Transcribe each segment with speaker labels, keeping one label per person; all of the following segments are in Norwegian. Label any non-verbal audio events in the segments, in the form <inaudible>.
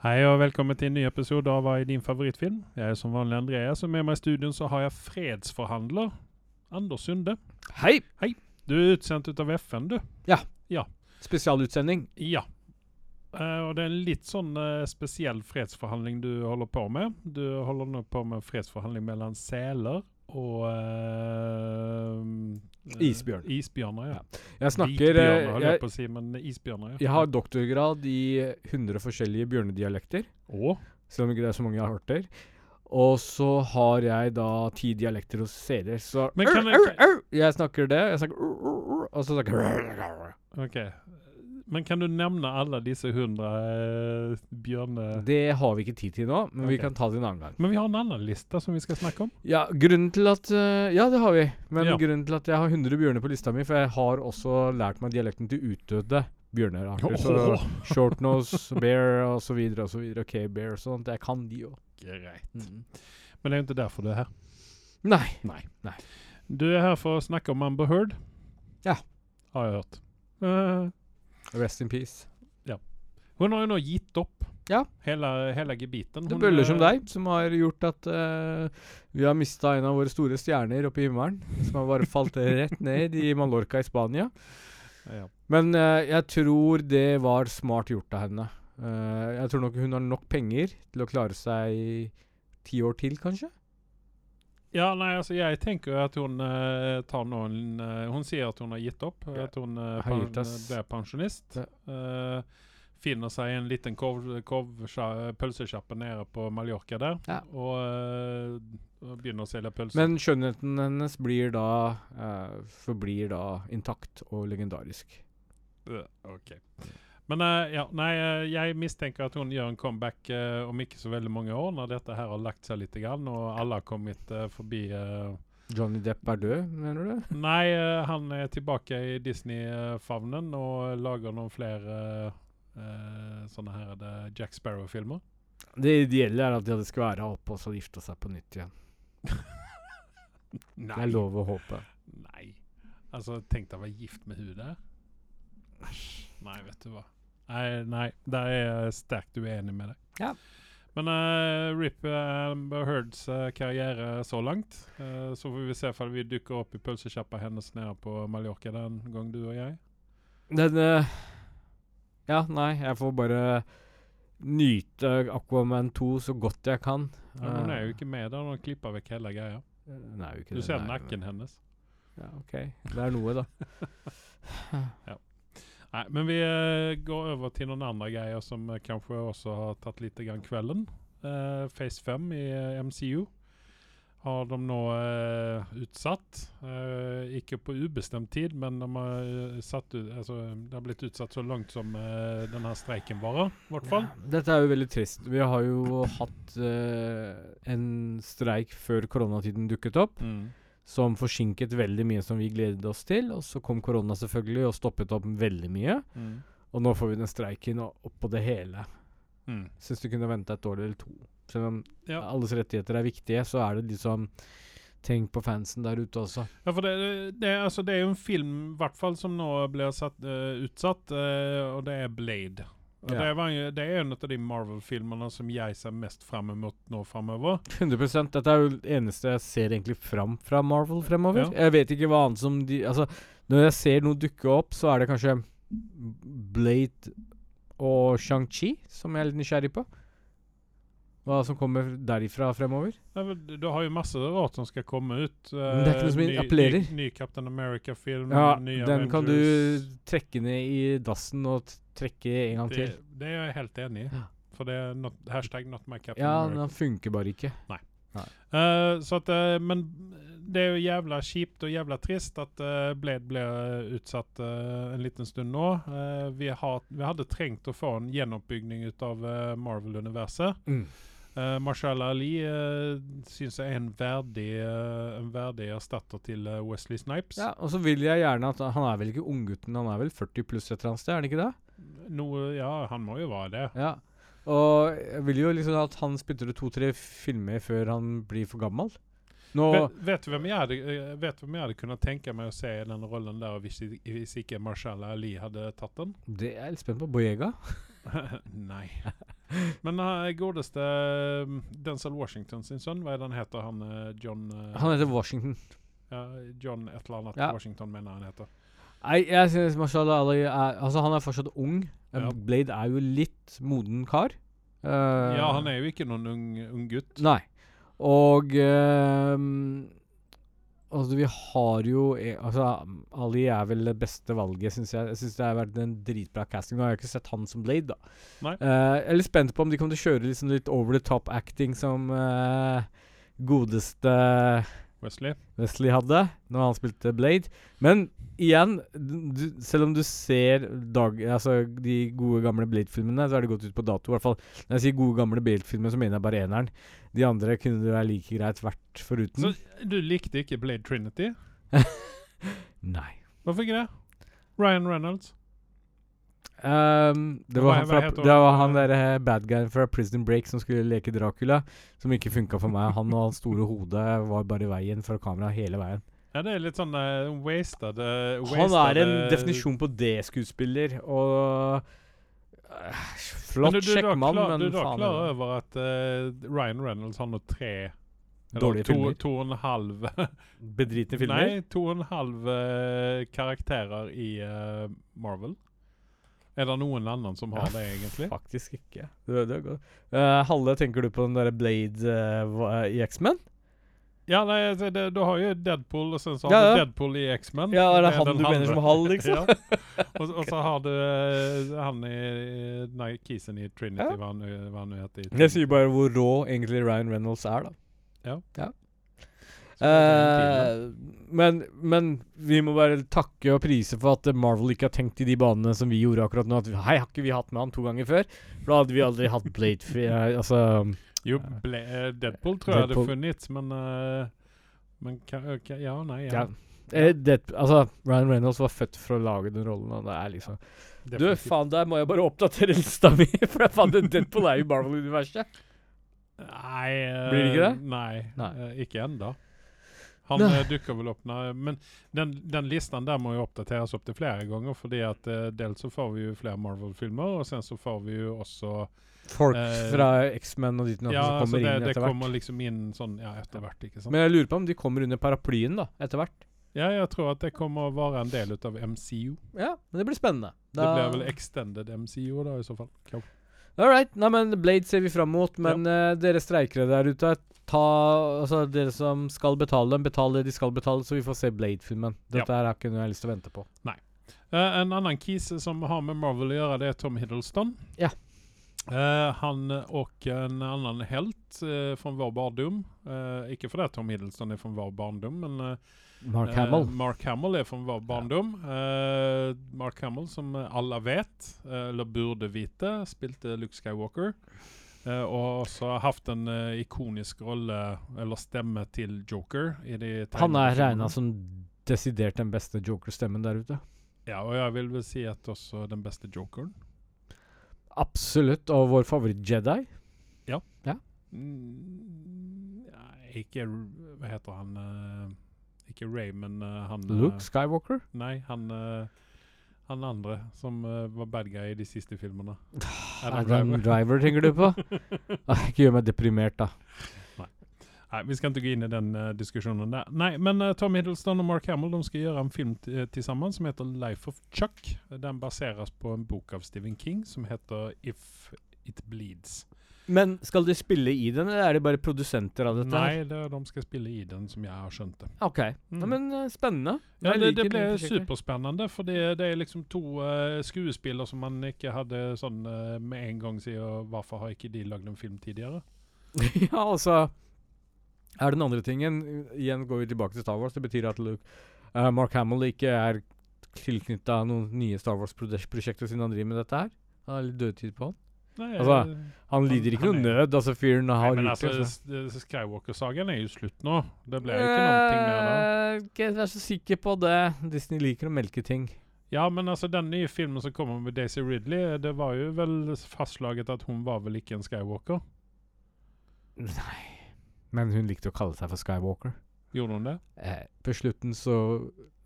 Speaker 1: Hei og velkommen til en ny episode av Hva er din favorittfilm? Jeg er som vanlig Andreas, og med meg i studien så har jeg fredsforhandler Anders Sunde.
Speaker 2: Hei!
Speaker 1: Du er utsendt ut av FN, du.
Speaker 2: Spesialutsending.
Speaker 1: Ja. Eh, og det er en litt sånn eh, spesiell fredsforhandling du holder på med. Du holder nå på med fredsforhandling mellom seler og eh, eh,
Speaker 2: Isbjørn.
Speaker 1: Isbjørner, ja.
Speaker 2: Jeg snakker eh,
Speaker 1: Hvitbjørner, holdt jeg
Speaker 2: jeg,
Speaker 1: på å si, men isbjørner, ja.
Speaker 2: jeg har doktorgrad i 100 forskjellige bjørnedialekter,
Speaker 1: Å,
Speaker 2: selv om ikke det er så mange jeg har hørt der. Og så har jeg da ti dialekter hos seler, så
Speaker 1: Men
Speaker 2: Au,
Speaker 1: kan jeg-
Speaker 2: au, au! Jeg snakker det, jeg snakker au, au, au, Og så snakker jeg
Speaker 1: ok. Men kan du nevne alle disse hundre eh, bjørne...
Speaker 2: Det har vi ikke tid til nå, men vi
Speaker 1: Ok.
Speaker 2: kan ta det en annen gang.
Speaker 1: Men vi har en annen liste som vi skal snakke om.
Speaker 2: Ja, grunnen til at eh, Ja, det har vi. Men
Speaker 1: Ja.
Speaker 2: grunnen til at jeg har 100 bjørner på lista mi, for jeg har også lært meg dialekten til utdødde bjørnearter. Så
Speaker 1: Åh,
Speaker 2: Shortnose, bear og så videre og så videre. Ok, bear og sånt. Jeg kan de òg.
Speaker 1: greit. Men det er jo ikke derfor du er her.
Speaker 2: Nei.
Speaker 1: Du er her for å snakke om Amber Heard.
Speaker 2: Ja.
Speaker 1: Har jeg hørt. Eh,
Speaker 2: Rest in peace.
Speaker 1: hun har jo nå gitt opp
Speaker 2: Ja.
Speaker 1: hele, hele gebiten.
Speaker 2: Det
Speaker 1: Hun,
Speaker 2: er bøller som
Speaker 1: eh,
Speaker 2: deg som har gjort at eh, vi har mista en av våre store stjerner oppe i himmelen. Som har bare falt rett ned i Mallorca i Spania.
Speaker 1: Ja.
Speaker 2: Men eh, jeg tror det var smart gjort av henne. Eh, jeg tror nok hun har nok penger til å klare seg i ti år til, kanskje.
Speaker 1: ja, nei, altså jeg tenker jo at hun eh, tar noen eh, Hun sier at hun har gitt opp.
Speaker 2: Ja.
Speaker 1: At hun uh, pan,
Speaker 2: Hiatus.
Speaker 1: blir pensjonist. Eh, finner seg en liten korv, korvsja- pølsesjappe nede på Mallorca der.
Speaker 2: Ja.
Speaker 1: Og eh, og begynner å selge pølser.
Speaker 2: Men skjønnheten hennes blir da eh, forblir da intakt og legendarisk.
Speaker 1: Øh, Ok. Men eh, ja, nei, eh, jeg mistenker at hun gjør en comeback eh, om ikke så veldig mange år, når dette her har lagt seg litt, grann, og alle har kommet eh, forbi eh,
Speaker 2: Johnny Depp er død, mener du?
Speaker 1: Nei, eh, han er tilbake i Disney-favnen og lager noen flere eh, eh, sånne her er det Jack Sparrow-filmer.
Speaker 2: Det ideelle er at de hadde skværa opp og så gifta seg på nytt igjen. Det er lov å håpe.
Speaker 1: Nei. Altså, tenk deg å være gift med hun
Speaker 2: <laughs>
Speaker 1: der. Nei, vet du hva. Nei, nei, der er jeg sterkt uenig med deg.
Speaker 2: Ja.
Speaker 1: Men eh, Rip eh, Amber Heards eh, karriere så langt. Eh, så får vi se om vi dukker opp i pølsekjappa hennes nede på Mallorca den gang, du og jeg.
Speaker 2: Den eh, Ja, nei, jeg får bare nyte Aquaman 2 så godt jeg kan.
Speaker 1: Ja, hun er jo ikke med der, hun klipper vekk hele greia.
Speaker 2: Hun er jo ikke
Speaker 1: Du
Speaker 2: det,
Speaker 1: ser
Speaker 2: Ah. nei, men-
Speaker 1: nakken hennes.
Speaker 2: Ja, OK. Det er noe, da.
Speaker 1: Nei, men vi eh, går over til noen andre greier som eh, kanskje også har tatt litt grann kvelden. Eh, Phase 5 i eh, MCU har de nå eh, utsatt. Eh, ikke på ubestemt tid, men de har, eh, satt ut, altså, det har blitt utsatt så langt som eh, denne streiken varer, i hvert fall.
Speaker 2: Ja, Dette er jo veldig trist. Vi har jo hatt eh, en streik før koronatiden dukket opp. som forsinket veldig mye som vi gledet oss til. Og så kom korona selvfølgelig og stoppet opp veldig mye. Og nå får vi den streiken og opp på det hele.
Speaker 1: Mm.
Speaker 2: Syns du kunne venta et år eller to. Selv om
Speaker 1: Ja.
Speaker 2: alles rettigheter er viktige, så er det liksom Tenk på fansen der ute
Speaker 1: <laughs>
Speaker 2: også.
Speaker 1: Ja, for det, det, er- altså, det er jo en film i hvert fall som nå blir satt, eh, utsatt, eh, og det er Blade. Og
Speaker 2: Ja.
Speaker 1: det, var, jo- det er en av de Marvel-filmene som jeg ser mest fram mot nå framover.
Speaker 2: 100 Dette er jo det eneste jeg ser egentlig fram fra Marvel fremover.
Speaker 1: Ja.
Speaker 2: Jeg vet ikke hva annet som de Altså, når jeg ser noe dukke opp, så er det kanskje Blade og Shang-Chi som jeg er litt nysgjerrig på. Hva som kommer derifra fremover.
Speaker 1: Nei, men Du har jo masse rart som skal komme ut.
Speaker 2: Men det er ikke noe som
Speaker 1: Eh, ny-
Speaker 2: appellerer.
Speaker 1: Ny, ny Captain America-film.
Speaker 2: Ja,
Speaker 1: ny
Speaker 2: den kan
Speaker 1: Avengers.
Speaker 2: du trekke ned i dassen og t- trekke en gang til.
Speaker 1: Det, det er jeg helt enig i.
Speaker 2: Ja.
Speaker 1: For det er not, hashtag not my Captain
Speaker 2: Ja,
Speaker 1: America.
Speaker 2: den funker bare ikke.
Speaker 1: Eh, så at, eh, men det er jo jævla kjipt og jævla trist at eh, Blade ble eh, utsatt eh, en liten stund nå. Eh, vi, har, vi hadde trengt å få en gjenoppbygning ut av eh, Marvel-universet. Eh, Marshall Ali uh, syns jeg er en verdig, eh, en verdig erstatter til eh, Wesley Snipes.
Speaker 2: Ja, og så vil jeg gjerne at Han er vel ikke unggutten, han er vel 40 pluss et eller annet sted, er han ikke det?
Speaker 1: Noe, ja, han må jo være det.
Speaker 2: Ja. Og jeg vil jo liksom at han spytter ut to-tre filmer før han blir for gammel. Nå
Speaker 1: Vet, vet du hvem jeg hadde, eh, vet du hvem jeg hadde kunnet tenke meg å se i den rollen der hvis, hvis ikke Marshall Ali hadde tatt den?
Speaker 2: Det er jeg litt spent på. Boyega?
Speaker 1: <laughs> Nei. Men eh, godeste eh, Denzel Washington sin sønn, hva er det han heter? Han eh, John eh,
Speaker 2: Han heter Washington.
Speaker 1: ja, John et eller annet
Speaker 2: Ja.
Speaker 1: Washington, mener jeg han heter.
Speaker 2: Nei, jeg synes Marshall Ali er Altså, han er fortsatt ung. Eh,
Speaker 1: Ja.
Speaker 2: Blade er jo litt moden kar. Eh,
Speaker 1: Ja, han er jo ikke noen ung, ung gutt.
Speaker 2: Nei. Og ehm, Altså, vi har jo e- Altså, Ali er vel det beste valget, syns jeg. Jeg syns det har vært en dritbra casting. Nå har jeg ikke sett han som Blade, da.
Speaker 1: Nei.
Speaker 2: Eh, jeg er litt spent på om de kommer til å kjøre liksom litt over the top acting som eh, godeste
Speaker 1: Wesley.
Speaker 2: Wesley hadde når han spilte Blade. Men igjen, d- du, selv om du ser dag, altså, de gode gamle Blade-filmene, så er det gått ut på dato. I hvert fall når jeg sier gode gamle Blade-filmer, så mener jeg bare eneren. De andre kunne det være like greit vært foruten.
Speaker 1: Så du likte ikke Blade Trinity?
Speaker 2: Nei.
Speaker 1: Hvorfor ikke det? Ryan Reynolds.
Speaker 2: Ehm, det,
Speaker 1: Hva-
Speaker 2: var han
Speaker 1: hva
Speaker 2: fra,
Speaker 1: het
Speaker 2: det var
Speaker 1: han,
Speaker 2: han derre bad guyen fra Prison Break som skulle leke Dracula, som ikke funka for meg. Han og hans store hode var bare i veien fra kameraet hele veien.
Speaker 1: Ja, det er litt sånn eh, wasted, eh,
Speaker 2: Han
Speaker 1: wasted,
Speaker 2: er en
Speaker 1: eh,
Speaker 2: definisjon på D-skuespiller, og eh,
Speaker 1: Men
Speaker 2: Flott
Speaker 1: du- du er da
Speaker 2: sjekkmann,
Speaker 1: klar- Du
Speaker 2: men
Speaker 1: er da
Speaker 2: faen
Speaker 1: klar
Speaker 2: er det-
Speaker 1: over at eh, Ryan Reynolds har nå tre eller
Speaker 2: Dårlige
Speaker 1: to,
Speaker 2: filmer.
Speaker 1: To og en halv
Speaker 2: Bedritne filmer?
Speaker 1: Nei, to og en halv eh, karakterer i eh, Marvel. Er det noen annen som har
Speaker 2: Ja,
Speaker 1: det, egentlig?
Speaker 2: Faktisk ikke. Det, det er godt. Eh, Halle, tenker du på den derre Blade eh, hva- i X-Men?
Speaker 1: Ja, nei, altså, det, Du har jo Deadpool, og sen så har
Speaker 2: Ja,
Speaker 1: du
Speaker 2: ja.
Speaker 1: Deadpool i X-Men.
Speaker 2: Ja, er det han
Speaker 1: den
Speaker 2: du mener
Speaker 1: andre.
Speaker 2: som Hall,
Speaker 1: <laughs>
Speaker 2: liksom?
Speaker 1: ja. og, og så har du eh, han i Nei, Kisen i Trinity,
Speaker 2: Ja.
Speaker 1: hva han nå- hva han nå heter. i
Speaker 2: Jeg sier
Speaker 1: Trinity.
Speaker 2: bare hvor rå egentlig Ryan Reynolds er, da.
Speaker 1: Så det er en film, da.
Speaker 2: Eh, men, men vi må bare takke og prise for at eh, Marvel ikke har tenkt i de banene som vi gjorde akkurat nå. At vi- hei, har ikke vi hatt med han to ganger før? For da hadde vi aldri hatt Blade fi- eh, Altså
Speaker 1: Jo, ble, eh, Deadpool tror jeg hadde
Speaker 2: Deadpool.
Speaker 1: funnet, men eh, Men ka, ka, ja, nei, ja.
Speaker 2: ja. Eh, det, altså, Ryan Reynolds var født for å lage den rollen. Og det er liksom Du,
Speaker 1: definitivt.
Speaker 2: faen, der må jeg bare oppdatere lista mi! <laughs> For jeg fant en Deadpool er jo i Marvel-universet.
Speaker 1: Nei eh,
Speaker 2: Blir det ikke det?
Speaker 1: Nei,
Speaker 2: Nei.
Speaker 1: eh, ikke ennå. Han
Speaker 2: Nei.
Speaker 1: eh, dukker vel opp når Men den, den listen der må jo oppdateres opp til flere ganger, fordi at eh, dels så får vi jo flere Marvel-filmer, og sen så får vi jo også
Speaker 2: Folk
Speaker 1: Eh,
Speaker 2: fra X-Men og ditt og datt
Speaker 1: Ja,
Speaker 2: som
Speaker 1: altså
Speaker 2: kommer
Speaker 1: det,
Speaker 2: inn
Speaker 1: det
Speaker 2: etter hvert.
Speaker 1: kommer liksom inn sånn ja, etter hvert, ikke sant.
Speaker 2: Men jeg lurer på om de kommer under paraplyen, da, etter hvert.
Speaker 1: ja, jeg tror at det kommer å være en del ut av MCU.
Speaker 2: Ja, men det blir spennende.
Speaker 1: Det blir vel Extended MCU da, i så fall. Kanskje.
Speaker 2: All right. Nei, men Blade ser vi fram mot. Men eh, dere streikere der ute, ta Altså, dere som skal betale, betal det de skal betale, så vi får se Blade-filmen.
Speaker 1: Ja.
Speaker 2: Dette her er ikke noe jeg har lyst til å vente på.
Speaker 1: Eh, en annen kis som har med Marvel å gjøre, det er Tom Hiddleston.
Speaker 2: Ja.
Speaker 1: Eh, han och en annan helt eh, från vår barndom. Eh, ikke fordi Tom Hiddleston er fra vår barndom, men eh,
Speaker 2: Mark
Speaker 1: eh,
Speaker 2: Hamill.
Speaker 1: Mark Hamill er fra vår barndom. Eh, Mark Hamill, som eh, alle vet, eh, eller burde vite, spilte Luke Skywalker. Eh, og også har hatt en eh, ikonisk rolle, eller stemme, til Joker. I de
Speaker 2: Han er
Speaker 1: tegnefilmene.
Speaker 2: regna som desidert den beste joker-stemmen der ute.
Speaker 1: Ja, og jeg vil vel si at også den beste Jokeren.
Speaker 2: Absolutt. Og vår favoritt-Jedi.
Speaker 1: Mm, nei, ikke R- Hva heter han eh, Ikke Ray, men eh, han eh,
Speaker 2: Luke Skywalker.
Speaker 1: Nei, han eh, Han andre som eh, var bad guy i de siste filmene. Adam
Speaker 2: Ah, Adam
Speaker 1: Driver.
Speaker 2: Driver, tenker du på?
Speaker 1: <laughs>
Speaker 2: Ah, ikke gjør meg deprimert, da.
Speaker 1: Nei, Vi skal ikke gå inn i den eh, diskusjonen der. Nei, men eh, Tom Hiddleston og Mark Hamill de skal gjøre en film t- eh, til sammen som heter 'Life of Chuck'. Den baseres på en bok av Stephen King som heter 'If It Bleeds'.
Speaker 2: Men skal de spille i den, eller er de bare produsenter av dette? her?
Speaker 1: Nei, det, de skal spille i den, som jeg har skjønt det.
Speaker 2: OK. Nei,
Speaker 1: Mm.
Speaker 2: men eh, spennende.
Speaker 1: Ja,
Speaker 2: Jeg
Speaker 1: det,
Speaker 2: liker
Speaker 1: det ble
Speaker 2: den prosjektet.
Speaker 1: superspennende, for det, det er liksom to eh, skuespillere som man ikke hadde sånn eh, med en gang siden Hvorfor har ikke de lagd en film tidligere?
Speaker 2: <laughs> ja, altså Er den andre tingen uh, Igjen går vi tilbake til Star Wars. Det betyr at Luke, eh, Mark Hamill ikke er tilknytta noen nye Star Wars-prosjekter siden han driver med dette her. Han har litt dødtid på han.
Speaker 1: Nei,
Speaker 2: Altså,
Speaker 1: eh,
Speaker 2: Han
Speaker 1: Han-
Speaker 2: lider ikke
Speaker 1: han
Speaker 2: noe
Speaker 1: er-
Speaker 2: nød. Altså, fyren
Speaker 1: nei,
Speaker 2: har
Speaker 1: men
Speaker 2: gjort
Speaker 1: altså,
Speaker 2: det. så-
Speaker 1: s- s- Skywalker-sagaen er jo slutt nå. Det ble jo ikke noe mer da.
Speaker 2: Eh, Ikke vær så sikker på det. Disney liker å melke ting.
Speaker 1: Ja, men altså, den nye filmen som kommer med Daisy Ridley, eh, det var jo vel fastslaget at hun var vel ikke en Skywalker.
Speaker 2: Nei. Men hun likte å kalle seg for Skywalker.
Speaker 1: Gjorde hun det?
Speaker 2: Eh, på slutten så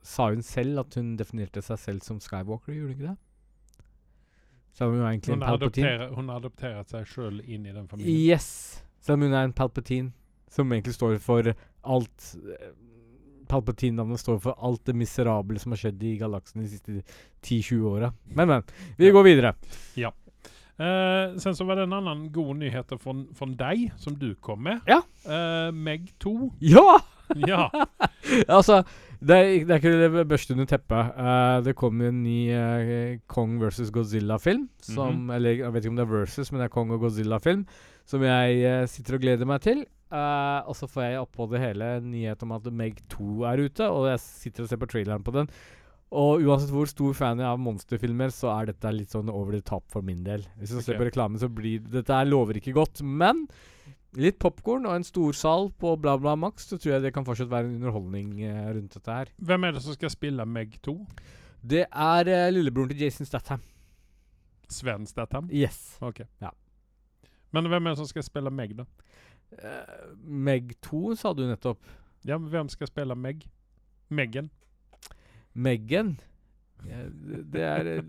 Speaker 2: sa hun selv at hun definerte seg selv som Skywalker, gjorde hun ikke det? Selv om hun er egentlig
Speaker 1: Hun
Speaker 2: en
Speaker 1: har
Speaker 2: Palpatine.
Speaker 1: adopteret, hun har adopteret seg sjøl inn i den familien.
Speaker 2: Yes! Selv om hun er en Palpatine, som egentlig står for alt eh, Palpatine-navnet står for alt det miserable som har skjedd i galaksen de siste 10-20 åra. Men, men. Vi
Speaker 1: Ja.
Speaker 2: går videre.
Speaker 1: Eh, sen så var det en annen god nyhet från, från deg, som du kom med.
Speaker 2: Ja.
Speaker 1: Eh, Meg
Speaker 2: <laughs>
Speaker 1: 2.
Speaker 2: Ja!
Speaker 1: Ja.
Speaker 2: Altså, det er, ikke- det er ikke det børste under teppet. Eh, det kom en ny eh, Kong versus Godzilla-film. Som,
Speaker 1: Mhm.
Speaker 2: Eller jeg vet ikke om det er versus, men det er Kong og Godzilla-film. Som jeg eh, sitter og gleder meg til. Eh, og så får jeg oppå det hele en nyhet om at Meg 2 er ute, og jeg sitter og ser på traileren på den. Og uansett hvor stor fan jeg er av monsterfilmer, så er dette litt sånn over the top for min del. Hvis du ser
Speaker 1: Ok.
Speaker 2: på reklamen, så blir Dette her lover ikke godt, men Litt popkorn og en storsal på bla, bla max, så tror jeg det kan fortsatt være en underholdning eh, rundt dette her.
Speaker 1: Vem är det som ska spela Meg 2?
Speaker 2: Det er eh, lillebroren til Jason Statham.
Speaker 1: Svenskt att han.
Speaker 2: Yes.
Speaker 1: Okej.
Speaker 2: Ja.
Speaker 1: Men vem är det som ska spela Meg då?
Speaker 2: Eh, Meg 2, sa du nettopp.
Speaker 1: Ja, men vem ska spela Meg? Meggen? <laughs>
Speaker 2: Meghan. Eh, Det er eh,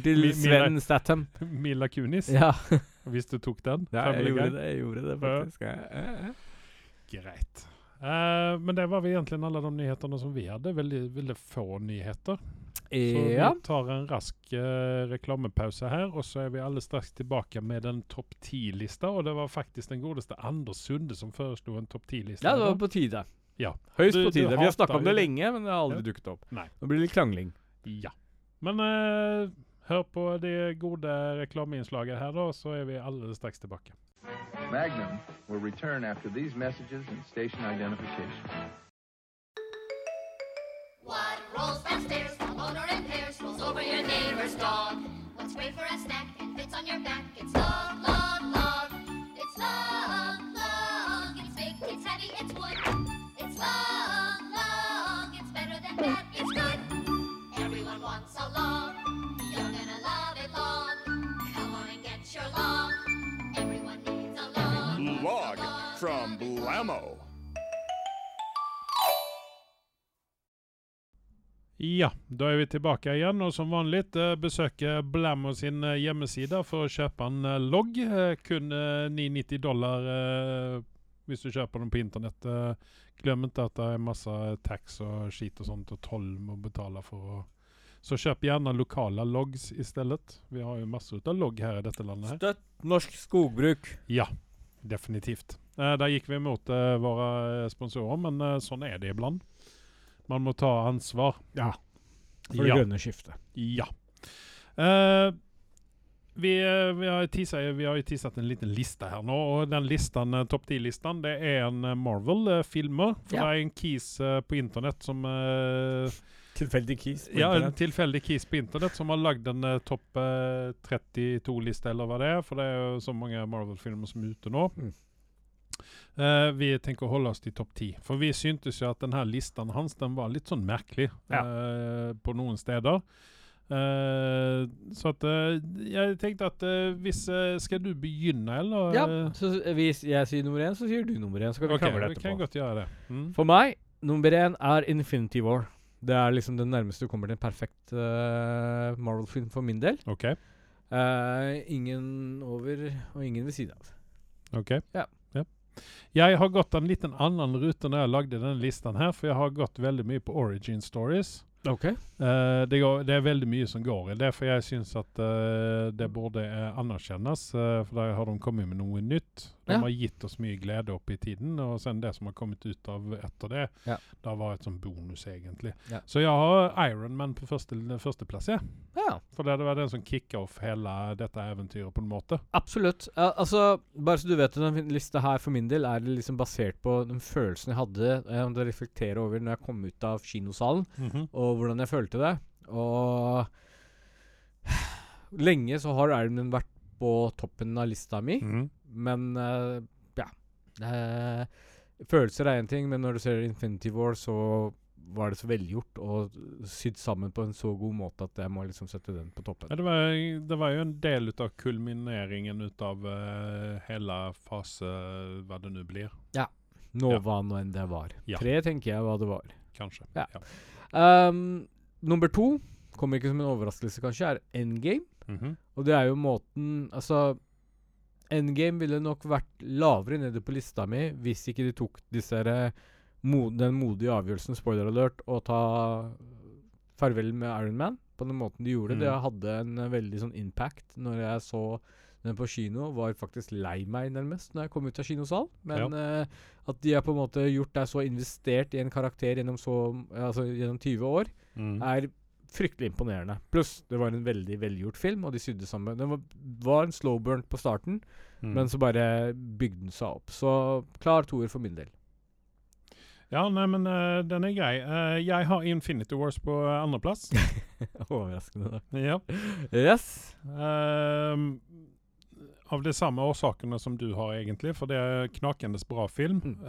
Speaker 1: <laughs> Mi-
Speaker 2: til
Speaker 1: mi-
Speaker 2: Sven
Speaker 1: mine-
Speaker 2: Statham.
Speaker 1: Mila Kunis?
Speaker 2: Ja,
Speaker 1: Visst du tog den?
Speaker 2: ja
Speaker 1: Family
Speaker 2: jeg,
Speaker 1: Guy?
Speaker 2: gjorde det, jeg gjorde det faktisk. Ja. ja, ja.
Speaker 1: Greit. Eh, men det var väl egentligen alla de nyheterna som vi hade. Väldigt, väldigt få nyheter. Så
Speaker 2: Ja.
Speaker 1: vi tar en rask eh, reklamepaus her, og så er vi alle straks tilbake med en topp ti-lista. Og det var faktisk den godeste Anders Sunde som foreslo en topp ti-liste.
Speaker 2: ja, det var på tide.
Speaker 1: Ja.
Speaker 2: Høyst
Speaker 1: Du-
Speaker 2: på
Speaker 1: du
Speaker 2: tide. Vi har
Speaker 1: hater
Speaker 2: snakka om
Speaker 1: jo
Speaker 2: det
Speaker 1: det.
Speaker 2: lenge, men det har aldri dukket opp.
Speaker 1: Nei.
Speaker 2: Nå blir det litt krangling.
Speaker 1: Ja. Men eh, hør på det gode reklameinnslaget her, da, så er vi alle straks tilbake.
Speaker 3: Magnum will return after these messages and station identification.
Speaker 4: What rolls downstairs, the motor impairs, rolls over your neighbor's dog. What's great for a snack and fits on your back? It's log, log, log. It's log, log. It's big, it's heavy, it's wood. It's log, log. It's better than bad, it's good. Everyone wants a log. You're gonna love it long. Come on and get your log. Everyone needs a log.
Speaker 5: Log from Blammo.
Speaker 1: Ja, da er vi tilbake igjen, og som vanlig eh, besøke Blammo sin eh, hjemmeside for å kjøpe en eh, logg. Eh, kun eh, 990 dollar eh, hvis du kjøper den på internett. Eh, glem ikke at det er masse eh, tax og skit og sånt, og toll må betale for. å... Så kjøp gjerne lokale logs i stedet. Vi har jo masse ut av logg her i dette landet. her.
Speaker 2: Støtt norsk skogbruk.
Speaker 1: Ja, definitivt. Eh, der gikk vi imot eh, våre eh, sponsorer, men eh, sånn er det iblant. Man må ta ansvar.
Speaker 2: Ja.
Speaker 1: For det Ja.
Speaker 2: grønne skiftet.
Speaker 1: Ja. Eh, vi, eh, vi, har teasat, vi har ju teasat en liten lista här nu och den listan, eh, topp 10-listan, det är en eh, Marvel-filmer. För
Speaker 2: Ja.
Speaker 1: det är en keys eh, på internet som... eh,
Speaker 2: Tilfeldig kis. på
Speaker 1: ja, en
Speaker 2: internett.
Speaker 1: tilfeldig keys på internet som har lagd en eh, topp eh, 32-liste, eller hva det er. For det er jo så mange Marvel-filmer som er ute nå.
Speaker 2: Mm.
Speaker 1: Eh, vi tenker å holde oss til topp 10. For vi syntes jo at denne listen hans den var litt sånn merkelig
Speaker 2: Ja.
Speaker 1: eh, på noen steder. Eh, så at eh, Jeg tenkte at eh, hvis eh, Skal du begynne, eller?
Speaker 2: Ja,
Speaker 1: Eh,
Speaker 2: så s- hvis jeg sier nummer én, så sier du nummer én. Så kan vi
Speaker 1: ok,
Speaker 2: krangle
Speaker 1: vi kan
Speaker 2: etterpå.
Speaker 1: godt gjøre det. Mm.
Speaker 2: For meg, nummer én er Infinity War. Det er liksom det nærmeste du kommer til en perfekt eh, Marvel-film for min del.
Speaker 1: OK.
Speaker 2: Eh, ingen over, og ingen ved siden av.
Speaker 1: Ok.
Speaker 2: Ja.
Speaker 1: Ja. Jeg har gått en liten annen rute når jeg lagde denne listen her, for jeg har gått veldig mye på origin stories.
Speaker 2: Ok.
Speaker 1: Eh, det, går, det er veldig mye som går i det, for jeg syns at eh, det burde eh, anerkjennes. eh, for der har de kommet med noe nytt. De
Speaker 2: Ja.
Speaker 1: har gitt oss mye glede opp i tiden, og sen det som har kommet ut av etter det,
Speaker 2: Ja.
Speaker 1: det har vært som sånn bonus, egentlig.
Speaker 2: Ja.
Speaker 1: Så jeg har Ironman på første, førsteplass, jeg.
Speaker 2: Ja,
Speaker 1: For det var den som kicka off hele dette eventyret, på en måte.
Speaker 2: absolutt. Eh, altså, bare så du vet, denne lista her for min del er det liksom basert på den følelsen jeg hadde eh, om det jeg reflekterer over når jeg kom ut av kinosalen. og hvordan jeg følte det. Og lenge så har Iron Man vært på toppen av lista mi,
Speaker 1: Mhm.
Speaker 2: men eh, ja Eh, Følelser er én ting, men når du ser Infinity War, så var det så velgjort og sydd sammen på en så god måte at jeg må liksom sette den på toppen.
Speaker 1: Ja, det, var, det var ju en del utav kulmineringen utav uh, hela fas, eh, vad det nu blir,
Speaker 2: Nå
Speaker 1: ja.
Speaker 2: hva nå enn det var.
Speaker 1: Ja.
Speaker 2: Tre tenker jeg hva det var.
Speaker 1: kanske.
Speaker 2: Ja. Um, Ehm, nummer to kommer ikke som en overraskelse kanskje, er Endgame.
Speaker 1: Mhm.
Speaker 2: Og det er jo måten Altså, Endgame ville nok vært lavere nede på lista mi hvis ikke de tok disse her, eh, mo den modige avgjørelsen, spoiler alert, å ta farvel med Iron Man på den måten de gjorde. Det
Speaker 1: Mm.
Speaker 2: hadde en eh, veldig sånn impact når jeg så den på kino. Var faktisk lei meg nærmest når jeg kom ut av kinosal. Men eh, at de har på en måte gjort deg så investert i en karakter gjennom, så, altså, gjennom 20 år,
Speaker 1: Mm.
Speaker 2: er fryktelig imponerende. Pluss, det var en veldig velgjort film, og de sydde sammen. Den var, var en slow burn på starten,
Speaker 1: Mm.
Speaker 2: men så bare bygde den seg opp. Så klar toer for min del.
Speaker 1: Ja, nei, men eh, den er grei. Eh, jeg har Infinity Wars på eh, andreplass.
Speaker 2: Overraskende. da.
Speaker 1: ja.
Speaker 2: Yes.
Speaker 1: Ehm, av de samme årsakene som du har, egentlig, for det er knakendes bra film.
Speaker 2: Mm.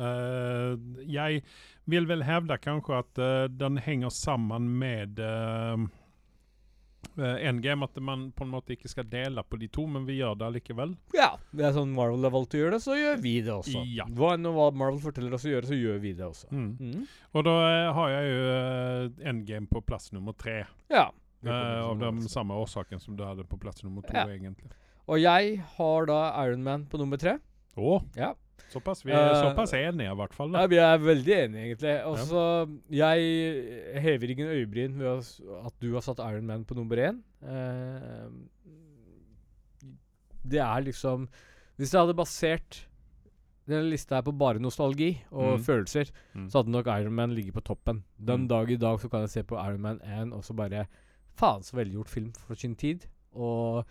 Speaker 1: Eh, jeg vil vel hevde kanskje at eh, den henger sammen med uh, Endgame, at man på en måte ikke skal dele på de to, men vi gjør det likevel.
Speaker 2: Ja, det er sånn Marvel har valgt å gjøre det, så gjør vi det også.
Speaker 1: Ja.
Speaker 2: Hva enn og hva Marvel forteller oss å gjøre, så gjør vi det også.
Speaker 1: Mm.
Speaker 2: Mm.
Speaker 1: Og da eh, har jeg jo eh, Endgame på plass nummer tre,
Speaker 2: Ja.
Speaker 1: eh, av den samme årsaken som du hadde på plass nummer to,
Speaker 2: Ja.
Speaker 1: egentlig.
Speaker 2: Og jeg har da Iron Man på nummer tre.
Speaker 1: Å,
Speaker 2: Ja.
Speaker 1: såpass. Vi er
Speaker 2: Eh,
Speaker 1: såpass enige, i hvert fall.
Speaker 2: Nei,
Speaker 1: Da.
Speaker 2: vi er veldig enige, egentlig. Og så Jeg hever ingen øyebryn ved å s- at du har satt Iron Man på nummer én. Eh, det er liksom Hvis jeg hadde basert denne lista her på bare nostalgi og
Speaker 1: Mm.
Speaker 2: følelser,
Speaker 1: Mm.
Speaker 2: så hadde nok Iron Man ligget på toppen.
Speaker 1: Mm.
Speaker 2: Den dag i dag så kan jeg se på Iron Man 1 og så bare Faen så velgjort film for sin tid. Og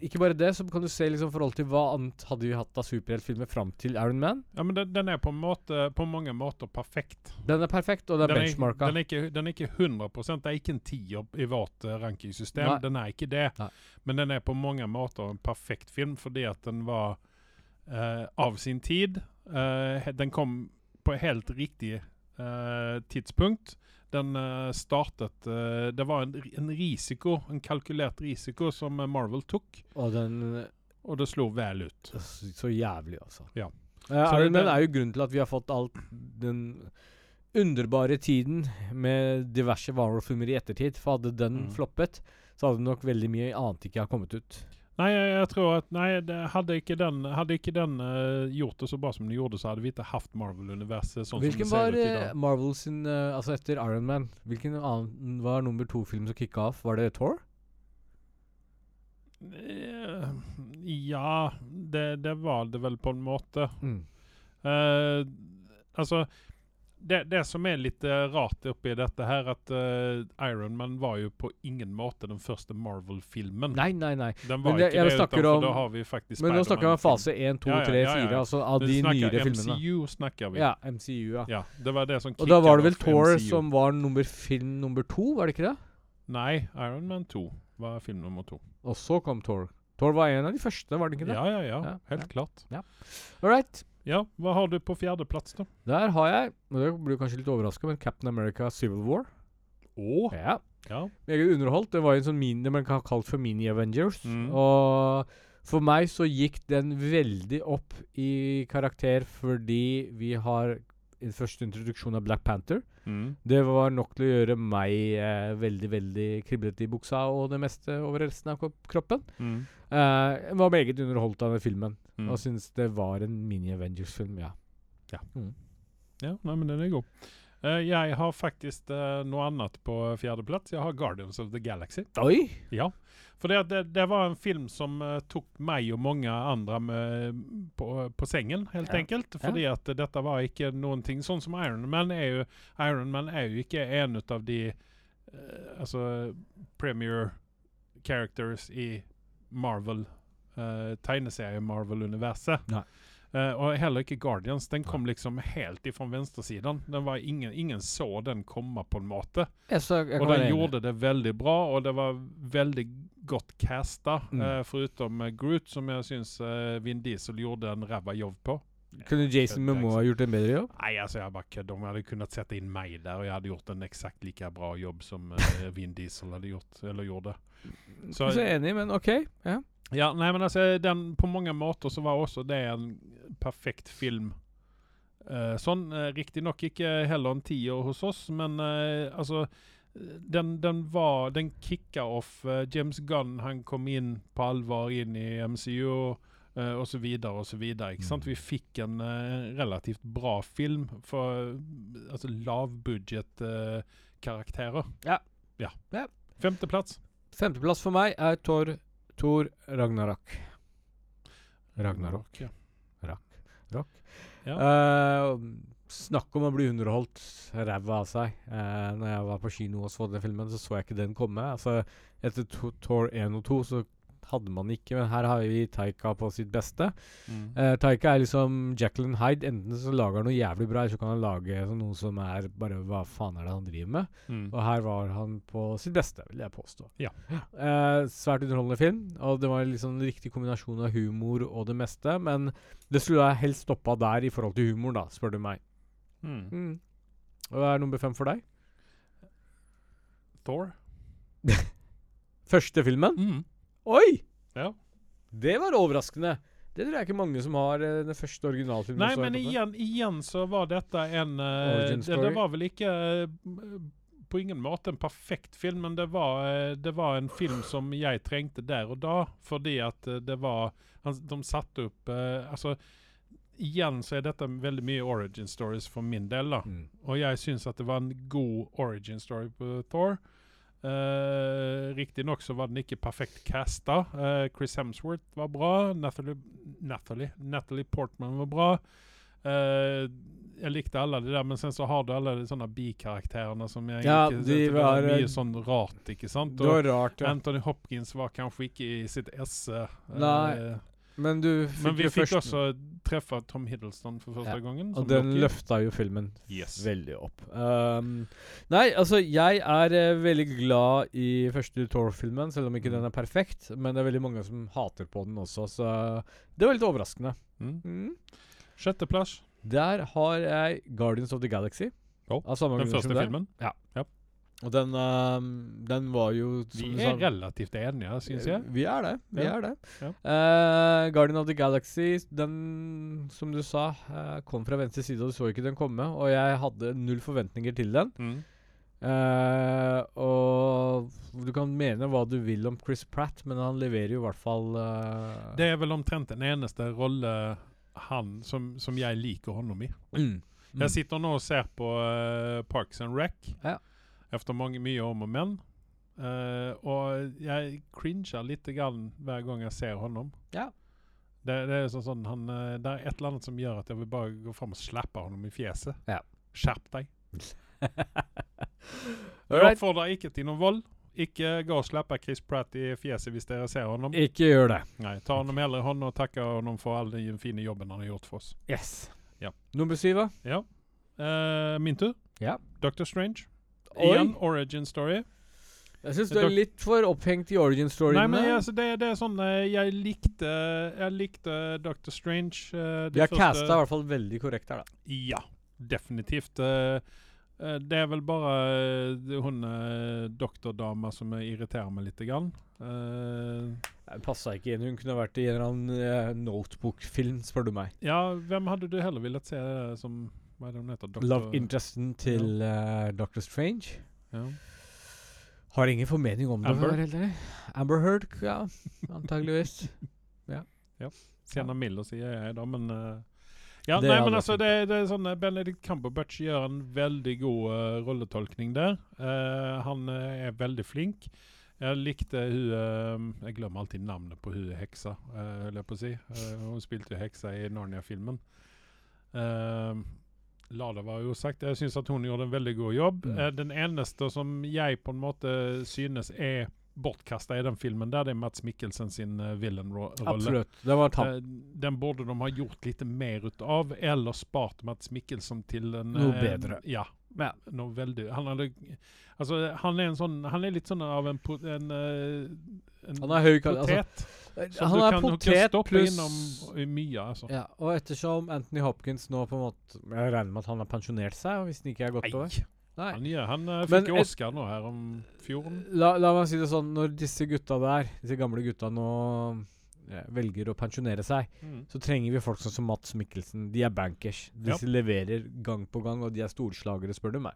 Speaker 2: ikke bare det, så kan du se liksom forhold til hva annet hadde vi hatt av superheltfilmer fram til Iron Man.
Speaker 1: Ja, men den, den er på, en måte, på mange måter perfekt.
Speaker 2: Den er perfekt, og den er
Speaker 1: den, er,
Speaker 2: benchmarka.
Speaker 1: den, er ikke, den er ikke 100 Det er ikke en tier i vårt eh, rankingsystem.
Speaker 2: Nei.
Speaker 1: Den er ikke det.
Speaker 2: Nei.
Speaker 1: Men den er på mange måter en perfekt film fordi at den var eh, av sin tid. Eh, he- den kom på helt riktig eh, tidspunkt. Den eh, startet eh, Det var en, en risiko, en kalkulert risiko, som eh, Marvel tok,
Speaker 2: og den øh,
Speaker 1: og det slo vel ut.
Speaker 2: Så, så jævlig, altså.
Speaker 1: Ja.
Speaker 2: Eh,
Speaker 1: Så
Speaker 2: Iron
Speaker 1: det-
Speaker 2: Man er jo grunnen til at vi har fått alt den underbare tiden med diverse Warhol-filmer i ettertid. For hadde den
Speaker 1: Mm.
Speaker 2: floppet, så hadde nok veldig mye annet ikke ha kommet ut.
Speaker 1: Nei, jeg, jeg tror at Nei, det, hadde ikke den, hadde ikke den eh, gjort det så bra som den gjorde, så hadde vi ikke hatt Marvel-universet sånn
Speaker 2: Hvilken
Speaker 1: som
Speaker 2: var
Speaker 1: det ser ut i
Speaker 2: eh,
Speaker 1: dag.
Speaker 2: Marvel sin eh, Altså etter Iron Man, hvilken annen var nummer to-film som kicka av? Var det Thor?
Speaker 1: Eh, Ja, det, det var det vel på en måte.
Speaker 2: Mm.
Speaker 1: Eh, altså det, det som er litt eh, rart oppi dette her, at eh, Iron Man var jo på ingen måte den første Marvel-filmen.
Speaker 2: Mm. Nei, nei, nei.
Speaker 1: Den var
Speaker 2: men det-
Speaker 1: ikke
Speaker 2: jeg
Speaker 1: det,
Speaker 2: snakker
Speaker 1: utan, for
Speaker 2: om-
Speaker 1: da har vi faktisk
Speaker 2: Men nå snakker vi om
Speaker 1: Spider-Man-film.
Speaker 2: fase 1, 2,
Speaker 1: Ja, ja,
Speaker 2: 3,
Speaker 1: ja, ja,
Speaker 2: 4,
Speaker 1: ja.
Speaker 2: altså av
Speaker 1: Vi
Speaker 2: de
Speaker 1: snakker
Speaker 2: nyere filmene.
Speaker 1: MCU snakker vi.
Speaker 2: Ja, MCU, ja.
Speaker 1: Ja, det var det som
Speaker 2: Og da var det
Speaker 1: kicket
Speaker 2: vel
Speaker 1: off
Speaker 2: Thor
Speaker 1: MCU.
Speaker 2: som var nummer film nummer to, var det ikke det?
Speaker 1: Nei, Iron Man 2 var film nummer to.
Speaker 2: Og så kom Thor. Thor var en av de første, var det ikke det?
Speaker 1: Ja, ja, ja.
Speaker 2: Ja,
Speaker 1: Helt
Speaker 2: ja.
Speaker 1: klart.
Speaker 2: All right.
Speaker 1: Ja, hva har du på fjerdeplass, da?
Speaker 2: Der har jeg, og det blir du kanskje litt overraska, men Captain America Civil War.
Speaker 1: Å!
Speaker 2: Ja.
Speaker 1: Ja.
Speaker 2: Meget underholdt. Det var jo en sånn mini, det man kan kalt for mini-Avengers.
Speaker 1: Mm.
Speaker 2: Og for meg så gikk den veldig opp i karakter fordi vi har en første introduksjon av Black Panther.
Speaker 1: Mm.
Speaker 2: Det var nok til å gjøre meg eh, veldig, veldig kriblete i buksa og det meste over resten av kro- kroppen.
Speaker 1: Mm.
Speaker 2: Eh, jeg var meget underholdt av den filmen,
Speaker 1: Mm.
Speaker 2: og syns det var en mini-Avengers-film, ja.
Speaker 1: Ja, nei, men den er god. Eh, jeg har faktisk eh, noe annet på fjerdeplass. Jeg har Guardians of the Galaxy.
Speaker 2: Oi!
Speaker 1: Ja. For det, det, det var en film som eh, tok meg og mange andre med, på, på sengen, helt
Speaker 2: Ja.
Speaker 1: enkelt. Fordi at eh, dette var ikke noen ting Sånn som Iron Man er jo Iron Man er jo ikke en ut av de eh, Altså premier characters i Marvel. eh, Tegneserie-Marvel-universet.
Speaker 2: Nei.
Speaker 1: Eh, og heller ikke Guardians. Den kom liksom helt ifra venstresiden. Den var ingen, ingen så den komme, på en måte.
Speaker 2: Jeg, så, jeg kan
Speaker 1: Og
Speaker 2: være
Speaker 1: den
Speaker 2: enig.
Speaker 1: gjorde det veldig bra, og det var veldig godt casta.
Speaker 2: Mm.
Speaker 1: eh, Foruten eh, Groot, som jeg syns eh, Vin Diesel gjorde en ræva jobb på.
Speaker 2: Kunne Jason
Speaker 1: Det er
Speaker 2: Momoa gjort en bedre jobb?
Speaker 1: Nei, altså, jeg bare kødder. Om jeg hadde kunnet sette inn meg der, og jeg hadde gjort en eksakt like bra jobb som eh, <laughs> Vin Diesel hadde gjort, eller gjorde.
Speaker 2: Så, så enig, men OK. Ja.
Speaker 1: Ja, nei, men altså, den, på mange måter så var også det en perfekt film. Eh, sånn, uh, riktignok ikke heller en tier hos oss, men eh, altså den, den var, den kickade off eh, James Gunn, han kom in på allvar in i MCU eh, och så vidare och så vidare. Ikke
Speaker 2: Mm.
Speaker 1: sant? Vi fick en eh, relativt bra film för eh, alltså lavbudget eh, karaktärer.
Speaker 2: Ja.
Speaker 1: ja.
Speaker 2: Ja.
Speaker 1: Femte plats.
Speaker 2: Femteplass for meg er Thor, Thor Ragnarok. Ragnarok.
Speaker 1: Ja.
Speaker 2: Rock. Rock.
Speaker 1: Ja.
Speaker 2: Eh, snakk om å bli underholdt ræva av seg. Eh, når jeg var på kino og så den filmen, så så jeg ikke den komme. Altså, etter to- Thor 1 og 2 så hadde man ikke, men her har vi Taika på sitt beste.
Speaker 1: Mm.
Speaker 2: Eh, Taika er liksom Jacqueline Hyde. Enten så lager han noe jævlig bra, eller så kan han lage sånn noe som er bare Hva faen er det han driver med?
Speaker 1: Mm.
Speaker 2: Og her var han på sitt beste, vil jeg påstå.
Speaker 1: Ja.
Speaker 2: Eh, svært underholdende film, og det var liksom en riktig kombinasjon av humor og det meste, men det skulle jeg helst stoppa der i forhold til humor, da, spør du meg.
Speaker 1: Mm.
Speaker 2: Hva er nummer fem for deg?
Speaker 1: Thor.
Speaker 2: Første filmen?
Speaker 1: Mm.
Speaker 2: Oi!
Speaker 1: Ja.
Speaker 2: Det var overraskende. Det tror jeg ikke mange som har eh, den første originalfilmen.
Speaker 1: Nei,
Speaker 2: som er
Speaker 1: men
Speaker 2: oppe.
Speaker 1: igjen, igjen så var dette en eh,
Speaker 2: Origin
Speaker 1: det, det
Speaker 2: story.
Speaker 1: var vel ikke eh, m- på ingen måte en perfekt film, men det var, eh, det var en film som jeg trengte der og da, fordi at eh, det var han, De satte opp eh, Altså, igjen så er dette veldig mye origin stories for min del, da.
Speaker 2: Mm.
Speaker 1: Og jeg syns at det var en god origin story på Thor. Uh, Riktignok så var den ikke perfekt casta. Eh, Chris Hemsworth var bra. Natalie, Natalie, Natalie Portman var bra. Eh, jeg likte alle det der, men sen så har du alle de sånne bikarakterene som jeg
Speaker 2: Ja,
Speaker 1: ikke
Speaker 2: de
Speaker 1: det var
Speaker 2: var, eh,
Speaker 1: Mye sånn rart, ikke sant?
Speaker 2: Det var rart,
Speaker 1: Og
Speaker 2: ja.
Speaker 1: Anthony Hopkins var kanskje ikke i sitt esse. eh,
Speaker 2: Nei, Men du fikk
Speaker 1: men vi
Speaker 2: jo
Speaker 1: fikk
Speaker 2: først
Speaker 1: også treffe Tom Hiddleston for første
Speaker 2: Ja,
Speaker 1: gangen. som
Speaker 2: Og den
Speaker 1: Loki.
Speaker 2: løfta jo filmen
Speaker 1: Yes.
Speaker 2: veldig opp. Um, nei, altså jeg er eh, veldig glad i første Thor-filmen, selv om
Speaker 1: Mm.
Speaker 2: ikke den er perfekt. Men det er veldig mange som hater på den også, så det var litt overraskende.
Speaker 1: Mm.
Speaker 2: Mm.
Speaker 1: Sjetteplass.
Speaker 2: Der har jeg Guardians of the Galaxy.
Speaker 1: Ja,
Speaker 2: av samme
Speaker 1: Oh, Den
Speaker 2: grunn som
Speaker 1: første
Speaker 2: deg.
Speaker 1: filmen.
Speaker 2: Og den, um, den var jo
Speaker 1: Vi
Speaker 2: som du
Speaker 1: er
Speaker 2: sa-
Speaker 1: relativt enige, syns jeg.
Speaker 2: Vi er det. Vi
Speaker 1: Ja.
Speaker 2: er det.
Speaker 1: Ja.
Speaker 2: Eh, Guardian of the Galaxy, den som du sa, eh, kom fra venstre side, og du så ikke den komme. Og jeg hadde null forventninger til den.
Speaker 1: Mm.
Speaker 2: Eh, og du kan mene hva du vil om Chris Pratt, men han leverer jo i hvert fall eh,
Speaker 1: Det er vel omtrent den eneste rolle han som, som jeg liker honom i.
Speaker 2: mm. Mm.
Speaker 1: Jeg sitter nå og ser på eh, Parks and Rec
Speaker 2: Ja.
Speaker 1: efter mange mye om og men. Eh, og jeg cringer litt grann hver gang jeg ser honom.
Speaker 2: Ja.
Speaker 1: Det, det er sånn, sånn han, eh, det er et eller annet som gjør at jeg vil bare gå fram og slappe honom i fjeset.
Speaker 2: Ja.
Speaker 1: Skjerp
Speaker 2: <laughs>
Speaker 1: deg. Jeg
Speaker 2: Alright.
Speaker 1: oppfordrer ikke til noen vold. Ikke gå og slappe Chris Pratt i fjeset hvis dere ser honom.
Speaker 2: Ikke gjør det.
Speaker 1: Nei, ta honom hellre i hånden og takke honom for all den fine jobben han har gjort for oss.
Speaker 2: Yes.
Speaker 1: Ja.
Speaker 2: Nummer syv, da?
Speaker 1: Ja. Eh, min tur.
Speaker 2: Ja.
Speaker 1: Doctor Strange.
Speaker 2: Oi.
Speaker 1: Igjen origin story.
Speaker 2: Jeg syns
Speaker 1: du
Speaker 2: du
Speaker 1: er
Speaker 2: er litt for opphengt i origin storyen.
Speaker 1: Nei, men altså, det, det er sånn eh, Jeg likte Jeg likte Doctor Strange. eh, det
Speaker 2: De har
Speaker 1: første-
Speaker 2: casta i hvert fall veldig korrekt her, da.
Speaker 1: Ja, definitivt. Eh, eh, det er vel bare eh, det- hun eh, doktordama som jeg irriterer meg lite grann. Eh,
Speaker 2: Passa ikke inn. Hun kunne vært i en eller annen eh, notebook-film, spør du meg.
Speaker 1: ja, hvem hadde du heller villet se eh, som Hva er det hun heter? Doktor-
Speaker 2: Love interesten til eh, Doctor Strange.
Speaker 1: Ja.
Speaker 2: Har ingen formening om
Speaker 1: Amber?
Speaker 2: det. for å være helt ærlig. Amber Heard, ja.
Speaker 1: <laughs>
Speaker 2: Antageligvis.
Speaker 1: Sienna Miller sier jeg da, men eh, Ja,
Speaker 2: Det
Speaker 1: nei,
Speaker 2: hadde
Speaker 1: men
Speaker 2: vært
Speaker 1: altså,
Speaker 2: fint.
Speaker 1: det, det er sånn eh, Benedict Cumberbatch gjør en veldig god eh, rolletolkning der. Eh, han eh, er veldig flink. Jeg likte hun eh, Jeg glemmer alltid navnet på hun heksa, eh, holdt jeg på å si. Eh, hun spilte jo heksa i Narnia-filmen. Eh, La det være usagt. Jeg syns at hun gjorde en veldig god jobb.
Speaker 2: Mm.
Speaker 1: Eh, den eneste som jeg på en måte synes er bortkasta i den filmen, der, det er Mats Mikkelsen sin uh, villain-rolle.
Speaker 2: Absolutt. Det var tamt.
Speaker 1: Eh, Den borde de ha gjort lite mer utav, eller spart Mats Mikkelsen til en
Speaker 2: Noe
Speaker 1: eh,
Speaker 2: bedre.
Speaker 1: Ja. Noe veldig Han hadde Altså, han er en sånn Han er litt sånn av en, po- en, eh, en
Speaker 2: Han er høy kal- altså,
Speaker 1: potet. som
Speaker 2: Han
Speaker 1: Eh, du kan,
Speaker 2: er
Speaker 1: du kan
Speaker 2: potet
Speaker 1: stoppe
Speaker 2: pluss
Speaker 1: innom i mye, altså.
Speaker 2: ja, Og ettersom Anthony Hopkins nå på en måte Jeg regner med at han har pensjonert seg, og hvis den ikke er gått over
Speaker 1: Nei.
Speaker 2: Nei.
Speaker 1: Han, gjør- han eh,
Speaker 2: Men
Speaker 1: fikk jo
Speaker 2: et-
Speaker 1: Oscar nå her om fjorden.
Speaker 2: La, la meg si det sånn, når disse gutta der, disse gamle gutta nå eh, velger å pensjonere seg,
Speaker 1: Mm.
Speaker 2: så trenger vi folk sånn som Mats Mikkelsen. De er bankers.
Speaker 1: Ja.
Speaker 2: Disse leverer gang på gang, og de er storslagere, spør du meg.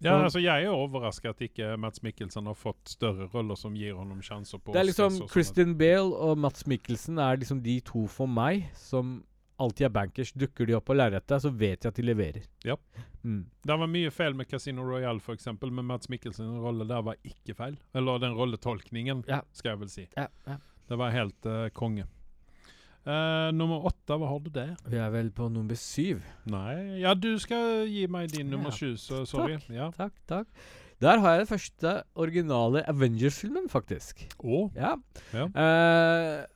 Speaker 1: Ja,
Speaker 2: Og-
Speaker 1: altså Jeg er overraska at ikke Mats Mikkelsen har fått større roller som gir ham sjanser på sånn,
Speaker 2: Det er
Speaker 1: å se
Speaker 2: liksom
Speaker 1: så som et-
Speaker 2: Christian Bale og Mats Mikkelsen er liksom de to for meg som alltid er bankers. Dukker de opp på lerretet, så vet jeg at de leverer.
Speaker 1: Ja.
Speaker 2: Mm.
Speaker 1: Det var mye feil med Casino Royale, f.eks., men Mats Mikkelsens rolle der var ikke feil. Eller den rolletolkningen,
Speaker 2: Ja.
Speaker 1: skal jeg vel si.
Speaker 2: Ja, ja.
Speaker 1: Det var helt eh, konge. Eh, nummer åtte, hva har du der?
Speaker 2: Vi er vel på nummer syv.
Speaker 1: Nei Ja, du skal gi meg din
Speaker 2: Ja.
Speaker 1: nummer sju, så sorry.
Speaker 2: Takk.
Speaker 1: Ja.
Speaker 2: Takk, takk. Der har jeg den første originale Avengers-filmen, faktisk.
Speaker 1: Og
Speaker 2: Ja.
Speaker 1: Ja.
Speaker 2: Eh,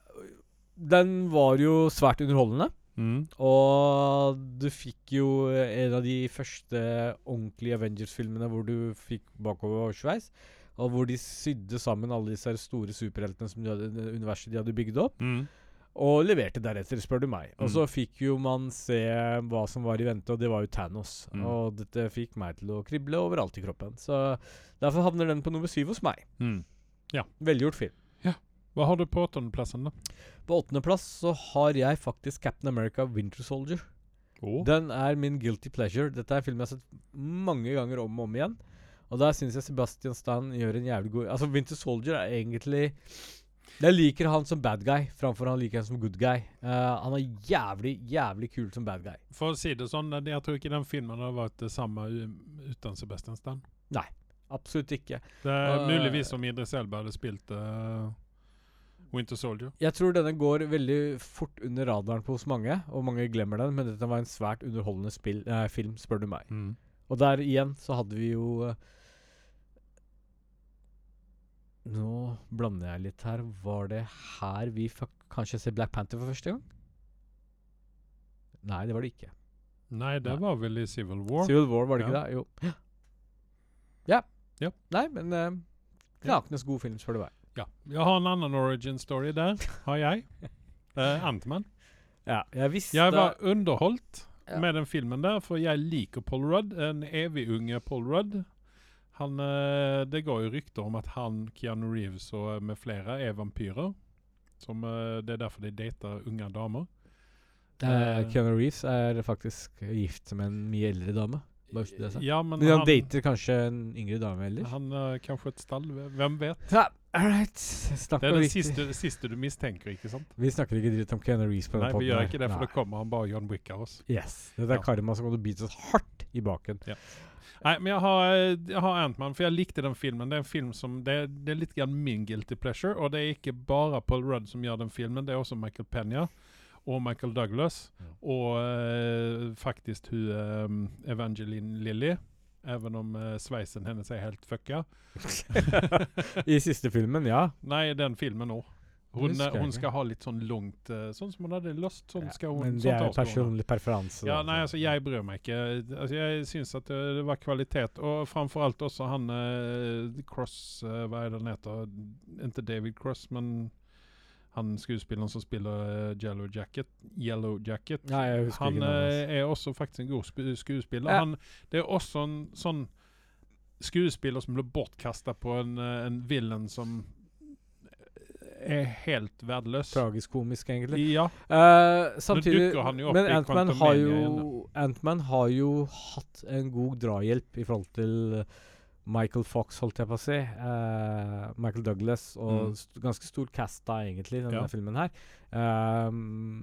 Speaker 2: den var jo svært underholdende.
Speaker 1: mm.
Speaker 2: Og du fikk jo en av de første ordentlige Avengers-filmene hvor du fikk bakoversveis. Og hvor de sydde sammen alle disse her store superheltene som de hadde, det universet de hadde bygd opp.
Speaker 1: Mm.
Speaker 2: Og leverte deretter, spør du meg. Og
Speaker 1: Mm.
Speaker 2: så fikk jo man se hva som var i vente, og det var jo Thanos.
Speaker 1: Mm.
Speaker 2: Og dette fikk meg til å krible overalt i kroppen. Så derfor havner den på nummer syv hos meg.
Speaker 1: Mm.
Speaker 2: Velgjort film.
Speaker 1: Hva har du på åttendeplassen, da?
Speaker 2: På åttendeplass så har jeg faktisk Captain America Winter Soldier.
Speaker 1: Å.
Speaker 2: Den er min guilty pleasure. Dette er en film jeg har sett mange ganger om og om igjen. Og der syns jeg Sebastian Stan gjør en jævlig god Altså, Winter Soldier er egentlig Jeg liker han som bad guy framfor han liker han som good guy. Eh, han er jævlig, jævlig kul som bad guy.
Speaker 1: For å si det sånn, eh, jeg tror ikke den filmen hadde vært det samme u- uten Sebastian Stan.
Speaker 2: Absolutt ikke.
Speaker 1: Det er
Speaker 2: Og,
Speaker 1: muligvis
Speaker 2: eh,
Speaker 1: om Idris Elba hadde spilt eh, Winter Soldier.
Speaker 2: Jeg tror denne går veldig fort under radaren hos mange, og mange glemmer den, men dette var en svært underholdende spill, eh, film, spør du meg.
Speaker 1: Mm.
Speaker 2: Og der igjen så hadde vi jo eh, Nå blander jeg litt her. Var det her vi fikk kanskje se Black Panther for første gang? Nei, det var det ikke.
Speaker 1: Nei, det
Speaker 2: Nei.
Speaker 1: var vel i Civil War.
Speaker 2: Civil War, var det
Speaker 1: Ja.
Speaker 2: ikke det? Jo. <gasps> Ja.
Speaker 1: Ja.
Speaker 2: Nei, men eh,
Speaker 1: Ja.
Speaker 2: knakende god film, spør du meg.
Speaker 1: Ja. Jeg har en annen origin story der, har jeg. Uh, Antman.
Speaker 2: Ja, jeg visste
Speaker 1: Jeg var underholdt
Speaker 2: Ja.
Speaker 1: med den filmen der, for jeg liker Paul Rudd. En evig unge Paul Rudd. Han, eh, det går jo rykter om at han, Keanu Reeves og med flere er vampyrer. Som, eh, det er derfor de dater unge damer.
Speaker 2: Eh, Keanu Reeves er faktisk gift med en mye eldre dame. Bare så det er sagt.
Speaker 1: Ja, men
Speaker 2: Men han
Speaker 1: han,
Speaker 2: dater kanskje en yngre dame ellers?
Speaker 1: han eh, kanskje et stall. Hvem vet?
Speaker 2: Ja, all right.
Speaker 1: Det er det siste, det siste du mistenker, ikke sant?
Speaker 2: Vi snakker ikke dritt om Keanu Reeves på
Speaker 1: Nei,
Speaker 2: denne
Speaker 1: vi
Speaker 2: podden
Speaker 1: gjør
Speaker 2: her.
Speaker 1: ikke det, for da
Speaker 2: Nei.
Speaker 1: kommer han bare John Wick av oss.
Speaker 2: Yes. Dette er
Speaker 1: Ja.
Speaker 2: karma som kommer til å bite oss hardt i baken.
Speaker 1: Nei, men jeg har, jeg har Ant-Man, for jeg likte den filmen. Det er en film som, det, er- det er litt grann min guilty pleasure, og det er ikke bare Paul Rudd som gjør den filmen, det er også Michael Pena og Michael Douglas,
Speaker 2: Mm.
Speaker 1: og eh, faktisk hun eh, Evangeline Lilly, even om eh, sveisen hennes er helt
Speaker 2: <laughs>
Speaker 1: fucka.
Speaker 2: I siste filmen, ja.
Speaker 1: <laughs> Nei, den filmen òg. Hun,
Speaker 2: Husker jeg
Speaker 1: hun
Speaker 2: ikke.
Speaker 1: skal ha litt sånn langt eh, Sånn som hun hadde lyst, sånn skal hun
Speaker 2: Men
Speaker 1: sånn
Speaker 2: det er
Speaker 1: tar
Speaker 2: jo
Speaker 1: skoene.
Speaker 2: personlig preferanse.
Speaker 1: Ja,
Speaker 2: da,
Speaker 1: nei,
Speaker 2: så.
Speaker 1: altså jeg bryr meg ikke. Altså, jeg syns at det, det var kvalitet. Og framfor alt også han eh, Cross eh, Hva er det han heter? Ikke David Cross, men han skuespilleren som spiller eh, Yellow Jacket. Yellow Jacket.
Speaker 2: Nei, jeg husker
Speaker 1: Han
Speaker 2: ikke navnet hans.
Speaker 1: eh, er også faktisk en god sku skuespiller.
Speaker 2: Ja.
Speaker 1: Han, det er også en sånn skuespiller som ble bortkasta på en, eh, en villain som eh, er helt verdløs.
Speaker 2: Tragisk-komisk, egentlig.
Speaker 1: Ja.
Speaker 2: Eh, samtidig
Speaker 1: dukker han jo opp
Speaker 2: Men
Speaker 1: i
Speaker 2: Antman har,
Speaker 1: Quantumania
Speaker 2: jo- Ant-Man har jo hatt en god drahjelp i forhold til eh, Michael Fox, holdt jeg på å si. eh, Michael Douglas og
Speaker 1: Mm.
Speaker 2: st ganske stor cast da, egentlig, i denne
Speaker 1: Ja.
Speaker 2: filmen her. Ehm,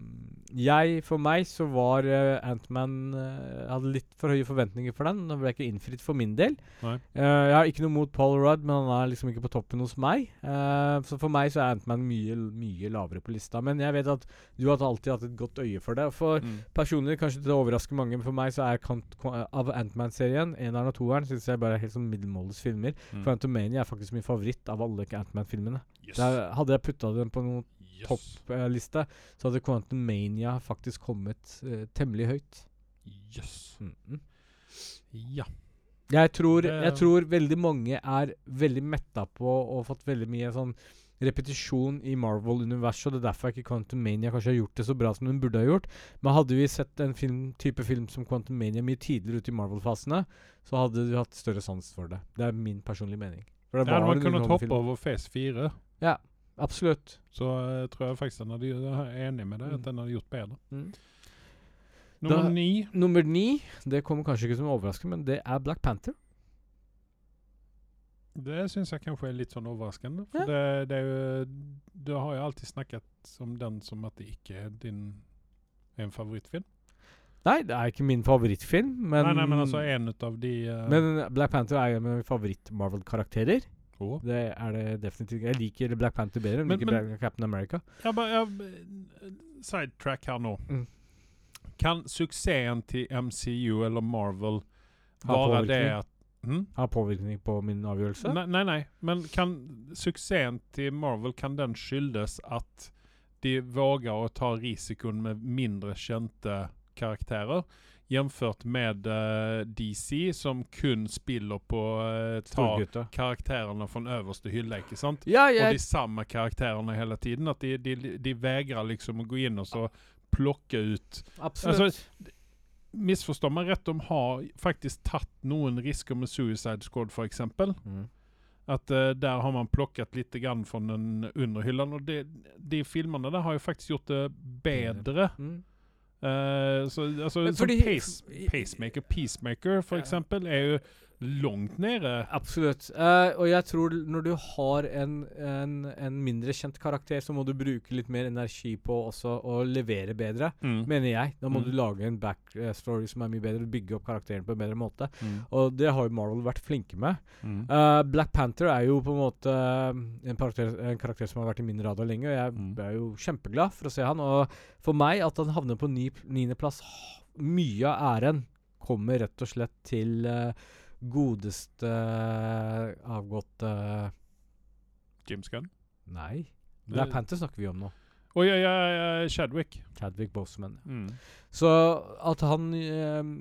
Speaker 2: jeg, for meg, så var eh, Ant-Man eh, Hadde litt for høye forventninger for den. Den ble ikke innfridd for min del.
Speaker 1: Nei.
Speaker 2: Eh, jeg har ikke noe mot Paul Rudd, men han er liksom ikke på toppen hos meg. Eh, så for meg så er Ant-Man mye, mye lavere på lista. Men jeg vet at du har alltid hatt et godt øye for det. For
Speaker 1: Mm.
Speaker 2: personlig, kanskje det overrasker mange, men for meg så er Kant, Ko- av Ant-Man-serien, eneren og toeren, syns jeg bare er helt sånn middelmådes filmer.
Speaker 1: Mm.
Speaker 2: For Antomania er faktisk min favoritt av alle Ant-Man-filmene.
Speaker 1: Yes.
Speaker 2: Der Hadde jeg putta den på noen
Speaker 1: Yes.
Speaker 2: toppliste, så hadde Quantumania faktisk kommet eh, temmelig høyt.
Speaker 1: Yes.
Speaker 2: Mm -mm.
Speaker 1: Ja.
Speaker 2: Jeg tror,
Speaker 1: Det-
Speaker 2: jeg tror veldig mange er veldig metta på og fått veldig mye sånn repetisjon i Marvel-universet, og det er derfor ikke Quantumania kanskje har gjort det så bra som den burde ha gjort. Men hadde vi sett en film, type film som Quantumania mye tidligere ute i Marvel-fasene, så hadde du hatt større sans for det. Det er min personlige mening. For
Speaker 1: Det hadde
Speaker 2: en
Speaker 1: man kunnet
Speaker 2: underholdende
Speaker 1: hoppe
Speaker 2: film.
Speaker 1: over Phase 4,
Speaker 2: Absolutt.
Speaker 1: så eh, tror jeg faktisk den hadde, jeg er enig med deg at den hadde gjort bedre.
Speaker 2: Mm.
Speaker 1: Nummer
Speaker 2: Da-
Speaker 1: ni
Speaker 2: Nummer ni, det kommer kanskje ikke som en overraskelse, men det er Black Panther.
Speaker 1: Det syns jeg kanskje er litt sånn overraskende. For
Speaker 2: Ja.
Speaker 1: det, det er jo Du har jo alltid snakket om den som at det ikke er din en favorittfilm.
Speaker 2: Nei, det er ikke min favorittfilm, men
Speaker 1: nei, nei, men altså en av de eh,
Speaker 2: Men Black Panther er jo en av mine favoritt-Marvel-karakterer.
Speaker 1: Å.
Speaker 2: Det er det definitivt. Jeg liker Black Panther bedre enn
Speaker 1: Men-
Speaker 2: jeg liker Black- Captain America.
Speaker 1: Jeg bare jeg, Sidetrack her nå.
Speaker 2: Mm.
Speaker 1: Kan suksessen til MCU eller Marvel
Speaker 2: Ha
Speaker 1: være
Speaker 2: påvirkning?
Speaker 1: det at hm?
Speaker 2: Har påvirkning på min avgjørelse.
Speaker 1: Nei, nei, nei. Men kan suksessen til Marvel kan den skyldes at de våger å ta risikoen med mindre kjente karakterer, jevnført med eh, DC, som kun spiller på uh, ta
Speaker 2: Storgutta.
Speaker 1: karakterene fra øverste hylle, ikke sant?
Speaker 2: Ja,
Speaker 1: Og de
Speaker 2: jeg,
Speaker 1: samme karakterene hele tiden. At de, de, de vegrer liksom å gå inn og så plukke ut
Speaker 2: absolutt.
Speaker 1: Altså, Misforstå meg rett, de har faktisk tatt noen risker med Suicide Squad, for eksempel.
Speaker 2: mm.
Speaker 1: Att eh, där har man plockat lite grann från den undre hyllan och det, de filmerna där har ju faktiskt gjort det bättre.
Speaker 2: Mm.
Speaker 1: Eh, så, alltså,
Speaker 2: Men
Speaker 1: som
Speaker 2: fordi-
Speaker 1: pace, Pacemaker, Peacemaker för
Speaker 2: Ja.
Speaker 1: exempel är ju långt nere.
Speaker 2: Absolutt. Eh, og jeg tror når du har en, en, en mindre kjent karakter, så må du bruke litt mer energi på også å levere bedre,
Speaker 1: Mm.
Speaker 2: mener jeg. Da må
Speaker 1: Mm.
Speaker 2: du lage en backstory som er mye bedre, bygge opp karakteren på en bedre måte.
Speaker 1: Mm.
Speaker 2: Og det har jo Marvel vært flinke med.
Speaker 1: Mm.
Speaker 2: Eh, Black Panther er jo på en måte eh, en karakter, en karakter som har vært i min radar lenge, og jeg
Speaker 1: Mm.
Speaker 2: er jo kjempeglad for å se han. Og for meg, at han havner på ni- niendeplass Mye av æren kommer rett og slett til eh, godeste avgåtte
Speaker 1: James Gunn.
Speaker 2: Nei. Black Panther snakker vi om nå.
Speaker 1: Och ja, ja, ja, Chadwick.
Speaker 2: Chadwick Boseman.
Speaker 1: Mm.
Speaker 2: Så at han ehm,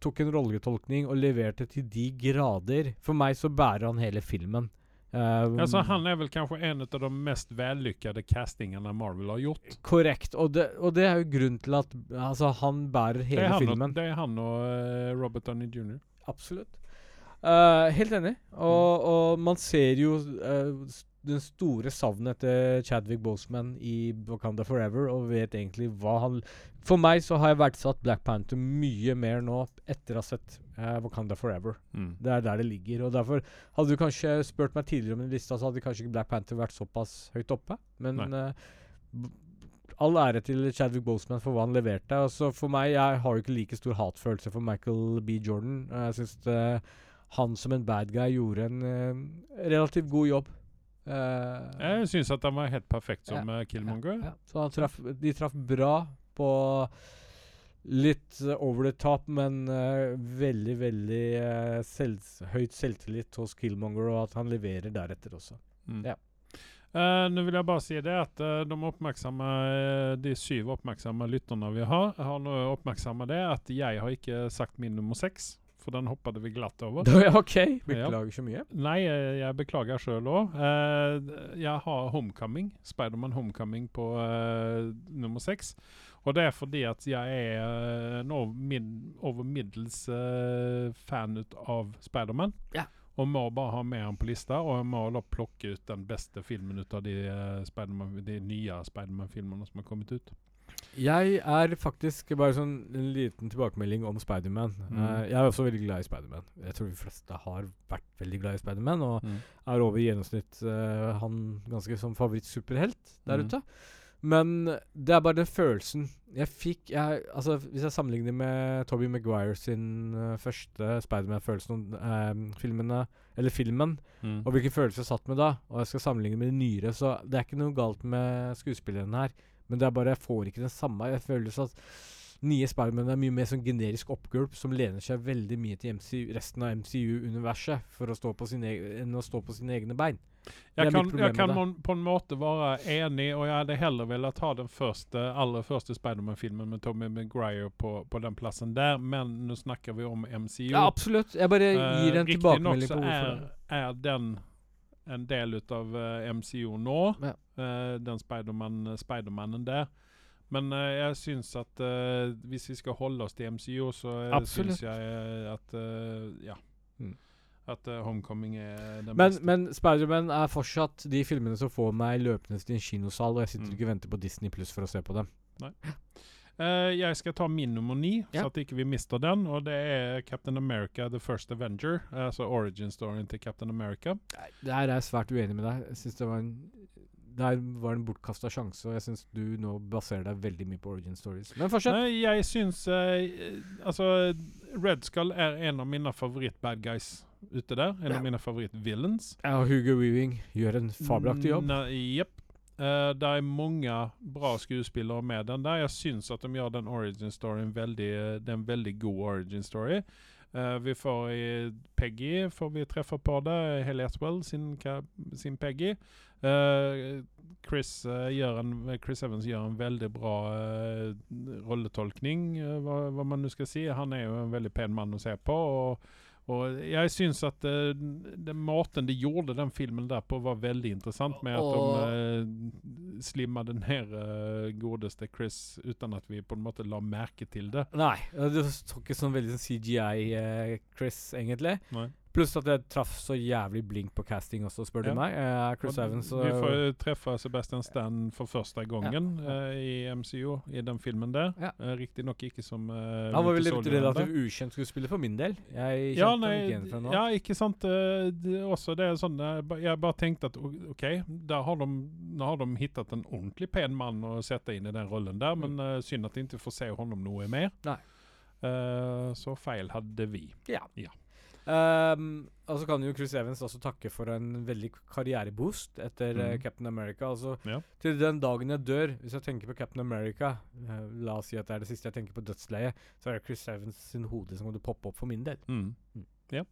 Speaker 2: tok en rolletolkning og leverte til de grader For meg så bærer han hele filmen. Ehm,
Speaker 1: Alltså, Altså, han är väl kanske en av de mest vällyckade castingarna Marvel har gjort.
Speaker 2: Korrekt. Og det, og det er jo grunnen til at altså, han bærer
Speaker 1: Det är
Speaker 2: hele
Speaker 1: han,
Speaker 2: filmen.
Speaker 1: och, det är han och eh, Robert Downey Jr.
Speaker 2: Absolutt. Eh, helt enig.
Speaker 1: Mm.
Speaker 2: Og, og man ser jo eh, s- den store savnet etter Chadwick Boseman i Wakanda Forever, og vet egentlig hva han For meg så har jeg verdsatt Black Panther mye mer nå etter å ha sett eh, Wakanda Forever. Det er der det ligger. og Derfor hadde du kanskje spurt meg tidligere om en lista, så hadde kanskje ikke Black Panther vært såpass høyt oppe. Men eh, b- all ære til Chadwick Boseman for hva han leverte. Altså for meg, Jeg har jo ikke like stor hatfølelse for Michael B. Jordan. og Jeg syns han som en bad guy gjorde en eh, relativt god jobb. Eh,
Speaker 1: Jag syns att han var helt perfekt som eh, Killmonger.
Speaker 2: ja. Så han traff, de traff bra på litt eh, over the top, men eh, veldig, veldig eh, selvs- høyt selvtillit hos Killmonger, og at han leverer deretter også.
Speaker 1: Mm.
Speaker 2: Ja.
Speaker 1: Eh, Nå vil jeg bare si det at eh, de, oppmerksomme, eh, de syv oppmerksomme lytterne vi har, har nå oppmerksomme det at jeg har ikke sagt min nummer seks, for den hoppet vi glatt over.
Speaker 2: OK. Beklager så mye.
Speaker 1: Nei, eh, jeg beklager sjøl òg. jeg har Homecoming, Spiderman Homecoming, på eh, nummer seks. Og det er fordi at jeg er eh, en over, mid, over middels eh, fan ut av Spiderman.
Speaker 2: Ja.
Speaker 1: Og må bare ha med han på lista, og jeg må da plukke ut den beste filmen ut av de, eh, Spiderman- de nye Spiderman-filmene som har kommet ut.
Speaker 2: Jeg er faktisk bare sånn en liten tilbakemelding om Spiderman.
Speaker 1: Mm.
Speaker 2: Eh, jeg er også veldig glad i Spiderman. Jeg tror de fleste har vært veldig glad i Spiderman, og
Speaker 1: Mm.
Speaker 2: er over i gjennomsnitt eh, han ganske som favorittsuperhelt der
Speaker 1: Mhm.
Speaker 2: ute. Men det er bare den følelsen jeg fikk jeg, altså, Hvis jeg sammenligner med Toby Maguire sin eh, første Spiderman-følelsen om eh, filmene, eller filmen, og hvilken følelse jeg satt med da, og jeg skal sammenligne med de nyere, så det er ikke noe galt med skuespilleren her, men det er bare jeg får ikke den samme Jeg føler sånn at nye Spiderman er mye mer sånn generisk oppgulp som lener seg veldig mye til MCU, resten av MCU-universet for å stå på sine, eg- enn å stå på sine egne bein. Det
Speaker 1: Jeg
Speaker 2: er mitt
Speaker 1: kan,
Speaker 2: problem
Speaker 1: jeg
Speaker 2: med
Speaker 1: kan
Speaker 2: det.
Speaker 1: mon- på en måte være enig, og jeg hadde heller villet ha den første, aller første Spiderman-filmen med Tommy Maguire på, på den plassen der, men nå snakker vi om MCU.
Speaker 2: Ja, absolutt. Jeg bare
Speaker 1: Eh,
Speaker 2: gir en
Speaker 1: riktig nok
Speaker 2: tilbakemelding
Speaker 1: så
Speaker 2: på hvorfor.
Speaker 1: er, er den en del av eh, MCU nå,
Speaker 2: Ja.
Speaker 1: eh, den Spiderman- Spidermannen der. Men eh, jeg syns at eh, hvis vi skal holde oss til MCU, så eh,
Speaker 2: Absolutt.
Speaker 1: syns jeg eh, at eh, Ja.
Speaker 2: Mm.
Speaker 1: At eh, Homecoming er den
Speaker 2: Men,
Speaker 1: beste.
Speaker 2: men Spiderman er fortsatt de filmene som får meg løpende til en kinosal, og jeg sitter
Speaker 1: Mm.
Speaker 2: ikke og venter på Disney Pluss for å se på dem.
Speaker 1: Eh, Eh, jeg skal ta min nummer ni,
Speaker 2: Ja.
Speaker 1: så at ikke vi mister den. Og det er Captain America The First Avenger. Altså origin-storyen til Captain America.
Speaker 2: Nei, Der er jeg svært uenig med deg. Jeg synes det var en Der var det en bortkasta sjanse, og jeg syns du nå baserer deg veldig mye på origin stories. Men fortsett.
Speaker 1: Nei, jeg syns eh, Altså, Red Skull er en av mine favoritt-bad guys ute der. En av mine favoritt-villains.
Speaker 2: Ja, og Hugo Weaving gjør en fabelaktig jobb.
Speaker 1: Nei, Jepp. Eh, det er mange bra skuespillere med den der. Jeg syns at de gjør den origin storyen veldig eh, Det er en veldig god origin story. Eh, vi får i Peggy får vi treffe på det. Haley Atwell sin, ka- sin Peggy. Eh, Chris, eh, gjør en, Chris Evans gjør en veldig bra eh, rolletolkning, eh, hva, hva man nå skal si. Han er jo en veldig pen mann å se på. og og jeg syns at eh, den måten de gjorde den filmen der på, var veldig interessant. Med at
Speaker 2: Og-
Speaker 1: de uh, slimmet ned eh, godeste Chris uten at vi på en måte la merke til det.
Speaker 2: Nei, ja, det tok ikke sånn veldig sånn CGI-Chris, eh, egentlig.
Speaker 1: Nei.
Speaker 2: Pluss at jeg traff så jævlig blink på casting også, spør
Speaker 1: Ja.
Speaker 2: du meg. Eh, Chris
Speaker 1: Og
Speaker 2: Evans
Speaker 1: Vi
Speaker 2: og-
Speaker 1: får jo treffe Sebastian Stan for første gangen eh, i MCO, i den filmen der.
Speaker 2: Ja.
Speaker 1: Uh, Riktignok ikke som uh,
Speaker 2: Han var vel et relativt ukjent skuespiller for min del. Jeg kjente
Speaker 1: ja,
Speaker 2: ham ikke igjen
Speaker 1: nei,
Speaker 2: fra nå.
Speaker 1: ja, ikke sant. eh, Det, også det er sånn eh, ba- Jeg bare tenkte at o- OK, der har de, nå har de hittet en ordentlig pen mann å sette inn i den rollen der, men eh, synd at de ikke får se honom noe mer.
Speaker 2: Mm. Nei.
Speaker 1: Eh, så feil hadde vi.
Speaker 2: Ja.
Speaker 1: Ja.
Speaker 2: Ehm, og så kan jo Chris Evans også takke for en veldig karriereboost etter eh,
Speaker 1: Mhm.
Speaker 2: Captain America. Altså,
Speaker 1: Ja.
Speaker 2: Til den dagen jeg dør, hvis jeg tenker på Captain America eh, La oss si at det er det siste jeg tenker på dødsleiet, så er det Chris Evans sin hode som kommer til å poppe opp for min del.
Speaker 1: Mm.
Speaker 2: Mm.
Speaker 1: Ja.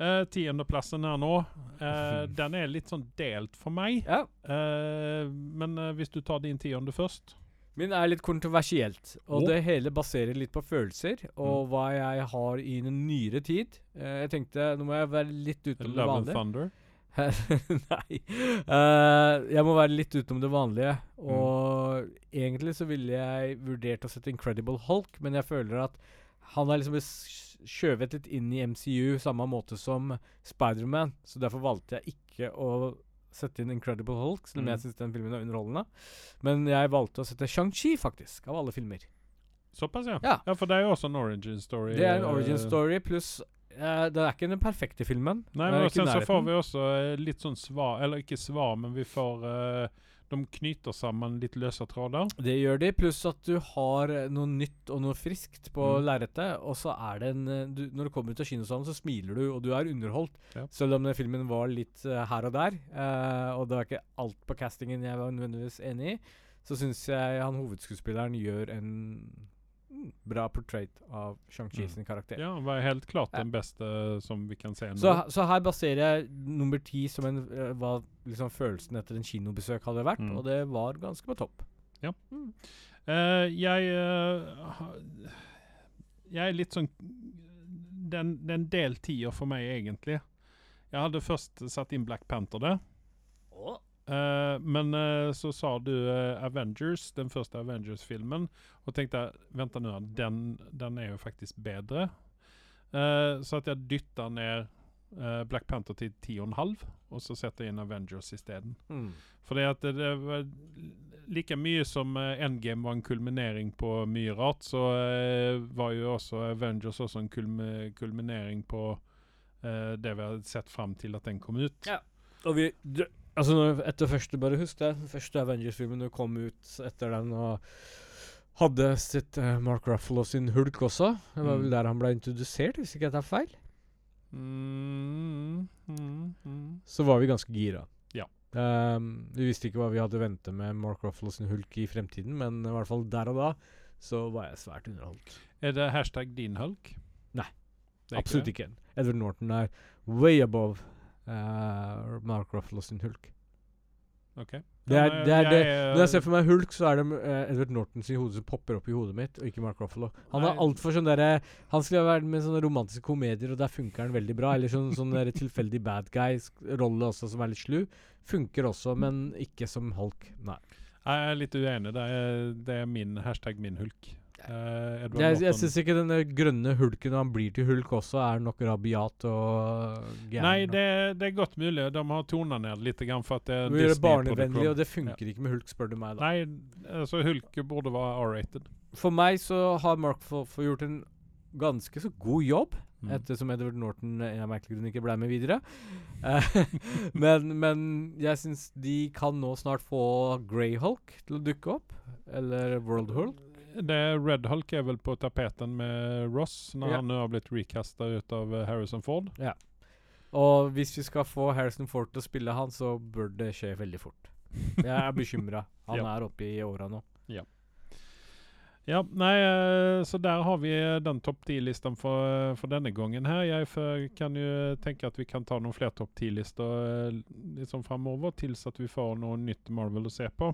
Speaker 1: Eh, tiendeplassen her nå,
Speaker 2: <laughs>
Speaker 1: eh, den er litt sånn delt for meg.
Speaker 2: Ja.
Speaker 1: Eh, men eh, hvis du tar din tiende først
Speaker 2: Min er litt kontroversielt, og
Speaker 1: Å.
Speaker 2: det hele baserer litt på følelser og
Speaker 1: Mm.
Speaker 2: hva jeg har i den nyere tid. Eh, jeg tenkte nå må jeg være litt utenom det
Speaker 1: Love and
Speaker 2: vanlige.
Speaker 1: Thunder.
Speaker 2: <laughs> Nei. Eh, jeg må være litt utenom det vanlige.
Speaker 1: Mm.
Speaker 2: Og egentlig så ville jeg vurdert å sette Incredible Hulk, men jeg føler at han er liksom blitt sk- skjøvet litt inn i MCU samme måte som Spiderman, så derfor valgte jeg ikke å sette inn Incredible Hulk, selv om
Speaker 1: Mm.
Speaker 2: jeg syns den filmen er underholdende. Men jeg valgte å sette Shang-Chi, faktisk, av alle filmer.
Speaker 1: Såpass, ja.
Speaker 2: Ja.
Speaker 1: For det er jo også en origin story.
Speaker 2: Det er en origin
Speaker 1: eh,
Speaker 2: story pluss eh, Det er ikke den perfekte filmen.
Speaker 1: Nei,
Speaker 2: Den
Speaker 1: men
Speaker 2: er
Speaker 1: og
Speaker 2: ikke
Speaker 1: sen
Speaker 2: i
Speaker 1: så får
Speaker 2: nærheten.
Speaker 1: vi også eh, litt sånn svar, eller ikke svar, men vi får eh, De knyter sammen litt løse tråder.
Speaker 2: Det gjør de, pluss at du har eh, noe nytt og noe friskt på
Speaker 1: Mm.
Speaker 2: lerretet. Og så er det en eh, du, Når du kommer ut av kinosalen, så smiler du, og du er underholdt.
Speaker 1: Ja.
Speaker 2: Selv om den filmen var litt eh, her og der, eh, og det var ikke alt på castingen jeg var nødvendigvis enig i, så syns jeg han hovedskuespilleren gjør en mm, bra portrait av Shang-Chi
Speaker 1: Mm.
Speaker 2: sin karakter.
Speaker 1: Ja, var helt klart
Speaker 2: Ja.
Speaker 1: den beste eh, som vi kan se nå.
Speaker 2: Så, så her baserer jeg nummer ti som en, eh, hva liksom følelsen etter en kinobesøk hadde vært,
Speaker 1: Mm.
Speaker 2: og det var ganske på topp.
Speaker 1: Eh, jeg eh, ha- Jeg er litt sånn Den, den del tier for meg, egentlig. Jeg hadde først satt inn Black Panther der. Eh, men eh, så sa du eh, Avengers, den første Avengers-filmen, og tenkte vent nå, den, den er jo faktisk bedre. Eh, så at jeg dytta ned eh, Black Panther til ti og en halv, og så setter jeg inn Avengers isteden.
Speaker 2: Mm.
Speaker 1: Fordi at det, det var like mye som eh, Endgame var en kulminering på mye rart, så eh, var jo også Avengers også en kulmi kulminering på eh, det vi hadde sett fram til at den kom ut.
Speaker 2: Og vi dr- Altså, når, etter første Bare husk det. den Første Avengers-filmen du kom ut etter den og hadde sitt eh, Mark Ruffalo sin hulk også. Det var
Speaker 1: Mm.
Speaker 2: vel der han ble introdusert, hvis ikke jeg tar feil.
Speaker 1: Mm, mm, mm.
Speaker 2: Så var vi ganske gira.
Speaker 1: Ja.
Speaker 2: Ehm, vi visste ikke hva vi hadde ventet med Mark Ruffalo sin hulk i fremtiden, men i hvert fall der og da så var jeg svært underholdt.
Speaker 1: Er det hashtag din hulk?
Speaker 2: Nei.
Speaker 1: Det er
Speaker 2: Absolutt
Speaker 1: det?
Speaker 2: ikke. Edward Norton er way above eh, Mark Ruffalo sin hulk.
Speaker 1: Ok.
Speaker 2: Det er,
Speaker 1: Ja,
Speaker 2: det er, det,
Speaker 1: jeg, eh,
Speaker 2: Når jeg ser for meg Hulk, så er det eh, Edward Nortons hode som popper opp i hodet mitt, og ikke Mark Ruffalo. Han
Speaker 1: Nei.
Speaker 2: er altfor sånn derre Han skulle vært med i sånne romantiske komedier, og der funker han veldig bra. Eller sånn, sånn derre tilfeldig bad guy-rolle også, som er litt slu. Funker også, men ikke som Hulk. Nei.
Speaker 1: jeg er litt uenig. Det er, det er min hashtag min hulk. Eh, Edward
Speaker 2: Jeg, jeg
Speaker 1: Norton.
Speaker 2: syns ikke den der grønne hulken han blir til Hulk også, er nok rabiat og gæren.
Speaker 1: Nei,
Speaker 2: og-
Speaker 1: det, det er godt mulig. De har tonet ned litt grann for at det er en
Speaker 2: Vi gjør det
Speaker 1: Disney-produksjon.
Speaker 2: barnevennlig, og det funker ikke med Hulk, spør du meg, da.
Speaker 1: Nei, altså Hulk burde være R-rated.
Speaker 2: for meg så har Mark Folfer gjort en ganske så god jobb.
Speaker 1: Mm.
Speaker 2: Ettersom Edward Norton eh, av merkelige grunner ikke ble med videre. Eh, <laughs> men, men jeg syns de kan nå snart få Greyhulk til å dukke opp. Eller World Hulk.
Speaker 1: Det Red Hulk är väl på tapeten med Ross när
Speaker 2: Ja.
Speaker 1: han nu har blivit recastad av eh, Harrison
Speaker 2: <laughs>
Speaker 1: Ford.
Speaker 2: Og hvis vi skal få Harrison Ford til å spille han, så bør det skje veldig fort. Jeg
Speaker 1: <laughs>
Speaker 2: er bekymra. Han
Speaker 1: Ja.
Speaker 2: er oppe i åra nå.
Speaker 1: Ja, nej, eh, så där har vi den topp eh, 10-listan för, för denna gången här. Jag för, kan ju tänka att vi kan ta några fler topp 10-listor eh, liksom framöver tills att vi får något nytt Marvel att se på.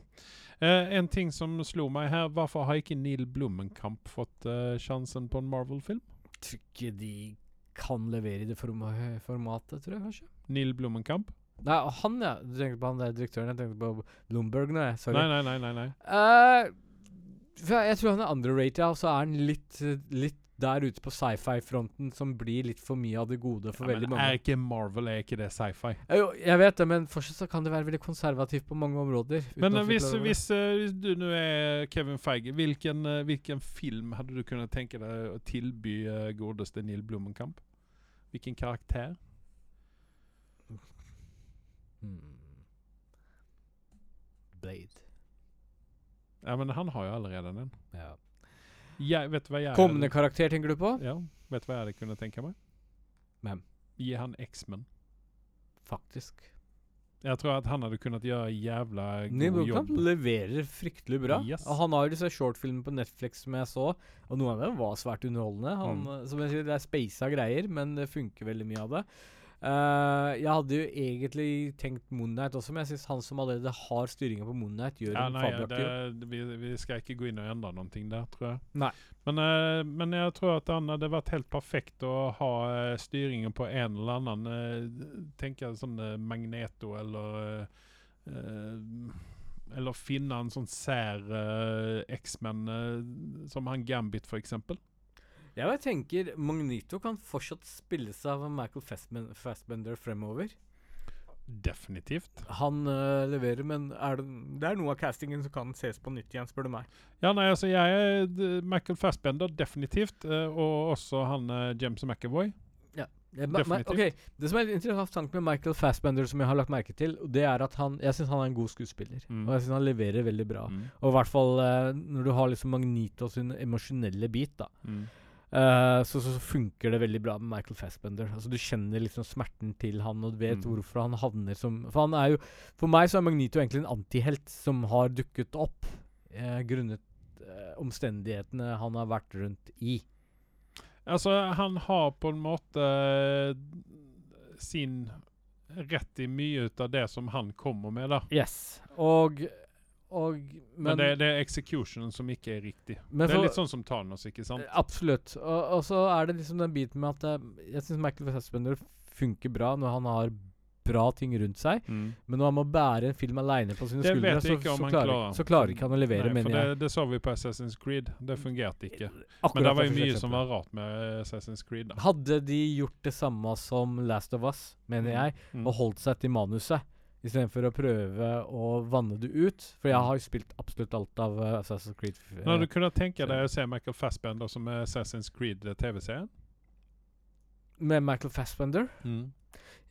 Speaker 1: Eh, en ting som slog mig här, varför har inte Neil Blommenkamp fått eh, chansen på en Marvel-film?
Speaker 2: Tror ikke de kan levere i det forma- formatet, tror jeg kanskje.
Speaker 1: Neil Blommenkamp?
Speaker 2: Nei, han ja. Du tenkte på han der direktøren. Jeg tenkte på Blomberg nå, jeg. Sorry.
Speaker 1: Nej, nej, nej, nej, nej.
Speaker 2: Eh, for jeg jeg tror han er underrated, ja, og så er han litt, eh, litt der ute på sci-fi-fronten som blir litt for mye av det gode for
Speaker 1: Ja,
Speaker 2: veldig
Speaker 1: men
Speaker 2: mange.
Speaker 1: är inte Marvel, är inte det sci-fi?
Speaker 2: Eh, Jo, jeg vet det, men fortsatt så kan det være veldig konservativt på mange områder. uten
Speaker 1: Men
Speaker 2: å
Speaker 1: eh, hvis,
Speaker 2: forklare det.
Speaker 1: hvis, eh, hvis du nu är Kevin Feige, vilken, eh, vilken film hade du kunnat tänka dig att tillby eh, godaste Neil Blommenkamp? Vilken karaktär?
Speaker 2: Hmm. Blade.
Speaker 1: Ja men han har ju allerede den.
Speaker 2: Ja.
Speaker 1: Jag vet du vad jag
Speaker 2: Kommende
Speaker 1: hade,
Speaker 2: karakter tenker du på?
Speaker 1: Ja, vet du vad jag hade kunnat tänka mig?
Speaker 2: Vem?
Speaker 1: Ge han X-Men.
Speaker 2: Faktisk.
Speaker 1: Jag tror att han hade kunnat göra jävla
Speaker 2: Neil
Speaker 1: god
Speaker 2: Blomkamp
Speaker 1: jobb.
Speaker 2: leverer fryktelig bra.
Speaker 1: Yes.
Speaker 2: Og han har jo disse shortfilmene på Netflix som jeg så, og noen av dem var svært underholdende. Han,
Speaker 1: Mm.
Speaker 2: eh, Som jeg sier, Det er speisa greier, men det funker veldig mye av det. Eh, jeg hadde jo egentlig tenkt Moonnight også, men jeg syns han som allerede har styringa på Moonnight, gjør
Speaker 1: Ja,
Speaker 2: en
Speaker 1: nei, ja,
Speaker 2: fabelaktig jobb.
Speaker 1: det, vi, vi ska inte gå in och ändra någonting där tror jag.
Speaker 2: Nej.
Speaker 1: Men, eh, men jag tror att det hade varit helt perfekt att ha eh, styrningen på en eller annan. eh, tänka en sån eh, Magneto eller eh, eh, eller finna en sån sär eh, X-Men eh, som han Gambit för exempel.
Speaker 2: Ja, men jeg tenker Magnito kan fortsatt spilles av Michael Fassben- Fassbender fremover.
Speaker 1: Definitivt.
Speaker 2: Han eh, leverer, men er det, det er noe av castingen som kan ses på nytt igjen, spør du meg.
Speaker 1: Ja, altså, nej, alltså jag är d- eh, Michael Fassbender definitivt eh, och også han eh, James McAvoy.
Speaker 2: Ja, Eh, ma- ma-
Speaker 1: Definitivt.
Speaker 2: ok, Det som er interessant med Michael Fassbender, som jeg har lagt merke til, og det er at han Jeg syns han er en god skuespiller.
Speaker 1: Mm.
Speaker 2: Og jeg syns han leverer veldig bra. Og i hvert fall eh, når du har liksom Magnito sin emosjonelle bit, da.
Speaker 1: Mm.
Speaker 2: eh, så, så, så funker det veldig bra med Michael Fassbender. Altså Du kjenner liksom smerten til han, og du vet
Speaker 1: Mm.
Speaker 2: hvorfor han havner som For han er jo For meg så er Magnito egentlig en antihelt som har dukket opp eh, grunnet eh, omstendighetene han har vært rundt i.
Speaker 1: Altså, han har på en måte eh, sin rett i mye ut av det som han kommer med der.
Speaker 2: Yes. Og, og
Speaker 1: Men, det, det er executionen som ikke er riktig.
Speaker 2: Men
Speaker 1: det er
Speaker 2: for-
Speaker 1: litt sånn som Thanos, ikke sant?
Speaker 2: Absolutt. Og, og så er det liksom den biten med at eh, jeg syns Michael Fassbender funker bra når han har bra ting rundt seg,
Speaker 1: Eh,
Speaker 2: men når han må bære en film aleine på sine
Speaker 1: Det
Speaker 2: skuldre,
Speaker 1: vet
Speaker 2: så,
Speaker 1: jeg ikke om
Speaker 2: så,
Speaker 1: han
Speaker 2: klarer,
Speaker 1: klarer.
Speaker 2: så klarer ikke han å levere,
Speaker 1: Nei, for
Speaker 2: mener
Speaker 1: det,
Speaker 2: jeg.
Speaker 1: det så vi på Assassin's Creed. Det fungerte ikke. Men det var jo mye som var rart med eh, Assassin's Creed. da.
Speaker 2: Hadde de gjort det samme som Last of Us, mener jeg,
Speaker 1: Mm.
Speaker 2: og holdt seg til manuset, istedenfor å prøve å vanne det ut For jeg har jo spilt absolutt alt av eh, Assassin's Creed.
Speaker 1: Men Hadde
Speaker 2: eh,
Speaker 1: Mm. du kunnet tenke deg å se Michael Fassbender som er Assassin's eh, Creed-TV-serien?
Speaker 2: Med Michael Fassbender.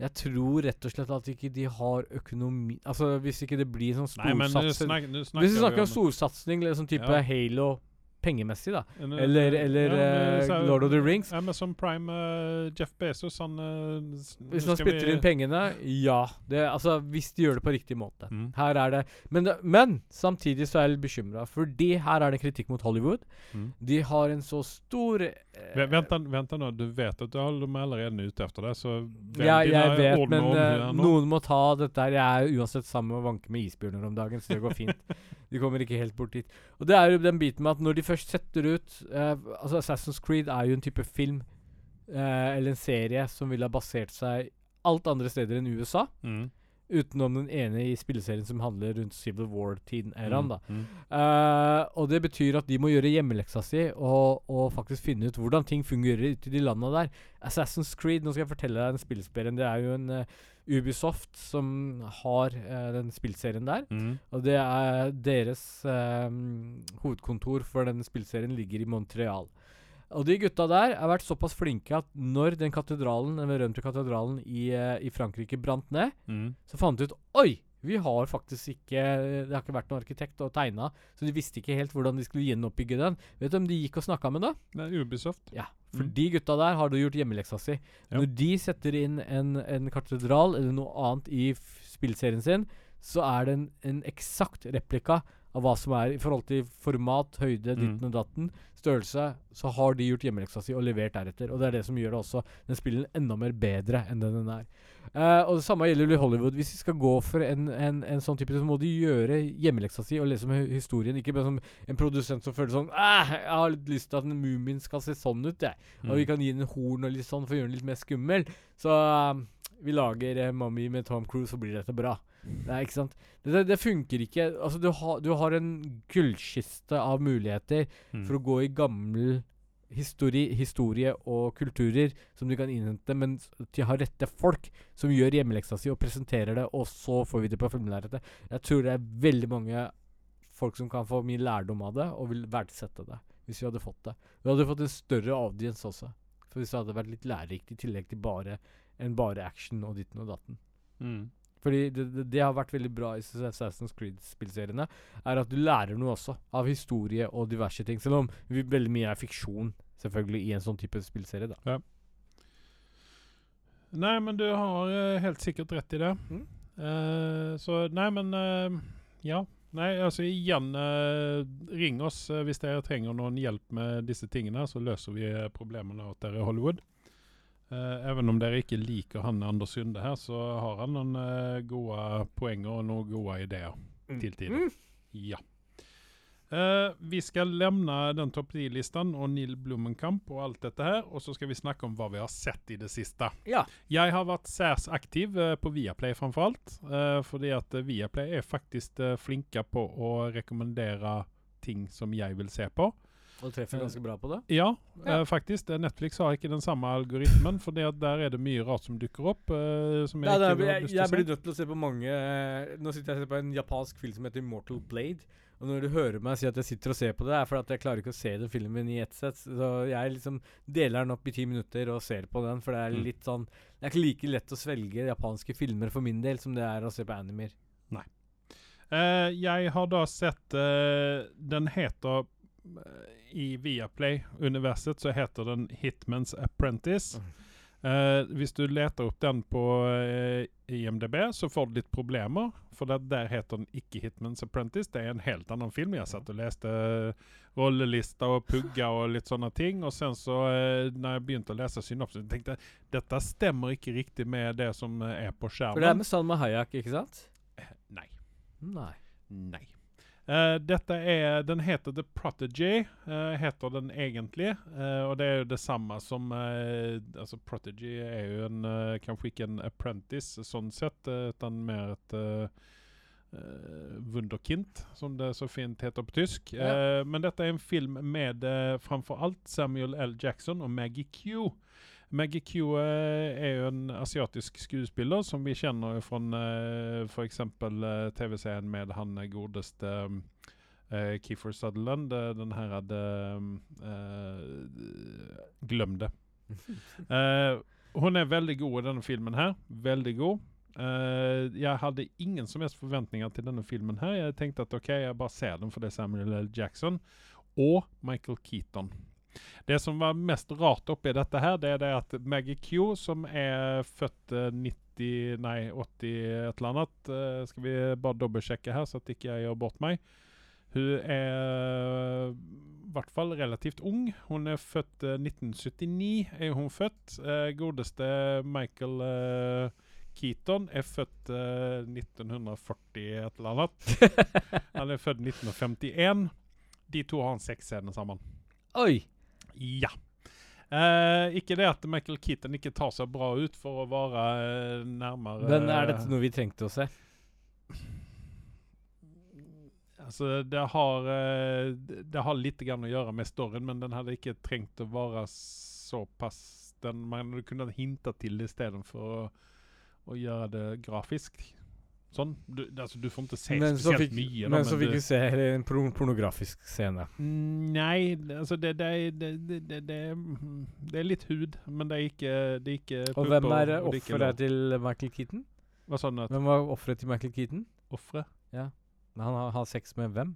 Speaker 2: Jeg tror rett og slett at ikke de har økonomi Altså hvis ikke det blir sånn
Speaker 1: Nei, men nå
Speaker 2: storsatsing
Speaker 1: snak, nå snakker
Speaker 2: Hvis vi snakker om
Speaker 1: vi
Speaker 2: storsatsing, eller sånn type
Speaker 1: Ja.
Speaker 2: Halo pengemessig, da.
Speaker 1: En-
Speaker 2: Eller, eller
Speaker 1: men,
Speaker 2: eh,
Speaker 1: så-
Speaker 2: Lord of the Rings.
Speaker 1: Amazon Prime, eh, Jeff Bezos, han eh, s-
Speaker 2: Hvis
Speaker 1: nå
Speaker 2: man
Speaker 1: skal vi-
Speaker 2: spytter inn pengene, ja. Det, altså, hvis de gjør det på riktig måte.
Speaker 1: Mm.
Speaker 2: Her er det Men, det, men samtidig så er jeg litt bekymra, fordi her er det kritikk mot Hollywood.
Speaker 1: Mm.
Speaker 2: De har en så stor eh,
Speaker 1: Vä- Vänta, vänta nu, du vet att all- de är redan ute efter det så vänd
Speaker 2: Ja,
Speaker 1: dina
Speaker 2: jeg vet,
Speaker 1: ord med
Speaker 2: men
Speaker 1: omhu
Speaker 2: eh,
Speaker 1: här nu.
Speaker 2: noen må ta dette her. Jeg er uansett sammen og vanker med isbjørner om dagen, så det går fint. De kommer ikke helt bort dit. Og det er jo den biten med at når de først setter ut eh, Altså, Assassin's Creed er jo en type film eh, eller en serie som ville ha basert seg alt andre steder enn USA.
Speaker 1: Mm.
Speaker 2: Utenom den ene i spilleserien som handler rundt Civil War-tiden-æraen, da.
Speaker 1: Mm.
Speaker 2: Eh, og det betyr at de må gjøre hjemmeleksa si og, og faktisk finne ut hvordan ting fungerer ute i de landa der. Assassin's Creed, nå skal jeg fortelle deg den spillserien. Det er jo en eh, Ubisoft som har eh, den spillserien der.
Speaker 1: Mm.
Speaker 2: Og det er deres eh, hovedkontor for den spillserien ligger i Montreal. Og de gutta der har vært såpass flinke at når den katedralen, den berømte katedralen i, eh, i Frankrike brant ned,
Speaker 1: Mm.
Speaker 2: så fant de ut Oi! Vi har faktisk ikke Det har ikke vært noen arkitekt og tegna, så de visste ikke helt hvordan de skulle gjenoppbygge den. Vet du om de gikk og snakka med, da?
Speaker 1: Det er Ubisoft.
Speaker 2: Ja. For
Speaker 1: Mm.
Speaker 2: de gutta der har da gjort hjemmeleksa si.
Speaker 1: Ja.
Speaker 2: Når de setter inn en, en katedral eller noe annet i f- spillserien sin, så er det en, en eksakt replika av hva som er i forhold til format,
Speaker 1: Mm.
Speaker 2: høyde, ditten og datten, størrelse, så har de gjort hjemmeleksa si og levert deretter. Og det er det som gjør det også den spillen enda mer bedre enn den den er. Eh, og det samme gjelder jo i Hollywood. Hvis de skal gå for en, en, en sånn type, så må de gjøre hjemmeleksa si og lese om hu- historien. Ikke bare sånn som en produsent som føler sånn «Æh, Jeg har litt lyst til at den mumien skal se sånn ut, jeg. Og vi kan gi den horn og litt sånn for å gjøre den litt mer skummel. Så eh, vi lager eh, Mummy med Tom Cruise, så blir dette bra. Nei, ikke sant? Det, det, det funker ikke. Altså, du, har- du har en gullkiste av muligheter for å gå i gammel histori, historie og kulturer som du kan innhente, men s- at de har rette folk som gjør hjemmeleksa si og presenterer det, og så får vi det på filmlerretet. Jeg tror det er veldig mange folk som kan få mye lærdom av det, og vil verdsette det, hvis vi hadde fått det. Vi hadde fått en større audience også, for hvis det hadde vært litt lærerikt i tillegg til bare enn bare action og ditten og datten.
Speaker 1: Mm.
Speaker 2: Fordi det, det, det har vært veldig bra i Assassin's Creed-spillseriene, er at du lærer noe også av historie og diverse ting. Selv om vi, veldig mye er fiksjon, selvfølgelig, i en sånn type spillserie, da.
Speaker 1: Nei, men du har eh, helt sikkert rett i det.
Speaker 2: Mm.
Speaker 1: Eh, så nei, men eh, Ja. Nei, altså igjen, eh, ring oss eh, hvis dere trenger noen hjelp med disse tingene, så løser vi eh, problemene åt dere i Hollywood. Eh, even om dere ikke liker han Anders Sunde her, så har han noen eh, gode poenger og noen gode ideer
Speaker 2: Mm.
Speaker 1: til tider. Ja. Eh, vi skal levne den topp 10-listen og Neil Blummenkamp og alt dette her, og så skal vi snakke om hva vi har sett i det siste.
Speaker 2: Ja.
Speaker 1: Jeg har vært særs aktiv eh, på Viaplay framfor alt, eh, fordi at eh, Viaplay er faktisk eh, flinke på å rekommendere ting som jeg vil se på.
Speaker 2: Og du treffer ganske bra på det.
Speaker 1: Ja,
Speaker 2: Ja.
Speaker 1: eh, faktisk. eh, Netflix har ikke den samme algoritmen, for det at der er det mye rart som dukker opp. eh, som jeg,
Speaker 2: Nei,
Speaker 1: ikke
Speaker 2: nei,
Speaker 1: har
Speaker 2: jeg,
Speaker 1: lyst til å
Speaker 2: jeg
Speaker 1: se.
Speaker 2: blir nødt til å se på mange eh, Nå sitter jeg og ser på en japansk film som heter Mortal Blade. Og når du hører meg si at jeg sitter og ser på det, er fordi at jeg klarer ikke å se den filmen i ett sett. Så jeg liksom deler den opp i ti minutter og ser på den, for det er
Speaker 1: Mm.
Speaker 2: litt sånn Det er ikke like lett å svelge japanske filmer for min del som det er å se på animer.
Speaker 1: Eh, jeg har da sett eh, Den heter eh, I Viaplay-universet så heter den Hitman's Apprentice.
Speaker 2: Mm.
Speaker 1: Eh, hvis du leter opp den på eh, IMDb, så får du litt problemer. For det, der heter den ikke Hitman's Apprentice. Det er en helt annen film. Jeg satt og leste rollelista og pugga og litt sånne ting. Og sen så, eh, når jeg begynte å lese synopsen, tenkte jeg dette stemmer ikke riktig med det som eh, er på
Speaker 2: For det er
Speaker 1: skjermen.
Speaker 2: med Salma Hayak, ikke sant?
Speaker 1: Eh, Nei.
Speaker 2: Nei.
Speaker 1: Nei. Eh, dette er, Den heter The Protege, eh, heter den egentlig. eh, og det er jo det samme som eh, altså Protege er jo en, eh, kanskje ikke en apprentice sånn sett, eh, utan mer et eh, eh, Wunderkind, som det så fint heter på tysk.
Speaker 2: Ja.
Speaker 1: Eh, men dette er en film med eh, framfor alt Samuel L. Jackson og Maggie Q. Maggie Q eh, er jo en asiatisk skuespiller som vi kjenner fra eh, f.eks. eh, TV-serien med han eh, godeste eh, Kiefer Sutherland. eh, Den her hadde eh, Glem det. Eh, hun er veldig god i denne filmen her. Veldig god. Eh, jeg hadde ingen som helst forventninger til denne filmen her. Jeg tenkte at OK, jeg bare ser den for det er Samuel L. Jackson og Michael Keaton. Det som var mest rart oppi dette her, det er det at Maggie Q, som er født eh, 90, nei 80 et eller annet eh, Skal vi bare dobbeltsjekke her, så at ikke jeg gjør bort meg. Hun er i hvert fall relativt ung. Hun er født eh, 1979. er hun født. Eh, Godeste Michael eh, Keaton er født eh, 1940 et eller annet. Han er født 1951. De to har en sexscene sammen.
Speaker 2: Oi!
Speaker 1: Ja. Eh, ikke det at Michael Keaton ikke tar seg bra ut for å være eh, nærmere
Speaker 2: Men er dette noe vi trengte å se?
Speaker 1: Altså, det har, eh, det det har litt grann å gjøre med storyen, men den hadde ikke trengt å være såpass den, Man kunne hinta til det istedenfor å, å gjøre det grafisk. Sånn. Du, altså, du får ikke se
Speaker 2: Men så
Speaker 1: spesielt
Speaker 2: fikk,
Speaker 1: mye. da,
Speaker 2: men så fikk
Speaker 1: du-
Speaker 2: vi se en porno- pornografisk scene.
Speaker 1: Nei, det- altså det, det, det, det, det, det, mm, det er litt hud, men det er ikke, det er ikke
Speaker 2: Og
Speaker 1: pupper,
Speaker 2: hvem er eh,
Speaker 1: og det er ikke
Speaker 2: offeret
Speaker 1: lår.
Speaker 2: til Michael Keaton?
Speaker 1: Hva sa du? at
Speaker 2: Hvem var offeret til Michael Keaton?
Speaker 1: Offeret?
Speaker 2: Nei, Han har, har sex med hvem?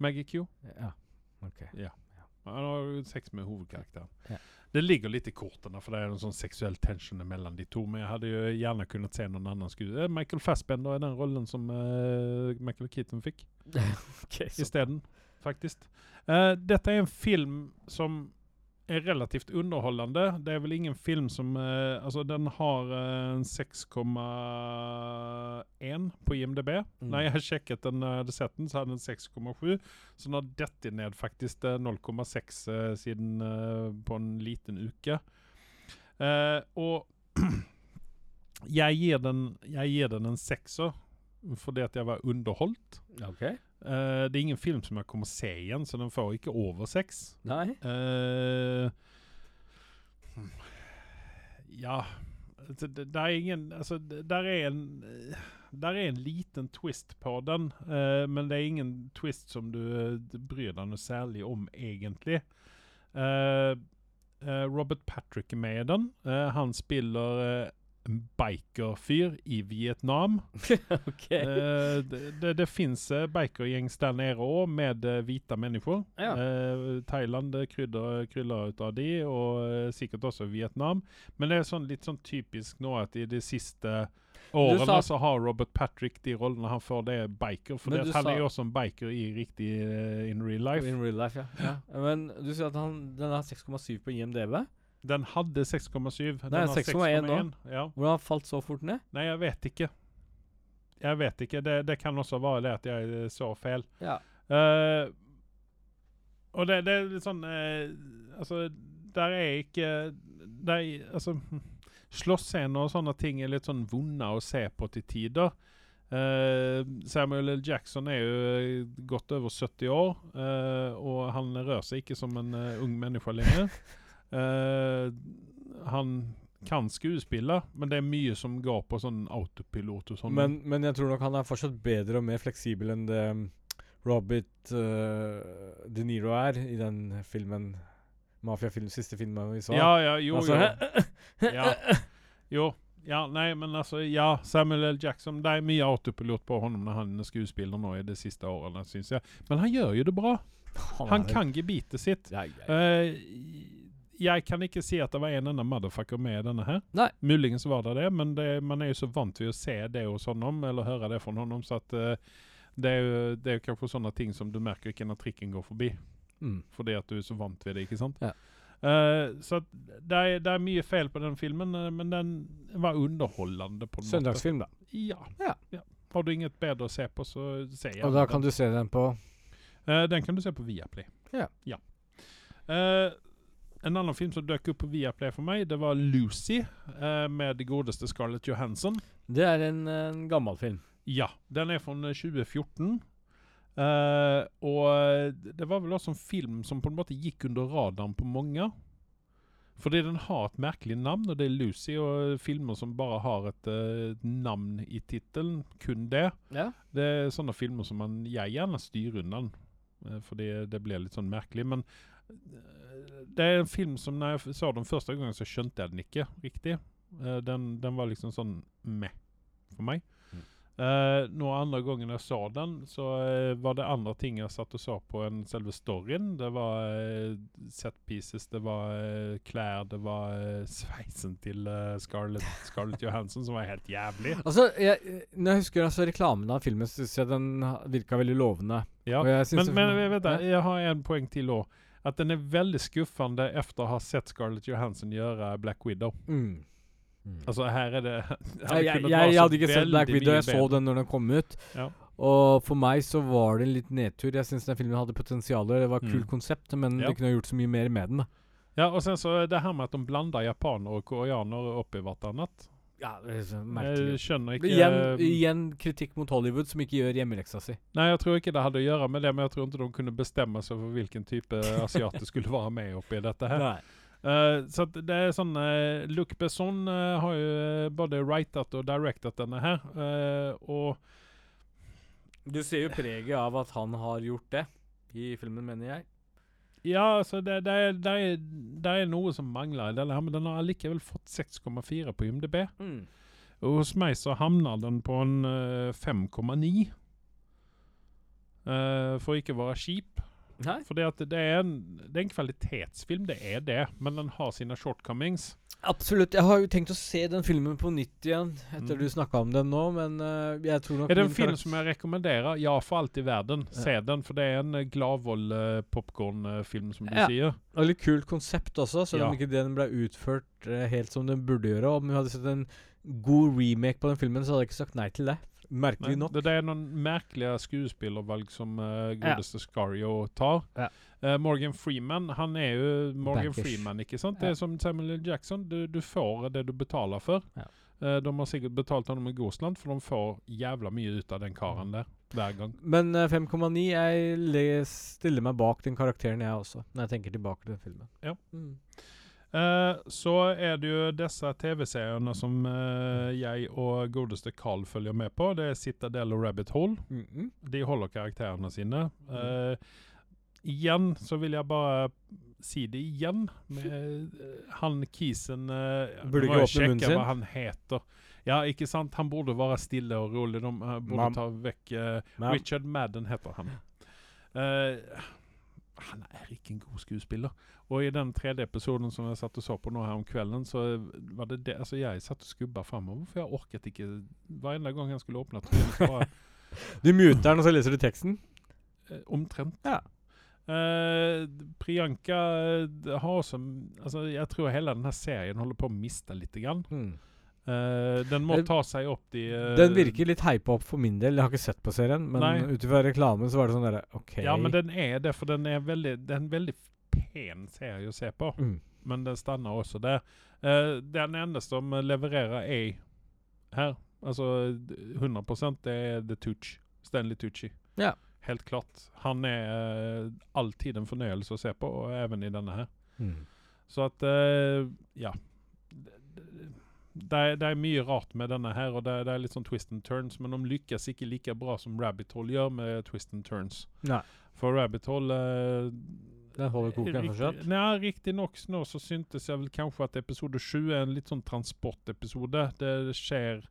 Speaker 1: Maggie Q?
Speaker 2: <laughs> Ja.
Speaker 1: Han har jo sex med hovedkarakteren.
Speaker 2: Ja.
Speaker 1: Det ligger litt i kortene, for det er en sånn seksuell tension mellom de to. Men jeg hadde jo gjerne kunnet se noen annen skuespiller. Michael Fassbender er den rollen som eh, Michael Keaton fikk
Speaker 2: Okay, så.
Speaker 1: isteden, faktisk. Eh, dette er en film som er relativt underholdende. Det er vel ingen film som eh, Altså, den har eh, en 6,1 på IMDb.
Speaker 2: Mm.
Speaker 1: Når jeg sjekket den, eh, hadde sett den, så hadde den 6,7. Så den har dette ned faktisk til 0,6 eh, siden eh, på en liten uke. Eh, og <clears throat> jeg gir den, jeg gir den en sekser fordi at jeg var underholdt.
Speaker 2: Ok.
Speaker 1: Eh, det er ingen film som jeg kommer se igjen, så den får ikke over seks.
Speaker 2: Nei.
Speaker 1: Eh, ja altså, det, det er ingen Altså, det, der er en eh, Der er en liten twist på den, eh, men det er ingen twist som du eh, d- bryr deg noe særlig om, egentlig. Eh, eh, Robert Patrick er med i den. Eh, han spiller eh, en bikerfyr i Vietnam.
Speaker 2: <laughs> Ok.
Speaker 1: Eh, det, det, det finns eh, bikergängs där nere òg, med eh, hvite mennesker.
Speaker 2: Ja.
Speaker 1: Eh, Thailand det krydder, kryller ut av de, og eh, sikkert også Vietnam. Men det er sånn, litt sånn typisk nå at i de siste årene
Speaker 2: sa-
Speaker 1: så har Robert Patrick de rollene han får, det er biker. For
Speaker 2: Men
Speaker 1: det,
Speaker 2: du
Speaker 1: han
Speaker 2: sa-
Speaker 1: er jo også en biker i riktig eh, in real life.
Speaker 2: In real life, ja. ja. Men du sier at han, den har 6,7 på IMDb.
Speaker 1: Den hadde 6,7. den
Speaker 2: Nei,
Speaker 1: har
Speaker 2: 6,1 nå.
Speaker 1: 6,1. Ja.
Speaker 2: Hvordan har han falt så fort ned?
Speaker 1: Nei, jeg vet ikke. Jeg vet ikke. Det, det kan også være det at jeg eh, så feil.
Speaker 2: Ja.
Speaker 1: Eh, og det, det er litt sånn eh, Altså, der er ikke der, er- Altså, <laughs> hm, slåssscener og sånne ting er litt sånn vonde å se på til tider. Eh, Samuel L. Jackson er jo eh, godt over 70 år, eh, og han rører seg ikke som en eh, ung menneske lenger. Eh, han kan skuespille, men det er mye som går på sånn autopilot og sånn.
Speaker 2: Men, men jeg tror nok han er fortsatt bedre og mer fleksibel enn det mm, Robert eh, De Niro er i den filmen Mafiafilm, siste filmen vi så.
Speaker 1: ja, ja, jo,
Speaker 2: Altså,
Speaker 1: jo.
Speaker 2: <laughs>
Speaker 1: Ja. Jo. Ja, nei, men altså, ja, Samuel L. Jackson Det er mye autopilot på honom når han er skuespiller nå i de siste årene, syns jeg. Men han gjør jo det bra. Han
Speaker 2: er-
Speaker 1: kan gebitet sitt.
Speaker 2: Ja, ja, ja.
Speaker 1: Eh, jeg kan ikke si at det var en enda motherfucker med i denne her.
Speaker 2: Nei.
Speaker 1: Muligens var det det, men det, man er jo så vant til å se det hos honom, eller høre det fra honom, så at eh, det, er jo, det er jo kanskje sånne ting som du merker ikke når trikken går forbi
Speaker 2: Mm.
Speaker 1: fordi at du er så vant ved det, ikke sant?
Speaker 2: Ja.
Speaker 1: Eh, så at det er, det er mye feil på den filmen, eh, men den var underholdende på en
Speaker 2: Søndagsfilm, da.
Speaker 1: måte. Ja.
Speaker 2: Ja.
Speaker 1: ja. Har du inget bedre å se på, så se gjerne
Speaker 2: Og da
Speaker 1: den.
Speaker 2: kan du se den på
Speaker 1: Eh, den kan du se på Viaplay.
Speaker 2: Ja.
Speaker 1: Eh, en annen film som dukket opp på Viaplay for meg, det var Lucy eh, med det godeste Scarlett Johansson.
Speaker 2: Det er en, en gammel film.
Speaker 1: Ja, den er fra 2014. Eh, og det var vel også en film som på en måte gikk under radaren på mange. Fordi den har et merkelig navn, og det er Lucy. Og filmer som bare har et eh, navn i tittelen, kun det.
Speaker 2: Ja.
Speaker 1: Det er sånne filmer som man, jeg gjerne styrer unna, eh, fordi det blir litt sånn merkelig. Men eh, det er en film som når jeg f- så den første gangen, så skjønte jeg den ikke riktig. Eh, Den, den var liksom sånn meh for meg. Eh, nå andre gangen jeg så den, så eh, var det andre ting jeg satt og så på enn selve storyen. Det var eh, set pieces, det var eh, klær, det var eh, <laughs> sveisen til eh, Scarlett, Scarlett Johansson, som var helt jævlig.
Speaker 2: Altså, jeg, Når jeg husker altså, reklamen av filmen, syns jeg den ha- virka veldig lovende.
Speaker 1: Ja.
Speaker 2: Og jeg synes
Speaker 1: Men,
Speaker 2: det-
Speaker 1: men jeg, vet det,
Speaker 2: Ja.
Speaker 1: jeg har en poeng til òg. At den er veldig skuffende etter å ha sett Scarlett Johansson gjøre Black Widow.
Speaker 2: Mm.
Speaker 1: Altså her er det <laughs>
Speaker 2: Jeg, jeg, jeg, hadde ikke sett Black Widow, jeg så den når den kom ut.
Speaker 1: Ja.
Speaker 2: Og for meg så var det en liten nedtur. Jeg syns den filmen hadde potensial. Det var et kult
Speaker 1: Mm.
Speaker 2: konsept, men
Speaker 1: Ja.
Speaker 2: du kunne ha gjort så mye mer med den. da
Speaker 1: Ja, och sen så det här med att de blandar japaner och koreaner upp i vartannat.
Speaker 2: Ja, det er så
Speaker 1: Jag
Speaker 2: merkelig.
Speaker 1: känner inte...
Speaker 2: Igjen, igjen kritikk mot Hollywood som ikke gjør hjemmeleksa si.
Speaker 1: Nej, jag tror inte det hade att göra med det, men jag tror inte de kunde bestämma sig för vilken typ eh, asiat det skulle vara med uppe i detta här.
Speaker 2: <laughs> <laughs> Nei.
Speaker 1: Eh, så att det är sån, eh, Luc Besson eh, har ju eh, både writat och directat den här. Eh, och
Speaker 2: Du ser jo preget av at han har gjort det i filmen, mener jeg.
Speaker 1: ja, så det, det, är, det, är, det är något som manglar i den här, men den har allikevel fått 6,4 på IMDB.
Speaker 2: Mm.
Speaker 1: Och hos mig så hamnar den på en eh, 5,9. Uh, får inte vara cheap.
Speaker 2: Nei?
Speaker 1: För det, att det, är en, det är en kvalitetsfilm, det är det. Men den har sina shortcomings.
Speaker 2: Absolutt. Jeg har jo tenkt å se den filmen på nytt igjen etter
Speaker 1: Mm.
Speaker 2: du snakka om den nå, men eh, jeg tror nok
Speaker 1: Är det en
Speaker 2: min
Speaker 1: film
Speaker 2: karakter-
Speaker 1: som jag rekommenderar? Ja, för allt i världen. Se den, för det är en eh, glavvoll eh, popcornfilm som du
Speaker 2: Ja.
Speaker 1: säger.
Speaker 2: Og litt kult konsept også, selv om
Speaker 1: Ja.
Speaker 2: ikke den ble utført eh, helt som den burde gjøre. Om vi hadde sett en god remake på den filmen, så hadde jeg ikke sagt nei til det. Merkelig
Speaker 1: Men
Speaker 2: nok.
Speaker 1: Det, det är någon märkliga skuespillervalg som uh, godaste Scario tar.
Speaker 2: Ja.
Speaker 1: Eh, Morgan Freeman, han är ju Morgan
Speaker 2: Bankish.
Speaker 1: Freeman, ikke sant?
Speaker 2: Ja.
Speaker 1: Det är som Samuel L. Jackson, du, du får det du betalar för.
Speaker 2: Ja.
Speaker 1: Eh, de har säkert betalt honom i Gosland för de får jävla mycket ut av den karen där. Hver gång.
Speaker 2: Men eh, 5,9 Jeg le- stiller meg bak den karakteren, jeg også, når jeg tenker tilbake til den filmen.
Speaker 1: Ja.
Speaker 2: Mm.
Speaker 1: Eh, så är det ju dessa tv-serierna som eh, jag och godaste Carl följer med på. Det är Citadel och Rabbit Hole.
Speaker 2: Mm -mm.
Speaker 1: de håller karaktärerna sina. Eh, igen så vill jag bara se det igen. Med, eh, han kisen, eh, nu
Speaker 2: Burde
Speaker 1: må
Speaker 2: ikke
Speaker 1: jag
Speaker 2: åpne munnen
Speaker 1: checka
Speaker 2: sin.
Speaker 1: vad han heter. Ja, icke sant? Han borde vara stilla och rolig. De eh, borde
Speaker 2: Man-
Speaker 1: ta väck... eh,
Speaker 2: Men
Speaker 1: Richard Madden heter han. Eh, han är icke en god skuespiller. Och i den tredje episoden som jag satt och såg på nu här om kvällen så eh, var det det. Alltså jag satt och skubbade framåt för jag orkat icke. Varenda gång han skulle öppna trollet så bara
Speaker 2: du muter den, og så leser du teksten?
Speaker 1: Eh, omtrent.
Speaker 2: Ja.
Speaker 1: Eh, Priyanka eh, det har som, alltså jag tror hela den här serien håller på att mista lite grann. Eh, den må
Speaker 2: Eh,
Speaker 1: ta sig upp till... eh,
Speaker 2: Hmm. Den virker litt hypa opp for min del. Jeg har ikke sett på serien,
Speaker 1: Nei.
Speaker 2: men ut ifra reklamen så var det sånn derre OK.
Speaker 1: Ja men den är det, för den är väldigt, den är en väldigt pen serie att se på.
Speaker 2: mm.
Speaker 1: Men den stannar också där. Eh, den enda som levererar är här, alltså d- 100% Altså, det är The Touch, Stanley Tucci.
Speaker 2: Ja.
Speaker 1: Helt klart. Han är eh, alltid en förnöjelse att se på, och även i denna här.
Speaker 2: Mm.
Speaker 1: Så at eh, Ja. Det er, det er mye rart med denne her, og det er, det er litt sånn twist and turns. Men de lykkes ikke like bra som Rabbit Hole gjør med twist and turns.
Speaker 2: Nei.
Speaker 1: For Rabbit Hole eh,
Speaker 2: Den holder koken fortsatt.
Speaker 1: Riktig, nei, riktig nok nå så syntes jeg vel kanskje at episode 7 er en litt sånn transportepisode. Det skjer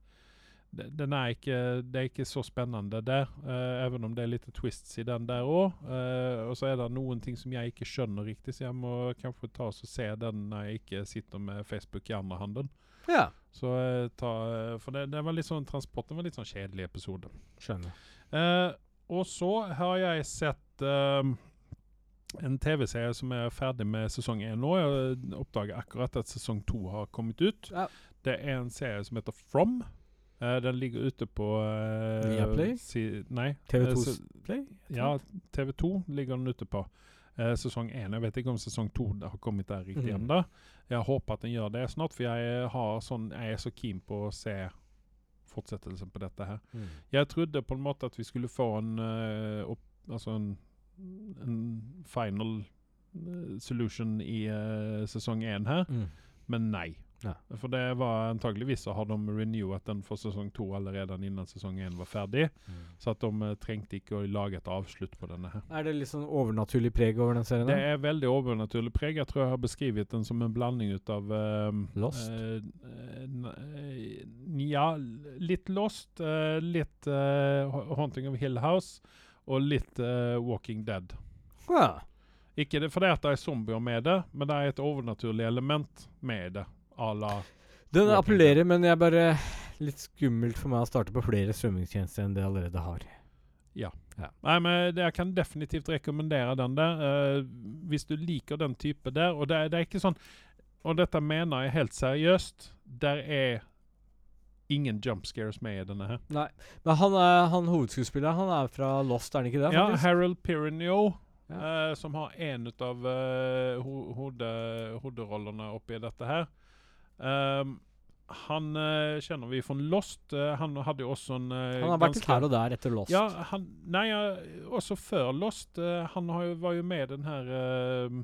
Speaker 1: det- Den er ikke Det er ikke så spennende der, eh, even om det er litt twists i den der òg. og så er det noen ting som jeg ikke skjønner riktig, så jeg må kanskje ta og se den når jeg ikke sitter med Facebook i andre handen.
Speaker 2: Ja.
Speaker 1: Så eh, ta eh, For det, det var litt sånn transport, det var litt sånn kjedelig episode.
Speaker 2: Skjønner.
Speaker 1: Eh, og så har jeg sett ehm, en TV-serie som er ferdig med sesong én nå. Jeg oppdager akkurat at sesong to har kommet ut.
Speaker 2: Ja.
Speaker 1: Det er en serie som heter From. Eh, den ligger ute på eh,
Speaker 2: Viaplay?
Speaker 1: Si, nei. eh,
Speaker 2: TV2s
Speaker 1: se-
Speaker 2: Play?
Speaker 1: ja, TV2 ligger den ute på. Eh, sesong én. Jeg vet ikke om sesong to da har kommet der riktig
Speaker 2: Mhm.
Speaker 1: ennå. Jeg håper at den gjør det snart, for jeg, har sånn, jeg er så keen på å se fortsettelsen på dette her.
Speaker 2: Mm.
Speaker 1: Jeg trodde på en måte at vi skulle få en, eh, opp, altså en, en final eh, solution i eh, sesong én her,
Speaker 2: Mm.
Speaker 1: men nei.
Speaker 2: Ja.
Speaker 1: For det var antageligvis så har de renewet den for sesong to allerede innan sesong én var ferdig. Så at de eh, trengte ikke å lage et avslutt på denne her.
Speaker 2: Er det litt sånn overnaturlig preg over den serien?
Speaker 1: Det
Speaker 2: da?
Speaker 1: er veldig overnaturlig preg. Jeg tror jeg har beskrevet den som en blanding ut av eh,
Speaker 2: Lost?
Speaker 1: eh, n- eh, ja, litt Lost, eh, litt eh, Ho- Haunting of Hill House og litt eh, Walking Dead.
Speaker 2: Ja.
Speaker 1: Ikke det, for det at det er zombier med det, men det er et overnaturlig element med det. À la
Speaker 2: Den
Speaker 1: Walking
Speaker 2: appellerer, men jeg bare Litt skummelt for meg å starte på flere strømmingstjenester enn det jeg allerede har.
Speaker 1: Nei, men det, jeg kan definitivt rekommendere den der. eh, hvis du liker den type der. Og det, er- det er ikke sånn Og dette mener jeg helt seriøst. Der er ingen jump scares med i denne her.
Speaker 2: Men han, er, han hovedskuespilleren, han er fra Lost, er han ikke det?
Speaker 1: Ja,
Speaker 2: faktisk?
Speaker 1: Harold Pirinio eh, som har en av eh, ho hode hoderollene oppi dette her. Ehm, han eh, kjenner vi fra Lost. Eh, han hadde jo også en eh,
Speaker 2: Han har vært litt
Speaker 1: ganske-
Speaker 2: her og der etter Lost.
Speaker 1: Ja, han, nei, ja, også før Lost. eh, han har jo, var jo med i den her eh,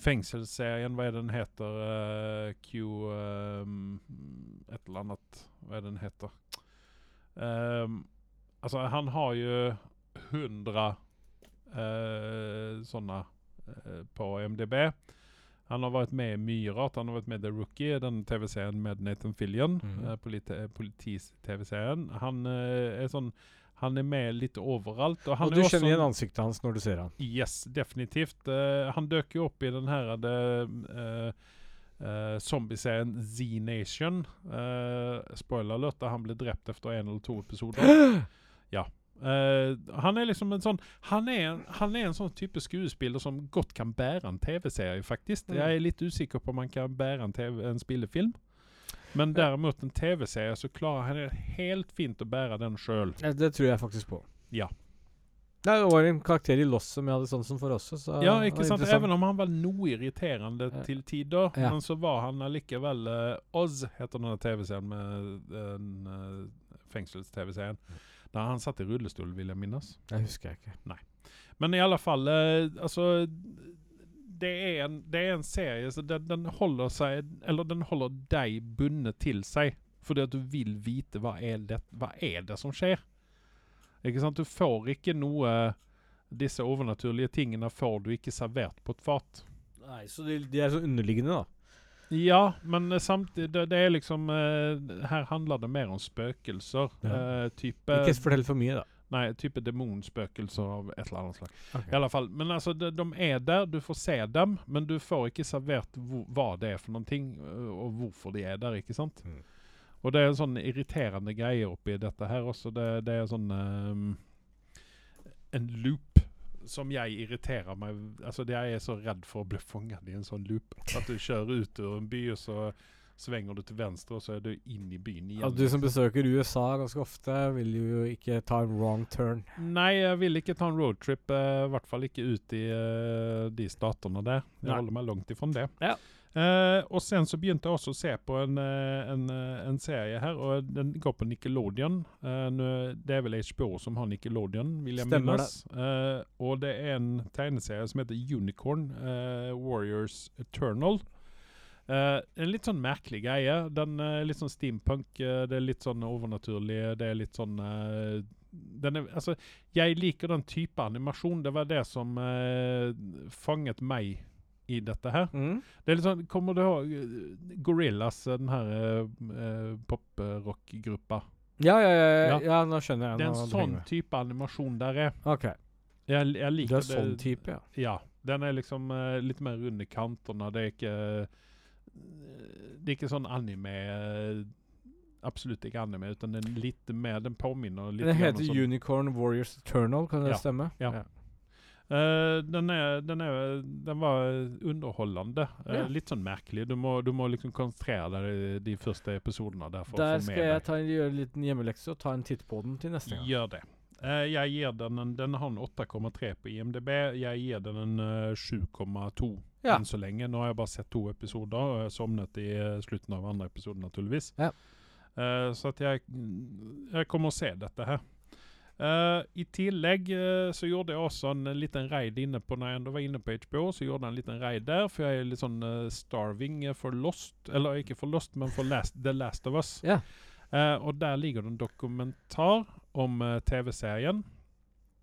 Speaker 1: fengselsserien, hva er det den heter? eh, Q eh, Et eller annet. Hva er det den heter? Ehm, altså, han har jo 100 eh, sånne eh, på MDB. Han har vært med i mye rart. Han har vært med i The Rookie, den TV-serien med Nathan Fillion.
Speaker 2: Mhm.
Speaker 1: eh, politi- Politi-TV-serien. Han eh, er sånn Han er med litt overalt. Og, han
Speaker 2: og
Speaker 1: er
Speaker 2: du
Speaker 1: også
Speaker 2: kjenner
Speaker 1: en-
Speaker 2: igjen ansiktet hans når du ser han.
Speaker 1: Yes, definitivt. Eh, han døk jo opp i den her det, eh, eh, zombieserien Z-Nation. Eh, spoiler alert, da han ble drept etter en eller to
Speaker 2: <gasps>
Speaker 1: episoder. Ja. Eh, han er liksom en sånn han er, en- han er en sånn type skuespiller som godt kan bære en TV-serie, faktisk.
Speaker 2: Mm.
Speaker 1: Jeg er litt usikker på om han kan bære en, TV, en spillefilm. Men derimot en TV-serie, så klarer han det helt fint å bære den sjøl.
Speaker 2: Ja, Det tror jeg faktisk på.
Speaker 1: Ja.
Speaker 2: Nei, Det var en karakter i Lost som jeg hadde sånn som for også, så
Speaker 1: Ja,
Speaker 2: det var
Speaker 1: ikke sant?
Speaker 2: interessant.
Speaker 1: Even om han var noe irriterende
Speaker 2: Ja.
Speaker 1: til tider,
Speaker 2: Ja.
Speaker 1: men så var han allikevel eh, Oz, heter denne TV-serien med den eh, fengsels-TV-serien. Da han satt i rullestol, vil jeg minnes.
Speaker 2: Det husker jeg ikke.
Speaker 1: Men i alle fall, eh, altså det er, en, det er en serie så den, den holder seg Eller den holder deg bundet til seg. Fordi at du vil vite hva er det, hva er det som skjer. Ikke sant? Du får ikke noe Disse overnaturlige tingene får du ikke servert på et fat.
Speaker 2: Nei, Så de, de er så underliggende, da.
Speaker 1: Ja, men samtidig det, det er liksom eh, Her handler det mer om spøkelser.
Speaker 2: Ja.
Speaker 1: eh, type
Speaker 2: Ikke fortell for mye, da.
Speaker 1: Nei, type demonspøkelser av et eller annet slag.
Speaker 2: Ok.
Speaker 1: I alle fall, Men altså, de, de er der, du får se dem, men du får ikke servert hvor, hva det er for noen ting, ø, og hvorfor eh, de er der, ikke sant?
Speaker 2: Mm.
Speaker 1: Og det er en sånn irriterende greie oppi dette her også. Det, det er sånn ehm, En loop som jeg irriterer meg Altså, jeg er så redd for å bli fanget i en sånn loop. At du kjører ut ur en by, og så svinger du til venstre, og så er du inn i byen igjen.
Speaker 2: Ja, du som besøker USA ganske ofte, vil jo ikke ta en wrong turn.
Speaker 1: Nei, jeg vil ikke ta en roadtrip. eh, I hvert fall ikke ut i eh, de statene der. Jeg
Speaker 2: Nei.
Speaker 1: holder meg langt ifra det.
Speaker 2: Ja.
Speaker 1: Eh, og sen så begynte jeg også å se på en, eh, en, eh, en serie her, og den går på Nickelodeon. Eh, nå- det er vel HBO som har Nickelodeon, vil jeg
Speaker 2: Stemmer
Speaker 1: minnes. Eh, og det er en tegneserie som heter Unicorn eh, Warriors Eternal. Eh, en litt sånn merkelig greie. Den eh, er litt sånn steampunk, eh, det er litt sånn overnaturlig, det er litt sånn eh, den er, altså, jeg liker den type animasjon. Det var det som eh, fanget meg i dette her.
Speaker 2: Mm.
Speaker 1: Det er litt sånn, Kommer du ihåg eh, Gorillaz, eh, den her eh, eh, poprock-gruppa?
Speaker 2: Ja, ja, ja, ja,
Speaker 1: Ja.
Speaker 2: ja, nå skjønner jeg.
Speaker 1: Det er en
Speaker 2: nå du henger
Speaker 1: sånn
Speaker 2: med.
Speaker 1: type animasjon der er.
Speaker 2: Ok,
Speaker 1: Jeg, jeg
Speaker 2: Du
Speaker 1: liker
Speaker 2: er sånn type, ja.
Speaker 1: Ja. Den er liksom eh, litt mer rund i kantene. Det er ikke eh, Det er ikke sånn anime eh, Absolutt ikke anime, men den er litt mer Den påminner litt
Speaker 2: Den
Speaker 1: grann om
Speaker 2: heter
Speaker 1: sånn-
Speaker 2: Unicorn Warriors Eternal, kan det
Speaker 1: Ja,
Speaker 2: stemme?
Speaker 1: ja. Eh, den, er, den, er, den var underholdende. Eh,
Speaker 2: Ja.
Speaker 1: Litt sånn merkelig. Du må, du må liksom konsentrere deg i de første episodene. Der for
Speaker 2: Der
Speaker 1: å få
Speaker 2: skal
Speaker 1: med
Speaker 2: jeg
Speaker 1: deg.
Speaker 2: ta, gjøre en liten hjemmelekse og ta en titt på den til neste gang.
Speaker 1: Gjør det. Eh, jeg gir den en, den har en 8,3 på IMDb. Jeg gir den en eh, 7,2
Speaker 2: Ja.
Speaker 1: enn så lenge. Nå har jeg bare sett to episoder, og jeg sovnet i eh, slutten av andre episode, naturligvis.
Speaker 2: Ja.
Speaker 1: Eh, så at jeg, jeg kommer å se dette her. Eh, I tillegg eh, så gjorde jeg også en liten raid inne på Når jeg enda var inne på HBO, så gjorde jeg en liten raid der, for jeg er litt sånn eh, starving for Lost. Eller ikke for Lost, men for last, The Last of Us.
Speaker 2: Ja.
Speaker 1: Eh, og der ligger det en dokumentar om eh, TV-serien.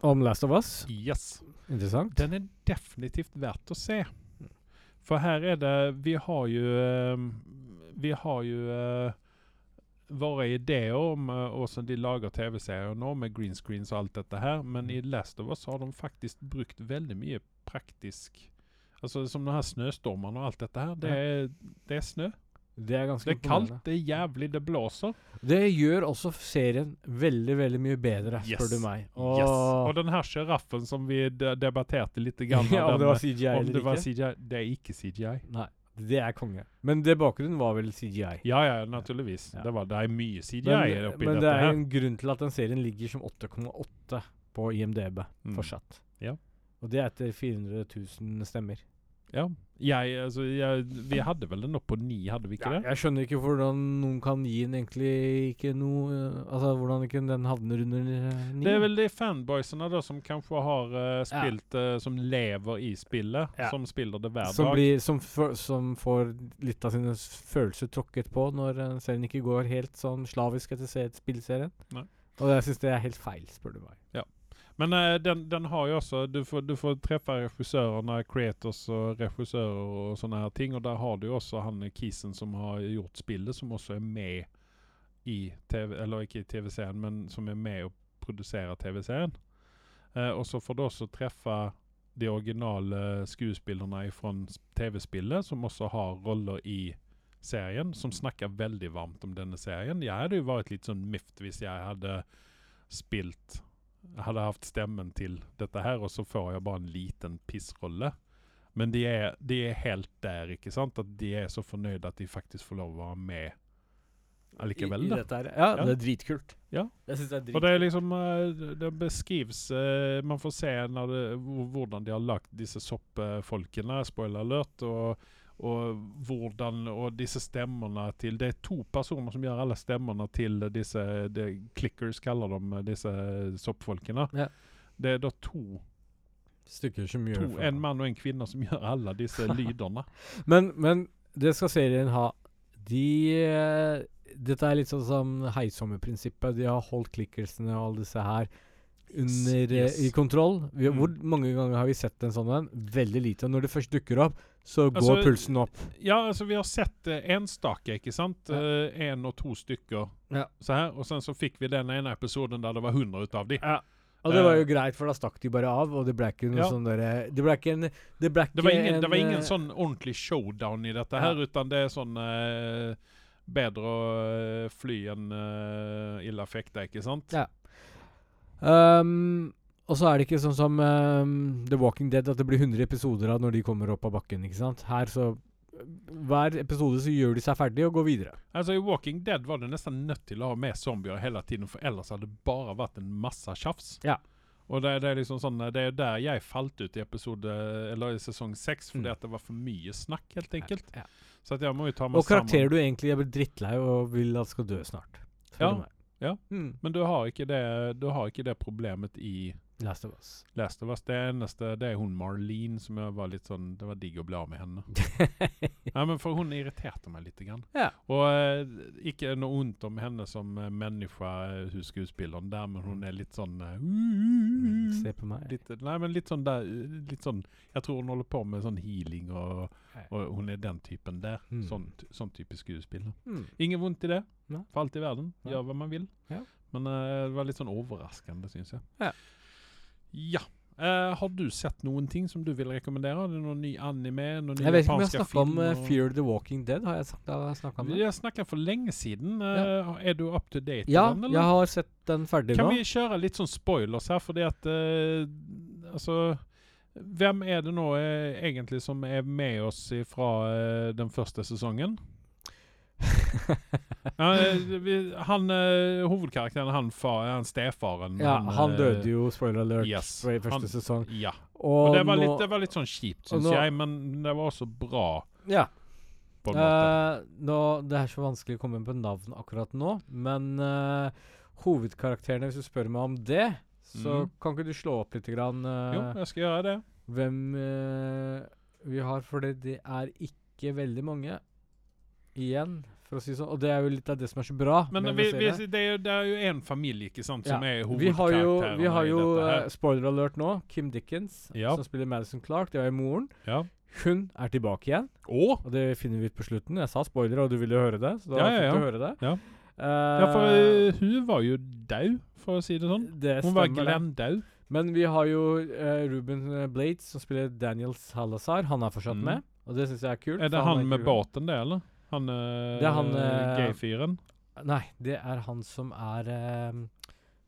Speaker 2: Om Last of Us.
Speaker 1: Yes.
Speaker 2: Interessant.
Speaker 1: Den er definitivt verdt å se. For her er det Vi har jo eh, Vi har jo eh, våre ideer om eh, hvordan de lager TV-serier nå, med green screens og alt dette her, men i Last of Us har de faktisk brukt veldig mye praktisk Altså som de her snøstormene og alt dette her. Det er, det er snø.
Speaker 2: Det er ganske
Speaker 1: Det er kaldt,
Speaker 2: imponerende.
Speaker 1: det er jævlig, det blåser.
Speaker 2: Det gjør også serien veldig, veldig mye bedre,
Speaker 1: Yes.
Speaker 2: spør du meg.
Speaker 1: Yes. Og den her sjiraffen som vi de- debatterte litt grann,
Speaker 2: <laughs> ja,
Speaker 1: den,
Speaker 2: om det var CGI
Speaker 1: om det
Speaker 2: eller
Speaker 1: var
Speaker 2: ikke.
Speaker 1: CGI, det er ikke CGI.
Speaker 2: Nei, det er konge. Men det bakgrunnen var vel CGI.
Speaker 1: Ja, ja, naturligvis.
Speaker 2: Ja.
Speaker 1: Det, var, det er mye
Speaker 2: Men,
Speaker 1: CGI oppi
Speaker 2: men
Speaker 1: dette
Speaker 2: det er
Speaker 1: her.
Speaker 2: en grunn til at den serien ligger som 8,8 på IMDb
Speaker 1: Mm.
Speaker 2: fortsatt.
Speaker 1: Ja.
Speaker 2: Og det er etter 400 000 stemmer.
Speaker 1: Ja. Jeg, altså, jeg, vi hadde vel den opp på ni, hadde vi ikke det?
Speaker 2: Jeg skjønner ikke hvordan noen kan gi den egentlig ikke noe eh, Altså hvordan ikke den havner under eh, ni.
Speaker 1: Det er vel de fanboysene da som kanskje har eh, spilt eh, Som lever i spillet.
Speaker 2: Ja.
Speaker 1: Som spiller det hver
Speaker 2: som,
Speaker 1: dag.
Speaker 2: blir, som, fø- som får litt av sine s- følelser tråkket på når eh, serien ikke går helt sånn slavisk etter se- spillserien.
Speaker 1: Nei.
Speaker 2: Og jeg syns det er helt feil, spør du meg.
Speaker 1: Men eh, den, den har ju också, du får, du får träffa regissörerna, creators och regissörer och sådana här ting. Och där har du ju också han eh, Kissen som har gjort spillet som också är med i tv, eller inte i tv-serien, men som är med och producerar tv-serien. Eh, och så får du också träffa de originala skuespillarna ifrån s- tv-spillet som också har roller i serien som snackar väldigt varmt om denna serien. Jag hade ju varit lite sån mift sånn hvis jag hade spilt hadde hatt stemmen til dette her, og så får jeg bare en liten pissrolle. Men de er, de er helt der, ikke sant? At de er så fornøyde at de faktisk får lov å være med allikevel.
Speaker 2: I, i
Speaker 1: Da.
Speaker 2: dette her. Ja,
Speaker 1: Ja.
Speaker 2: det er dritkult.
Speaker 1: Ja.
Speaker 2: Jeg syns det er
Speaker 1: Og
Speaker 2: dritkult.
Speaker 1: det er liksom eh, Det beskrives eh, Man får se når det, hvor- hvordan de har lagt disse soppfolkene, spoiler alert, og, og hvordan Og disse stemmene til Det er to personer som gjør alle stemmene til disse de, Clickers, kaller de disse soppfolkene.
Speaker 2: Ja.
Speaker 1: Det er da to
Speaker 2: Stykker som gjør
Speaker 1: to,
Speaker 2: det for
Speaker 1: en
Speaker 2: meg.
Speaker 1: mann og en kvinne som gjør alle
Speaker 2: <laughs>
Speaker 1: disse lydene.
Speaker 2: Men, men det skal serien ha. De eh, Dette er litt sånn som heisommerprinsippet. De har holdt klikkersene og alle disse her under eh,
Speaker 1: yes.
Speaker 2: i kontroll. Vi,
Speaker 1: Mm.
Speaker 2: Hvor mange ganger har vi sett en sånn en? Veldig lite. Og når det først dukker opp, så går
Speaker 1: Altså,
Speaker 2: pulsen opp.
Speaker 1: Ja, altså vi har sett eh, enstake, ikke sant?
Speaker 2: Ja.
Speaker 1: Eh, en og to stykker.
Speaker 2: Ja.
Speaker 1: Så her, og sen så fikk vi den ene episoden der det var 100 ut av de.
Speaker 2: Og det var
Speaker 1: eh,
Speaker 2: jo greit, for da stakk de bare av, og det ble ikke noe
Speaker 1: Ja.
Speaker 2: sånn derre Det ble ikke en Det ble ikke
Speaker 1: Det var ingen,
Speaker 2: en
Speaker 1: det var ingen
Speaker 2: eh,
Speaker 1: sånn ordentlig showdown i dette
Speaker 2: Ja.
Speaker 1: her, utan det er sånn eh, Bedre å eh, fly enn eh, illa fekte, ikke sant?
Speaker 2: Ja. Um, og så er det ikke sånn som um, The Walking Dead, at det blir 100 episoder av når de kommer opp av bakken. ikke sant? Her så Hver episode så gjør de seg ferdig og går videre.
Speaker 1: Altså I Walking Dead var du nesten nødt til å ha med zombier hele tiden, for ellers hadde det bare vært en masse tjafs.
Speaker 2: Ja.
Speaker 1: Og det, det er liksom sånn, det er der jeg falt ut i episode, eller i sesong seks, fordi
Speaker 2: Mm.
Speaker 1: at det var for mye snakk, helt enkelt.
Speaker 2: Ja.
Speaker 1: Så at jeg må jo ta meg
Speaker 2: Og karakterer
Speaker 1: sammen.
Speaker 2: du egentlig er blitt drittlei og vil at skal dø snart. Spør
Speaker 1: Ja,
Speaker 2: du meg.
Speaker 1: ja.
Speaker 2: Mm.
Speaker 1: Men du har ikke det, du har ikke det problemet i
Speaker 2: Last of Us.
Speaker 1: Last of Us. Det eneste det er hun Marlene som jeg var litt sånn Det var digg å bli av med henne. Nei, men For hun irriterte meg litt. Grann.
Speaker 2: Ja.
Speaker 1: Og eh, ikke noe ondt om henne som eh, menneske, eh, hun skuespilleren der, men hun er litt sånn eh,
Speaker 2: Mm, se på meg.
Speaker 1: litt, Nei, men litt sånn der eh, litt sånn, Jeg tror hun holder på med sånn healing, og, og hun er den typen der.
Speaker 2: Mm.
Speaker 1: Sånn, t- sånn type skuespiller.
Speaker 2: Mm.
Speaker 1: Ingen vondt i det,
Speaker 2: Nei.
Speaker 1: for alt i verden.
Speaker 2: Nei.
Speaker 1: Gjør hva man vil.
Speaker 2: Ja.
Speaker 1: Men eh, det var litt sånn overraskende, syns jeg.
Speaker 2: Ja.
Speaker 1: Ja. Eh, har du sett noen ting som du vil rekommendere? Er det Noen ny anime? Noen nye
Speaker 2: Jeg vet ikke om jeg
Speaker 1: japanske
Speaker 2: har snakka om
Speaker 1: filmer?
Speaker 2: eh, Fear the Walking Dead. Har jeg sagt- har jeg snakket om
Speaker 1: Vi
Speaker 2: det?
Speaker 1: har snakka for lenge siden. Eh, Er du up to date?
Speaker 2: Ja,
Speaker 1: med den,
Speaker 2: jeg har sett den ferdig
Speaker 1: Kan
Speaker 2: nå.
Speaker 1: vi kjøre litt sånn spoilers her, fordi at eh, Altså Hvem er det nå eh, egentlig som er med oss fra den første
Speaker 2: <laughs>
Speaker 1: sesongen? Ja, eh, vi- han eh, hovedkarakteren, han, far, han stefaren
Speaker 2: Ja, han
Speaker 1: eh,
Speaker 2: døde jo, spoiler alert,
Speaker 1: yes,
Speaker 2: i første
Speaker 1: han-
Speaker 2: sesong.
Speaker 1: Ja. Og det var,
Speaker 2: nå-
Speaker 1: litt, det var litt sånn kjipt,
Speaker 2: og
Speaker 1: syns
Speaker 2: nå-
Speaker 1: jeg, men det var også bra.
Speaker 2: ja.
Speaker 1: på en måte.
Speaker 2: Eh, nå, det er så vanskelig å komme på navn akkurat nå, men eh, hovedkarakterene, hvis du spør meg om det, så
Speaker 1: Mhm.
Speaker 2: kan ikke du slå opp litt grann, eh,
Speaker 1: Jo, jeg skal gjøre det.
Speaker 2: hvem eh, vi har, for det, det er ikke veldig mange igjen, for å si sånn. Og det er jo litt av det som er så bra.
Speaker 1: Men
Speaker 2: med
Speaker 1: vi,
Speaker 2: den
Speaker 1: vi,
Speaker 2: serien.
Speaker 1: det, er jo, det er jo en familie, ikke sant, som
Speaker 2: Ja.
Speaker 1: er
Speaker 2: vi har jo,
Speaker 1: hovedkarakterene
Speaker 2: vi har jo
Speaker 1: i dette
Speaker 2: eh,
Speaker 1: her.
Speaker 2: spoiler alert nå, Kim Dickens,
Speaker 1: Ja.
Speaker 2: som spiller Madison Clark, det var jo moren.
Speaker 1: Ja.
Speaker 2: Hun er tilbake igjen.
Speaker 1: Og
Speaker 2: Og det finner vi ut på slutten. Jeg sa spoiler, og du ville høre det. Så da
Speaker 1: Ja, ja,
Speaker 2: fikk
Speaker 1: ja.
Speaker 2: du høre det.
Speaker 1: Ja.
Speaker 2: Eh,
Speaker 1: Ja, for eh, hun var jo daud, for å si det sånn.
Speaker 2: det
Speaker 1: Hun var
Speaker 2: stemmer det.
Speaker 1: Glenn daud.
Speaker 2: Men vi har jo eh, Ruben eh, Blades, som spiller Daniel Salazar. Han er fortsatt
Speaker 1: Mm.
Speaker 2: med, og det syns jeg er kult.
Speaker 1: Er
Speaker 2: for
Speaker 1: det han
Speaker 2: er
Speaker 1: med
Speaker 2: kul.
Speaker 1: båten, det, eller? Han, eh,
Speaker 2: Det er han, eh,
Speaker 1: gay-fyren?
Speaker 2: Nei, det er han som er eh,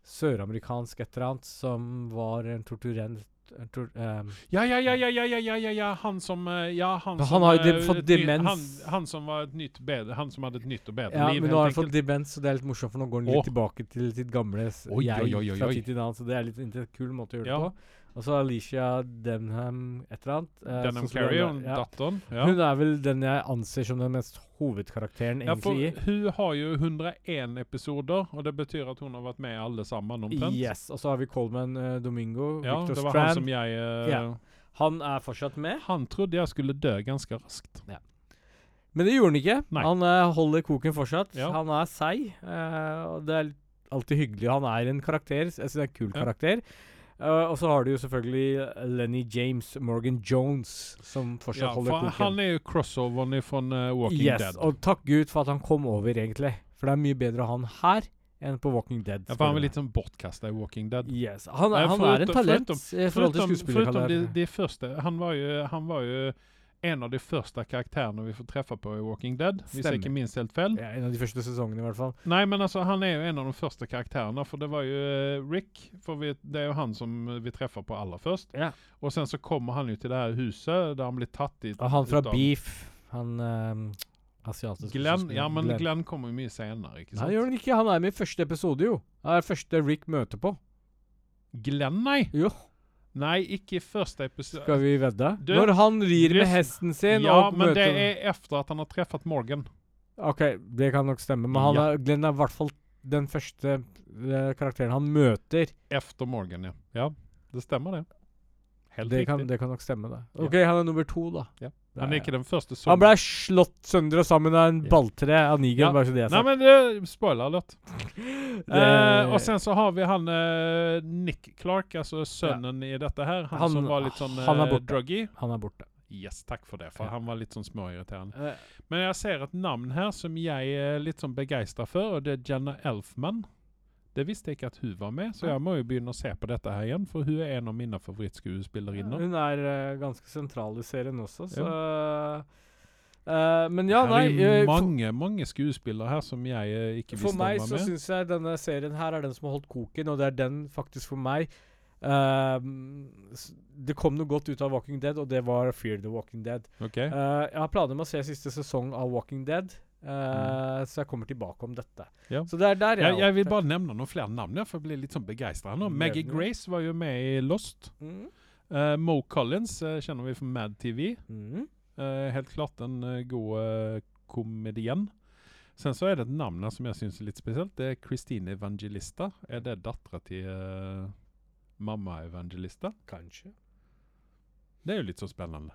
Speaker 2: søramerikansk et eller annet, som var en torturent en tor, eh,
Speaker 1: Ja, ja, ja, ja, ja, ja, ja, ja, ja, han som eh, Ja, han
Speaker 2: Men
Speaker 1: som
Speaker 2: han har jo
Speaker 1: eh,
Speaker 2: de- fått
Speaker 1: et ny-
Speaker 2: demens.
Speaker 1: Han, han som var et nytt bedre Han som hadde et nytt og bedre
Speaker 2: Ja,
Speaker 1: liv,
Speaker 2: men
Speaker 1: helt
Speaker 2: nå har han fått
Speaker 1: enkelt.
Speaker 2: demens, så det er litt morsomt, for nå går han
Speaker 1: Åh.
Speaker 2: litt tilbake til sitt gamle s-
Speaker 1: Oi,
Speaker 2: jeg
Speaker 1: oi, oi, oi,
Speaker 2: fra
Speaker 1: oi.
Speaker 2: tid til annen, så det er litt en kul måte å gjøre
Speaker 1: Ja.
Speaker 2: det på. Og så Alicia Denham et eller annet. eh,
Speaker 1: Denham
Speaker 2: som spiller
Speaker 1: Carey og
Speaker 2: den der- ja.
Speaker 1: datteren. Ja.
Speaker 2: Hun er vel den jeg anser som den mest hovedkarakteren
Speaker 1: Ja, for
Speaker 2: egentlig i.
Speaker 1: hun har jo 101 episoder, og det betyr at hun har vært med i alle sammen omtrent.
Speaker 2: Yes, Og så har vi Coleman eh, Domingo.
Speaker 1: Ja,
Speaker 2: Victor
Speaker 1: det var han
Speaker 2: Strand.
Speaker 1: som jeg eh,
Speaker 2: Ja. Han er fortsatt med.
Speaker 1: Han trodde jeg skulle dø ganske raskt.
Speaker 2: Men det gjorde han ikke.
Speaker 1: Nei.
Speaker 2: Han eh, holder koken fortsatt.
Speaker 1: Ja.
Speaker 2: Han er seig. eh, og det er alltid hyggelig. Han er en karakter. s- Jeg synes det er en kul
Speaker 1: Ja.
Speaker 2: karakter. Eh, og så har du jo selvfølgelig eh, Lenny James, Morgan Jones, som fortsatt
Speaker 1: Ja,
Speaker 2: holder
Speaker 1: for
Speaker 2: koken.
Speaker 1: han er jo crossoveren fra Walking
Speaker 2: yes,
Speaker 1: Dead.
Speaker 2: Og takk Gud for at han kom over, egentlig. For det er mye bedre han her enn på Walking Dead.
Speaker 1: Ja, for han
Speaker 2: spør
Speaker 1: var
Speaker 2: du
Speaker 1: litt sånn bortkasta i Walking Dead.
Speaker 2: meg. Yes. Han, er-
Speaker 1: Eh,
Speaker 2: han er en
Speaker 1: foruten-
Speaker 2: talent eh,
Speaker 1: foruten-
Speaker 2: i forhold til
Speaker 1: Förutom, förutom de,
Speaker 2: skuespillerkarrieren.
Speaker 1: de første, han var, jo, han var jo en av de første karakterene vi får treffe på i Walking Dead. Hvis
Speaker 2: Stemmer.
Speaker 1: jeg ikke minst helt feil.
Speaker 2: Ja, en av de første sesongene, i hvert fall.
Speaker 1: Nei, men altså, han er jo en av de første karakterene, for det var jo eh, Rick. For vi, det er jo han som eh, vi treffer på aller først.
Speaker 2: Ja.
Speaker 1: Og sen så kommer han jo til det her huset der han blir tatt i
Speaker 2: Og han fra
Speaker 1: utav-
Speaker 2: Beef. Han ehm, asiatiske
Speaker 1: Glenn,
Speaker 2: skuespilleren.
Speaker 1: ja, men
Speaker 2: Glenn.
Speaker 1: Glenn, kommer jo mye senere, ikke
Speaker 2: Nei,
Speaker 1: sant?
Speaker 2: det gjør han ikke. Han er med i første episode, jo. Det er første Rick møter på.
Speaker 1: Glenn, nei!
Speaker 2: Jo.
Speaker 1: Nei, ikke i første episode.
Speaker 2: Skal vi vedde?
Speaker 1: Du-
Speaker 2: Når han rir med
Speaker 1: Just-
Speaker 2: hesten sin
Speaker 1: ja,
Speaker 2: og
Speaker 1: men
Speaker 2: møter
Speaker 1: det er etter at han har treffet Morgan.
Speaker 2: OK, det kan nok stemme, men han
Speaker 1: Ja.
Speaker 2: er, Glenn er i hvert fall den første eh, karakteren han møter.
Speaker 1: Efter Morgan, ja. Ja, det stemmer det. Helt
Speaker 2: Det kan,
Speaker 1: riktig.
Speaker 2: det kan nok stemme, det. OK, han er nummer to, da.
Speaker 1: Ja.
Speaker 2: Det
Speaker 1: Han er ikke den første som
Speaker 2: han ble slått sønder og sammen av en
Speaker 1: Ja.
Speaker 2: balltre av
Speaker 1: Ja.
Speaker 2: Negan, bare så det
Speaker 1: Nei,
Speaker 2: er sagt.
Speaker 1: men det, spoiler alert.
Speaker 2: Det-
Speaker 1: Eh, og sen så har vi han eh, Nick Clark, altså sønnen i dette her. Han,
Speaker 2: Han-
Speaker 1: som var litt sånn
Speaker 2: han er
Speaker 1: eh,
Speaker 2: borte.
Speaker 1: druggy.
Speaker 2: han er borte.
Speaker 1: Yes, takk for det, for
Speaker 2: Ja.
Speaker 1: han var litt sånn småirriterende.
Speaker 2: Eh,
Speaker 1: Men jeg ser et navn her som jeg er litt sånn begeistra for, og det er Jenna Elfman. Det visste jeg ikke at hun var med, så jeg må jo begynne å se på dette her igjen, for hun er en av mine favorittskuespillerinner.
Speaker 2: Hun er eh, ganske sentral i serien også, så eh, Men ja, nei.
Speaker 1: det
Speaker 2: eh,
Speaker 1: er
Speaker 2: for-
Speaker 1: mange mange skuespillere her som jeg eh, ikke visste
Speaker 2: For
Speaker 1: om
Speaker 2: meg
Speaker 1: var
Speaker 2: så
Speaker 1: med.
Speaker 2: syns jeg denne serien her er den som har holdt koken, og det er den faktisk for meg eh, s- Det kom noe godt ut av Walking Dead, og det var Fear the Walking Dead.
Speaker 1: Ok.
Speaker 2: Eh, jeg har planer med å se siste sesong av Walking Dead, eh, så jeg kommer tilbake om dette.
Speaker 1: Mm. Ja.
Speaker 2: Så det er der jeg,
Speaker 1: Jeg, jeg vil
Speaker 2: er opptatt.
Speaker 1: bare nevne noen flere navn, ja, for jeg blir litt sånn begeistra nå. Maggie
Speaker 2: Nevne.
Speaker 1: Grace var jo med i Lost.
Speaker 2: Mm.
Speaker 1: Eh, Mo Collins eh, kjenner vi fra Mad TV.
Speaker 2: Mm.
Speaker 1: Eh, helt klart en eh, god eh, komedien. Sen så er det et navn her som jeg syns er litt spesielt. Det er Christine Evangelista. Er det dattera til eh, mamma Evangelista?
Speaker 2: Kanskje.
Speaker 1: Det er jo litt så spennende.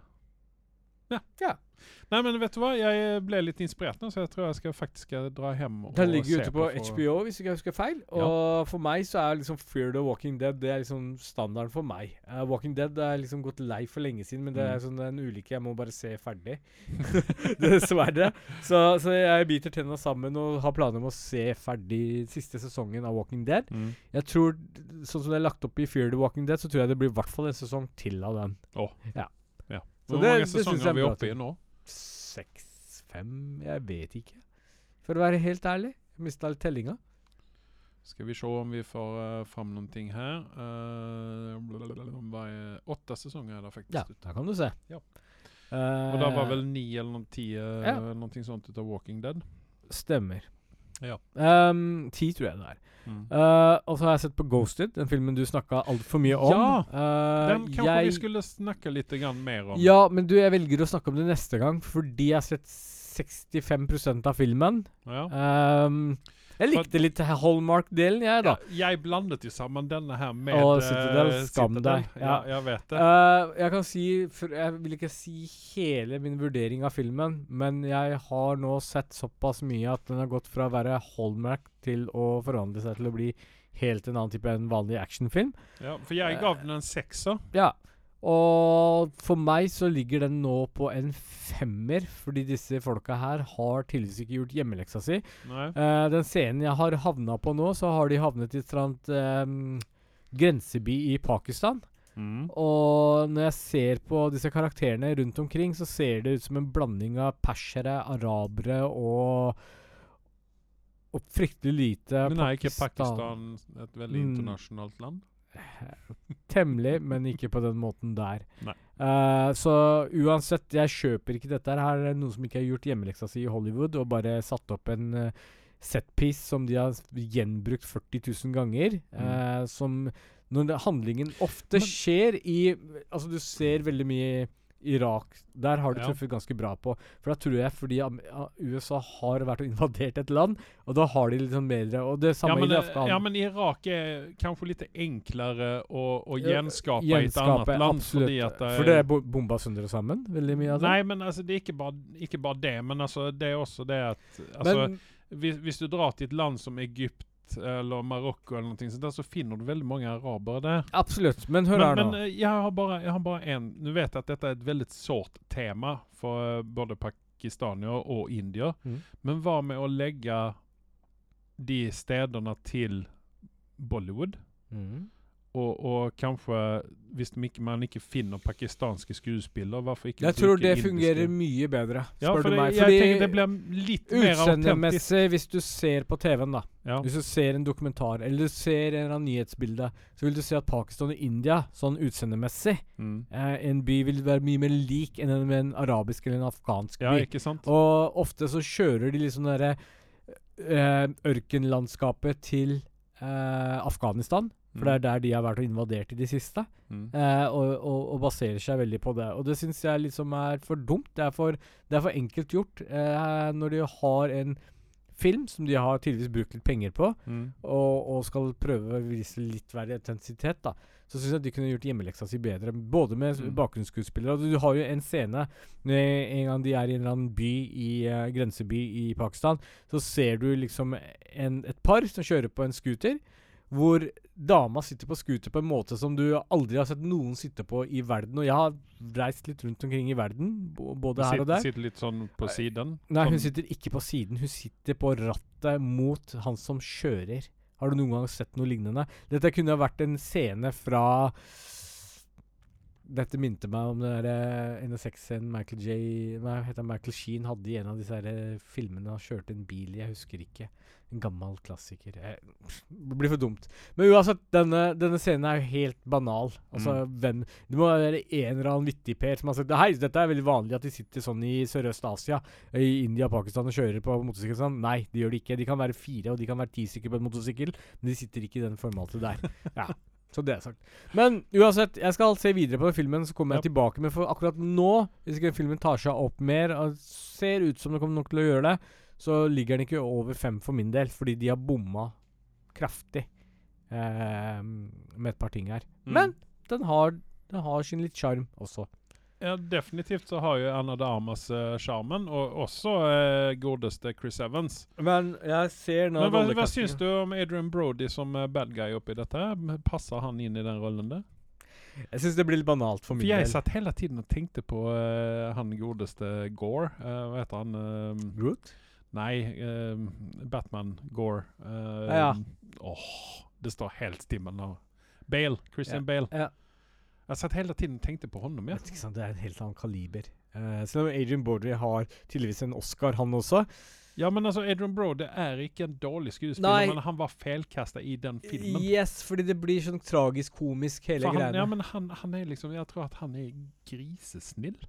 Speaker 2: Ja.
Speaker 1: Nei, men vet du hva? Jeg eh, ble litt inspirert nå, så jeg tror jeg skal faktisk skal dra hjem og
Speaker 2: Den ligger jo ute på
Speaker 1: for-
Speaker 2: HBO, hvis ikke jeg husker feil. Og for meg så er liksom Fear the Walking Dead Det er liksom standarden for meg. Eh, Walking Dead det er liksom gått lei for lenge siden, men det
Speaker 1: Mm.
Speaker 2: er sånn en ulykke jeg må bare se ferdig. <laughs> Dessverre. Så, så jeg biter tenna sammen og har planer om å se ferdig siste sesongen av Walking Dead.
Speaker 1: Mm.
Speaker 2: Jeg tror, Sånn som det er lagt opp i Fear the Walking Dead, så tror jeg det blir i hvert fall en sesong til av den.
Speaker 1: Åh.
Speaker 2: Ja.
Speaker 1: Ja.
Speaker 2: Så
Speaker 1: Hvor
Speaker 2: det-
Speaker 1: mange
Speaker 2: det synes
Speaker 1: sesonger
Speaker 2: jeg er
Speaker 1: er vi
Speaker 2: bra
Speaker 1: oppe
Speaker 2: til.
Speaker 1: i nå?
Speaker 2: Seks, fem Jeg vet ikke. For å være helt ærlig. Mista litt tellinga.
Speaker 1: Skal vi se om vi får eh, fram noen ting her. Eh, blablabla, om varje- åtte sesonger er det faktisk.
Speaker 2: Ja,
Speaker 1: ute.
Speaker 2: der kan du se.
Speaker 1: Ja.
Speaker 2: Eh,
Speaker 1: Og det var vel ni eller noen ti eh,
Speaker 2: Ja.
Speaker 1: eller noe sånt ut av Walking Dead.
Speaker 2: Stemmer.
Speaker 1: Ja. Mm.
Speaker 2: Ehm, ti, tror jeg det er. Eh, og så har jeg sett på Ghosted, den filmen du snakka altfor mye om.
Speaker 1: Ja,
Speaker 2: Eh,
Speaker 1: Den kanskje
Speaker 2: jeg-
Speaker 1: vi skulle snakke litt grann mer om.
Speaker 2: Ja, men du, jeg velger å snakke om det neste gang, fordi jeg har sett 65 av filmen.
Speaker 1: Ja.
Speaker 2: Ehm, jeg
Speaker 1: For-
Speaker 2: likte litt Hallmark-delen, jeg, da.
Speaker 1: Jeg blandet jo sammen denne her med
Speaker 2: Å,
Speaker 1: eh,
Speaker 2: Citadel, skam
Speaker 1: Citadel.
Speaker 2: deg.
Speaker 1: Ja,
Speaker 2: Ja.
Speaker 1: jeg vet det.
Speaker 2: Eh, jeg kan si for Jeg vil ikke si hele min vurdering av filmen, men jeg har nå sett såpass mye at den har gått fra å være Hallmark til å forandre seg til å bli helt en annen type enn vanlig actionfilm.
Speaker 1: Ja, for jeg gav den en sekser.
Speaker 2: Ja. Og for meg så ligger den nå på en femmer, fordi disse folka her har tydeligvis ikke gjort hjemmeleksa si.
Speaker 1: Nei.
Speaker 2: Eh, den scenen jeg har havna på nå, så har de havnet i et eller annet eh, grenseby i Pakistan. Mm.
Speaker 1: Mhm.
Speaker 2: Og når jeg ser på disse karakterene rundt omkring, så ser det ut som en blanding av persere, arabere og og fryktelig lite
Speaker 1: Men er ikke Pakistan et veldig
Speaker 2: Mm.
Speaker 1: internasjonalt land?
Speaker 2: Temmelig, men ikke på den måten der.
Speaker 1: Nei.
Speaker 2: Eh, så uansett, jeg kjøper ikke dette her. Her er noen som ikke har gjort hjemmeleksa si i Hollywood, og bare satt opp en eh,
Speaker 1: Mm.
Speaker 2: setpiece som de har s- gjenbrukt 40 000 ganger. eh, som Når det, handlingen ofte skjer i Altså, du ser veldig mye i Irak. Der har du
Speaker 1: Ja.
Speaker 2: truffet ganske bra på. For da tror jeg fordi am- a- USA har vært og invadert et land, og da har de litt sånn bedre Og det
Speaker 1: Ja
Speaker 2: samme
Speaker 1: men,
Speaker 2: i
Speaker 1: eh,
Speaker 2: Afghanistan.
Speaker 1: ja, men Irak er kanskje litt enklere å, å
Speaker 2: Ja,
Speaker 1: gjenskape i et annet land. Fordi at det,
Speaker 2: For det er bo bomba sønder og sammen, veldig mye av det.
Speaker 1: Nei, men altså, det er ikke bare, ikke bare det. Men altså, det er også det at altså,
Speaker 2: men,
Speaker 1: hvis, hvis du drar til et land som Egypt eller Marokko, eller noe sånt, der, så finner du veldig mange arabere der.
Speaker 2: absolutt. Men hør
Speaker 1: Men,
Speaker 2: her nå.
Speaker 1: men eh, jeg har bare jeg har bare en Nå vet jeg at dette er et veldig sårt tema for eh, både pakistanier og indier.
Speaker 2: Mm.
Speaker 1: Men hva med å legge de stedene til Bollywood?
Speaker 2: Mm.
Speaker 1: Og, og kanskje, hvis de ikke, man ikke finner pakistanske skuespillere, hvorfor ikke
Speaker 2: Jeg tror
Speaker 1: bruke
Speaker 2: det
Speaker 1: indiske?
Speaker 2: fungerer mye bedre,
Speaker 1: Ja,
Speaker 2: spør
Speaker 1: for
Speaker 2: du
Speaker 1: det,
Speaker 2: meg.
Speaker 1: jeg tenker det blir litt mer autentisk.
Speaker 2: Utseendemessig, hvis du ser på TV-en, da.
Speaker 1: Ja.
Speaker 2: Hvis du ser en dokumentar eller du ser en eller annen nyhetsbilde, så vil du se at Pakistan og India, sånn utseendemessig
Speaker 1: Mm.
Speaker 2: eh, En by vil være mye mer lik enn en, med en arabisk eller en afghansk
Speaker 1: ja,
Speaker 2: by.
Speaker 1: ikke sant?
Speaker 2: Og ofte så kjører de liksom derre eh, ørkenlandskapet til eh, Afghanistan. For det er der de har vært og invadert i det siste.
Speaker 1: Mm.
Speaker 2: Eh, og, og, og baserer seg veldig på det. Og det syns jeg liksom er for dumt. Det er for, det er for enkelt gjort. Eh, når de har en film som de har tydeligvis brukt litt penger på,
Speaker 1: Mm.
Speaker 2: og, og skal prøve å vise litt verre intensitet, da, så syns jeg de kunne gjort hjemmeleksa si bedre. Både med
Speaker 1: Mm.
Speaker 2: bakgrunnsskuespillere. og Du, du har jo en scene når en gang de er i en eller annen by i eh, grenseby i Pakistan, så ser du liksom en, et par som kjører på en scooter, hvor dama sitter på scooter på en måte som du aldri har sett noen sitte på i verden. Og jeg har reist litt rundt omkring i verden, bo- både her og
Speaker 1: Sitter,
Speaker 2: der.
Speaker 1: sitter litt sånn på siden.
Speaker 2: Nei,
Speaker 1: sånn,
Speaker 2: hun sitter ikke på siden. Hun sitter på rattet mot han som kjører. Har du noen gang sett noe lignende? Dette kunne ha vært en scene fra Dette minte meg om den der NSX-scenen Michael J Nei, heter han Michael Sheen hadde i en av disse her eh, filmene. Han kjørte en bil i, jeg husker ikke. En gammel klassiker. Jeg, det blir for dumt. Men uansett, denne, denne scenen er jo helt banal. Altså, hvem Det må være en eller annen vittigper som har sagt Hei, dette er veldig vanlig at de sitter sånn i Sørøst-Asia i India og Pakistan og kjører på motorsykkel. Sånn. Nei, det gjør de ikke. De kan være fire, og de kan være ti stykker på en motorsykkel, men de sitter ikke i den formatet <laughs> der. ja, så det er sagt. Men uansett, jeg skal se videre på den filmen, så kommer jeg tilbake. Men for akkurat nå, hvis ikke den filmen tar seg opp mer, og ser ut som det kommer nok til å gjøre det, så ligger den ikke over fem for min del, fordi de har bomma kraftig eh, med et par ting her.
Speaker 1: Mm.
Speaker 2: Men den har, den har sin litt sjarm også.
Speaker 1: Ja, definitivt så har jo Anna de Armas eh, sjarmen, og også eh, godeste Chris Evans.
Speaker 2: Men jeg ser nå
Speaker 1: Men hva, hva syns du om Adrian Brody som eh, bad guy oppi dette? Passer han inn i den rollen der?
Speaker 2: Jeg syns det blir litt banalt for min
Speaker 1: For jeg
Speaker 2: del.
Speaker 1: satt hele tiden og tenkte på eh, han godeste Gore. Eh, hva heter han? Eh,
Speaker 2: Groot?
Speaker 1: Nei, eh, Batman Gore. Eh,
Speaker 2: Ja.
Speaker 1: Åh, det står helt stille nå. Bale. Christian Bale.
Speaker 2: Ja.
Speaker 1: Jeg satt hele tiden og tenkte på honom, ja.
Speaker 2: Ikke sant, det er en helt annen kaliber. Eh, selv om Adrian Bordery har tydeligvis en Oscar, han også.
Speaker 1: Ja, men altså, Adrian Brody er ikke en dårlig skuespiller,
Speaker 2: Nei.
Speaker 1: men han var feilkasta i den filmen.
Speaker 2: Yes, fordi det blir sånn tragisk-komisk, hele
Speaker 1: For han,
Speaker 2: greiene.
Speaker 1: ja,
Speaker 2: Ja,
Speaker 1: men han, han er liksom Jeg tror at han er grisesnill.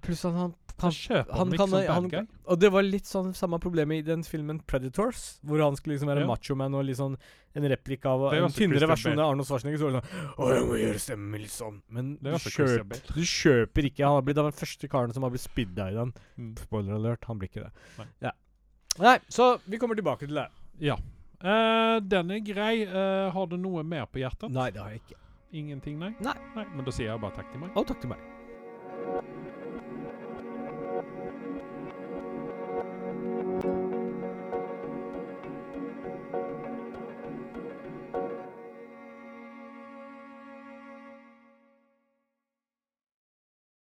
Speaker 2: pluss han, han
Speaker 1: Han
Speaker 2: kan
Speaker 1: kjøper dem
Speaker 2: han kan-
Speaker 1: ikke som
Speaker 2: han-
Speaker 1: bad guy.
Speaker 2: Og det var litt sånn samme problemet i den filmen Predators, hvor han skulle liksom være
Speaker 1: Ja.
Speaker 2: macho-man og litt sånn en replikk av
Speaker 1: Det er
Speaker 2: en
Speaker 1: også Christian
Speaker 2: tynnere versjon
Speaker 1: Bale.
Speaker 2: av Arnold Schwarzenegger. Så var det sånn Å, jeg må gjøre stemmen min litt sånn. Men
Speaker 1: er
Speaker 2: du
Speaker 1: også Christian
Speaker 2: kjøper, du kjøper ikke. Han har blitt han var den første karen som har blitt spidda i den.
Speaker 1: Mm.
Speaker 2: Spoiler alert, han blir ikke det.
Speaker 1: Nei.
Speaker 2: Ja. Nei, så vi kommer tilbake til det.
Speaker 1: Ja. Eh, den er grei. Eh, har du noe mer på hjertet?
Speaker 2: Nei, det har jeg ikke.
Speaker 1: Ingenting, nei?
Speaker 2: Nei.
Speaker 1: nei? Men da sier jeg bare takk til meg.
Speaker 2: Å, takk til meg.